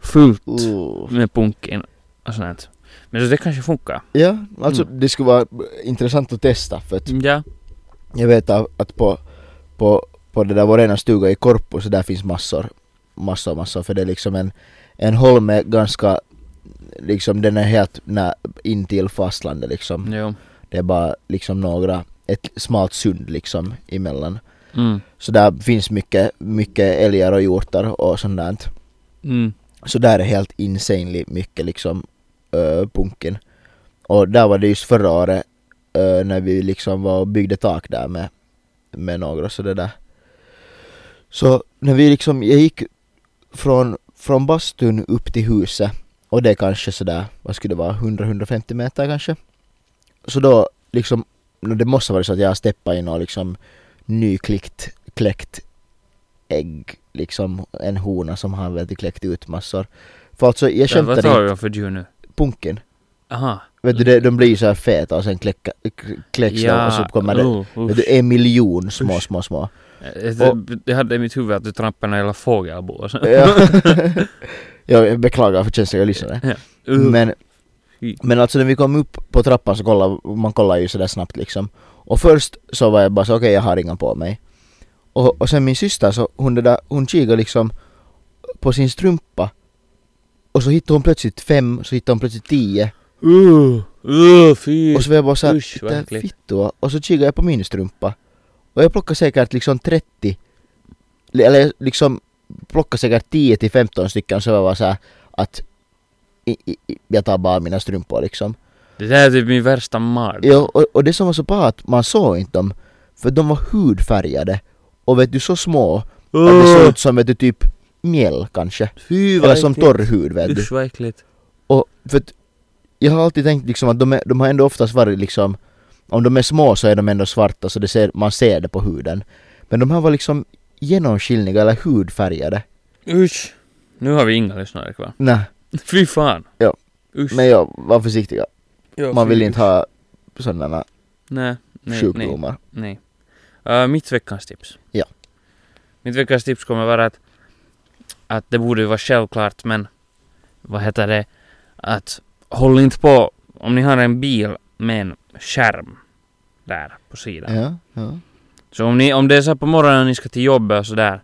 [SPEAKER 2] fullt
[SPEAKER 3] Uh.
[SPEAKER 2] med punkin och sånt. Men så det kanske funkar.
[SPEAKER 3] Ja, alltså det skulle vara intressant att testa för att
[SPEAKER 2] Ja.
[SPEAKER 3] jag vet av- att på, på, på det där vår ena stuga i Korpo så där finns massor, massor, massor för det är liksom en, en holme ganska, liksom den är helt nä, in till fastlandet liksom.
[SPEAKER 2] Jo.
[SPEAKER 3] Det är bara liksom några, ett smalt sund liksom emellan.
[SPEAKER 2] Mm.
[SPEAKER 3] Så där finns mycket, mycket älgar och hjortar och sånt där.
[SPEAKER 2] Mm.
[SPEAKER 3] Så där är helt insanely mycket liksom ö, punken. Och där var det just förra året ö, när vi liksom var och byggde tak där med, med några så det där. Så när vi liksom, jag gick från, från bastun upp till huset och det är kanske sådär, vad skulle det vara, 100-150 meter kanske. Så då liksom, nå, det måste vara så att jag steppade in och liksom nykläckt kläckt ägg, liksom en hona som han väl kläckt ut massor. För alltså jag
[SPEAKER 2] Ja, Vad
[SPEAKER 3] skämtar
[SPEAKER 2] tar
[SPEAKER 3] inte,
[SPEAKER 2] jag för djur nu?
[SPEAKER 3] punken.
[SPEAKER 2] Aha.
[SPEAKER 3] Vet du, de, de blir så här feta och sen kläcka, k- kläcks de och så kommer det
[SPEAKER 2] oh,
[SPEAKER 3] vet
[SPEAKER 2] usch.
[SPEAKER 3] du, en miljon små,
[SPEAKER 2] Usch.
[SPEAKER 3] små, små.
[SPEAKER 2] Jag-
[SPEAKER 3] och-
[SPEAKER 2] Jag hade i mitt huvud att du trampade en jävla fågelbo och så.
[SPEAKER 3] Ja. jag beklagar för känsliga lyssnare.
[SPEAKER 2] Uh,
[SPEAKER 3] Men,
[SPEAKER 2] Fy.
[SPEAKER 3] men alltså när vi kom upp på trappan så kollar man kollar ju sådär snabbt liksom. Och först så var jag bara så okej jag har inga på mig. Och, och sen min syster så hon, det där, hon kikade liksom på sin strumpa. Och så hittade hon plötsligt fem, så hittade hon plötsligt tio.
[SPEAKER 2] uh, uh, fy.
[SPEAKER 3] Och så var jag bara såhär,
[SPEAKER 2] Usch, vad
[SPEAKER 3] "Titta,
[SPEAKER 2] äckligt."
[SPEAKER 3] fittua. Och så kikade jag på min strumpa. Och jag plockade säkert liksom 30. Eller jag liksom plockade säkert 10 till 15 stycken så jag var såhär att i, i, i- jag tar bara mina strumpor liksom.
[SPEAKER 2] Det där är typ min värsta mardröm.
[SPEAKER 3] Ja, och, och det som var så bra att man såg inte dem. För de var hudfärgade. Och vet du så små.
[SPEAKER 2] Uh.
[SPEAKER 3] Att det såg ut som vet du typ mjäll kanske.
[SPEAKER 2] Fy
[SPEAKER 3] Eller som torr hud vet du.
[SPEAKER 2] Usch vad äckligt.
[SPEAKER 3] Och för att jag har alltid tänkt liksom att de, är, de har ändå oftast varit liksom Om de är små så är de ändå svarta så det ser, man ser det på huden Men de här var liksom genomskinliga eller hudfärgade
[SPEAKER 2] Usch. Nu har vi inga lyssnare kvar.
[SPEAKER 3] Nej,
[SPEAKER 2] Fy fan.
[SPEAKER 3] Ja.
[SPEAKER 2] Usch.
[SPEAKER 3] men ja, var försiktiga
[SPEAKER 2] Ja,
[SPEAKER 3] Man
[SPEAKER 2] fy.
[SPEAKER 3] vill inte ha sådana
[SPEAKER 2] Nej, nej, nej.
[SPEAKER 3] sjukdomar
[SPEAKER 2] Nej. Uh, mitt veckans tips.
[SPEAKER 3] Ja.
[SPEAKER 2] Mitt veckans tips kommer vara att, att det borde ju vara självklart men vad heter det? Att håll inte på om ni har en bil med en skärm där på sidan.
[SPEAKER 3] Ja, ja
[SPEAKER 2] Så om, ni, om det är så här på morgonen och ni ska till jobbet och sådär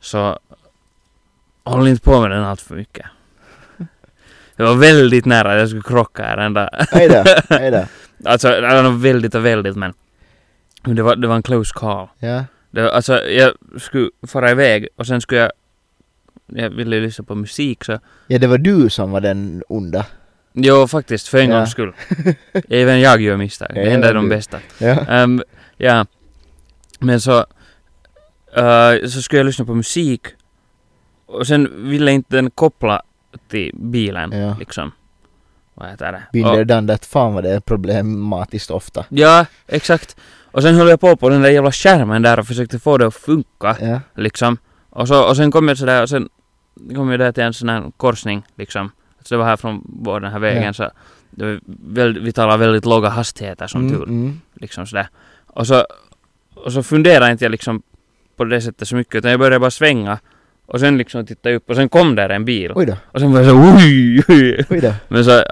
[SPEAKER 2] så håll inte på med den allt för mycket. Det var väldigt nära att jag skulle krocka här den där.
[SPEAKER 3] Hej där, hej där
[SPEAKER 2] Alltså, det var väldigt och väldigt men men det var, det var en close call.
[SPEAKER 3] Ja,
[SPEAKER 2] Det, var- alltså jag skulle fara iväg och sen skulle jag... Jag ville ju lyssna på musik så...
[SPEAKER 3] ja det var du som var den onda
[SPEAKER 2] Jo, faktiskt, för en
[SPEAKER 3] Ja.
[SPEAKER 2] gångs skull. Även jag gör misstag. Det
[SPEAKER 3] Även
[SPEAKER 2] händer de
[SPEAKER 3] du.
[SPEAKER 2] bästa.
[SPEAKER 3] Ja,
[SPEAKER 2] Ehm, ja. Men så... eh, så skulle jag lyssna på musik. Och sen ville inte den koppla till bilen,
[SPEAKER 3] Ja.
[SPEAKER 2] liksom. Vad heter det?
[SPEAKER 3] Binder
[SPEAKER 2] Och,
[SPEAKER 3] done that, fan vad det är problematiskt ofta
[SPEAKER 2] ja, exakt. Och sen höll jag på på den där jävla skärmen där och försökte få det att funka.
[SPEAKER 3] Ja,
[SPEAKER 2] liksom. Och, så, och sen kom jag sådär, och sen kom jag där till en sån här korsning liksom. Så det var här från vår den här vägen
[SPEAKER 3] Ja.
[SPEAKER 2] så det var väl, vi talar väldigt låga hastigheter som
[SPEAKER 3] Mm,
[SPEAKER 2] tur,
[SPEAKER 3] mm.
[SPEAKER 2] liksom sådär. Och så, och så funderade inte jag liksom på det sättet så mycket utan jag började bara svänga och sen liksom titta upp och sen kom där en bil
[SPEAKER 3] Oj då,
[SPEAKER 2] och sen var jag så oj, oj.
[SPEAKER 3] oj då
[SPEAKER 2] Men så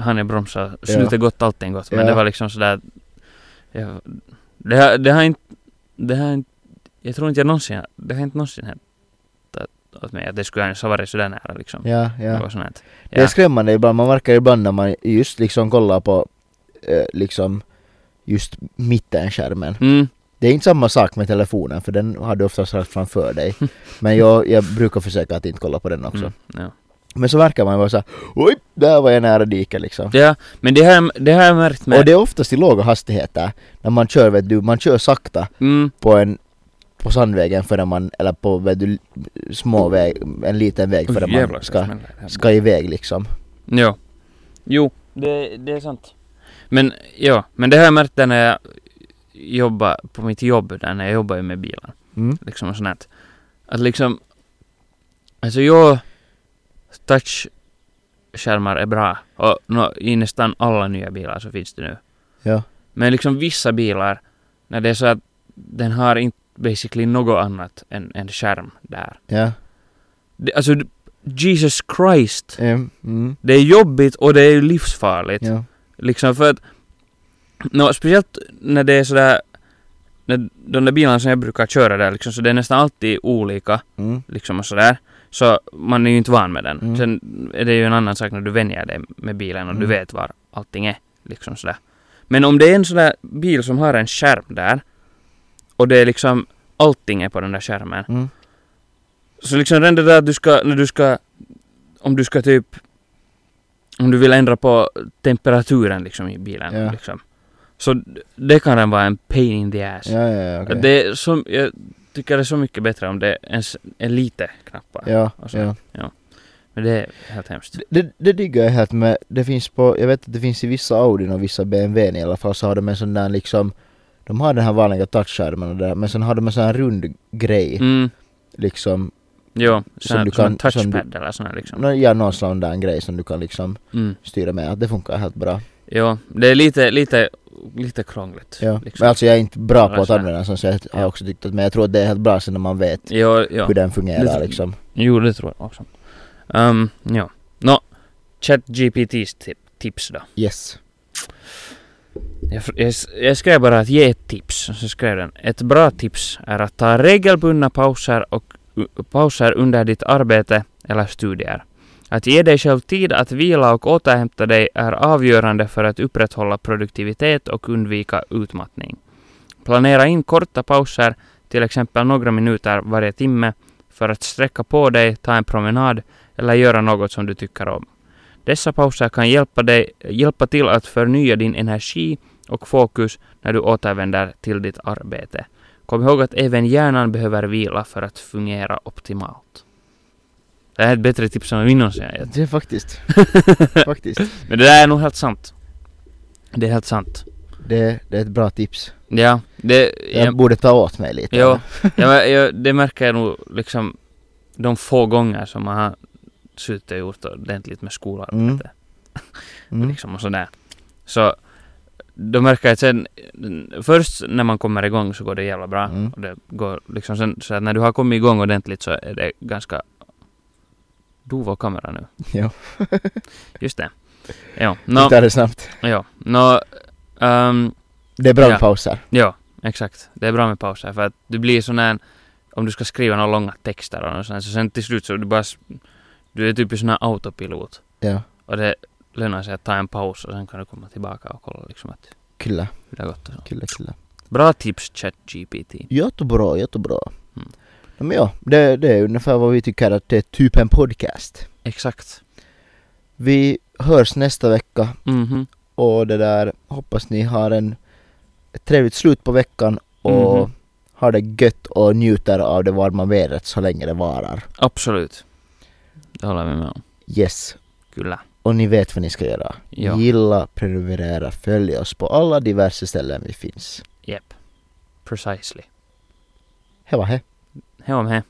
[SPEAKER 2] han är bromsa, slutet gott allting gott men
[SPEAKER 3] Ja.
[SPEAKER 2] det var liksom sådär jag, det, har, det har inte, det har inte, jag tror inte jag någonsin, har- det har inte någonsin hänt att, åt mig att det skulle ens ha varit sådär nära liksom.
[SPEAKER 3] Ja, ja
[SPEAKER 2] Det var sån här, att-
[SPEAKER 3] Det är
[SPEAKER 2] ja.
[SPEAKER 3] skrämmande ibland, man märker ibland när man just liksom kollar på eh, liksom just mittenskärmen.
[SPEAKER 2] Mm,
[SPEAKER 3] Det är inte samma sak med telefonen för den har du oftast rakt framför dig. Men jag, jag brukar försöka att inte kolla på den också.
[SPEAKER 2] mm, ja.
[SPEAKER 3] Men så verkar man vara såhär oj, där var jag nära diket liksom.
[SPEAKER 2] ja, men det har, det har jag märkt med,
[SPEAKER 3] Och det är oftast i låga hastigheter när man kör, vet du, man kör sakta
[SPEAKER 2] mm,
[SPEAKER 3] på en på sandvägen förrän man, eller på vet du, små väg, en liten väg
[SPEAKER 2] Oj,
[SPEAKER 3] förrän
[SPEAKER 2] jävlar,
[SPEAKER 3] man ska,
[SPEAKER 2] smäller det här.
[SPEAKER 3] ska iväg liksom.
[SPEAKER 2] Jo. Jo, det, det är sant. Men ja, men det har jag märkt där när jag jobba på mitt jobb där när jag jobbar ju med bilar.
[SPEAKER 3] Mm.
[SPEAKER 2] Liksom och sånt här. Att liksom, alltså jag, touchskärmar är bra. Och nå, i nästan alla nya bilar så finns det nu.
[SPEAKER 3] Ja.
[SPEAKER 2] Men liksom vissa bilar, när det är så att den har inte basically något annat än en skärm där.
[SPEAKER 3] Ja.
[SPEAKER 2] Det, alltså, Jesus Christ.
[SPEAKER 3] Mm. Mm.
[SPEAKER 2] Det är jobbigt och det är ju livsfarligt.
[SPEAKER 3] Ja.
[SPEAKER 2] Liksom för att... nå speciellt när det är sådär... När de där bilarna som jag brukar köra där liksom, så det är nästan alltid olika
[SPEAKER 3] Mm.
[SPEAKER 2] liksom och sådär. Så man är ju inte van med den.
[SPEAKER 3] Mm.
[SPEAKER 2] Sen är det ju en annan sak när du vänjer dig med bilen och du
[SPEAKER 3] Mm.
[SPEAKER 2] vet var allting är. Liksom sådär. Men om det är en sån där bil som har en skärm där och det är liksom allting är på den där skärmen.
[SPEAKER 3] Mm.
[SPEAKER 2] Så liksom redan det där att du ska, när du ska, om du ska typ, om du vill ändra på temperaturen liksom i bilen
[SPEAKER 3] Ja.
[SPEAKER 2] liksom. Så d- det kan den vara en pain in the ass.
[SPEAKER 3] Ja, ja, ja, okej.
[SPEAKER 2] Alltså. Det är som, jag tycker det är så mycket bättre om det ens är lite knappar.
[SPEAKER 3] Ja,
[SPEAKER 2] Och så.
[SPEAKER 3] ja.
[SPEAKER 2] Men det är helt hemskt.
[SPEAKER 3] Det, det diggar jag helt med. Det finns på, jag vet att det finns i vissa Audin och vissa BMWn i alla fall så har de en sån där liksom de har den här vanliga touchskärmen och det där, men sen har de en sån här rund grej
[SPEAKER 2] Mm,
[SPEAKER 3] liksom.
[SPEAKER 2] jo, sån,
[SPEAKER 3] du Mm.
[SPEAKER 2] du
[SPEAKER 3] kan- som
[SPEAKER 2] touchpad eller sån här liksom.
[SPEAKER 3] Nå, Ja, någon sån där grej som du kan liksom
[SPEAKER 2] Mm,
[SPEAKER 3] styra med. Att det funkar helt bra.
[SPEAKER 2] jo, det är lite, lite, lite krångligt.
[SPEAKER 3] Ja.
[SPEAKER 2] Liksom.
[SPEAKER 3] Men alltså jag är inte bra på att
[SPEAKER 2] Alltså,
[SPEAKER 3] använda den så jag har också tyckt att, men jag tror att det är helt bra sen när man vet
[SPEAKER 2] Jo, jo.
[SPEAKER 3] hur den fungerar
[SPEAKER 2] Lite-
[SPEAKER 3] liksom.
[SPEAKER 2] Jo, det tror jag också. Um, ja. Nå, ChatGPTs tip, tips då.
[SPEAKER 3] Yes.
[SPEAKER 2] Jag, fr- jag, s- jag skrev bara att ge ett tips, och så skrev den. Ett bra tips är att ta regelbundna pauser, och, u- pauser under ditt arbete eller studier. Att ge dig själv tid att vila och återhämta dig är avgörande för att upprätthålla produktivitet och undvika utmattning. Planera in korta pauser, till exempel några minuter varje timme, för att sträcka på dig, ta en promenad eller göra något som du tycker om. Dessa pauser kan hjälpa, dig, hjälpa till att förnya din energi och fokus när du återvänder till ditt arbete. Kom ihåg att även hjärnan behöver vila för att fungera optimalt. Det här är ett bättre tips än vad vi någonsin har gett.
[SPEAKER 3] Det är faktiskt. faktiskt.
[SPEAKER 2] Men det där är nog helt sant. Det är helt sant.
[SPEAKER 3] Det, det är ett bra tips.
[SPEAKER 2] Ja, det...
[SPEAKER 3] Jag
[SPEAKER 2] Jag,
[SPEAKER 3] borde ta åt mig lite.
[SPEAKER 2] ja, jag, jag, det märker jag nog liksom de få gånger som man har suttit och gjort ordentligt med skolarbete.
[SPEAKER 3] Mm. Mm.
[SPEAKER 2] liksom och sådär. Så då märker jag att sen, först när man kommer igång så går det jävla bra.
[SPEAKER 3] Mm.
[SPEAKER 2] Och det går liksom sen, så att när du har kommit igång ordentligt så är det ganska... Dov var kameran nu.
[SPEAKER 3] Ja.
[SPEAKER 2] Just det. Ja, nå,
[SPEAKER 3] Vi tar det snabbt.
[SPEAKER 2] ja, nå, ehm,
[SPEAKER 3] Det är bra med
[SPEAKER 2] Ja.
[SPEAKER 3] pauser.
[SPEAKER 2] Ja, exakt. Det är bra med pauser för att du blir sån här, om du ska skriva några långa texter och något sånt, så sen till slut så du bara, s- du är typ i sån här autopilot
[SPEAKER 3] Ja,
[SPEAKER 2] och det lönar sig att ta en paus och sen kan du komma tillbaka och kolla liksom att
[SPEAKER 3] kyllä,
[SPEAKER 2] hur det har gått och så.
[SPEAKER 3] kyllä, kyllä.
[SPEAKER 2] Bra tips ChatGPT.
[SPEAKER 3] Jättebra, jättebra.
[SPEAKER 2] Mm.
[SPEAKER 3] Ja, men ja, det, det är ungefär vad vi tycker att det är typ en podcast.
[SPEAKER 2] Exakt.
[SPEAKER 3] Vi hörs nästa vecka
[SPEAKER 2] Mhm.
[SPEAKER 3] och det där, hoppas ni har en ett trevligt slut på veckan och
[SPEAKER 2] Mhm.
[SPEAKER 3] har det gött och njuter av det varma vädret så länge det varar.
[SPEAKER 2] Absolut. Det håller vi med om.
[SPEAKER 3] Yes.
[SPEAKER 2] Kyllä.
[SPEAKER 3] Och ni vet vad ni ska göra.
[SPEAKER 2] Ja.
[SPEAKER 3] Gilla, prenumerera, följ oss på alla diverse ställen vi finns.
[SPEAKER 2] Jep. Precisely.
[SPEAKER 3] Heva he.
[SPEAKER 2] He on he.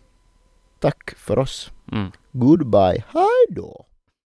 [SPEAKER 3] Tack för oss.
[SPEAKER 2] Mm.
[SPEAKER 3] Goodbye. Hej då.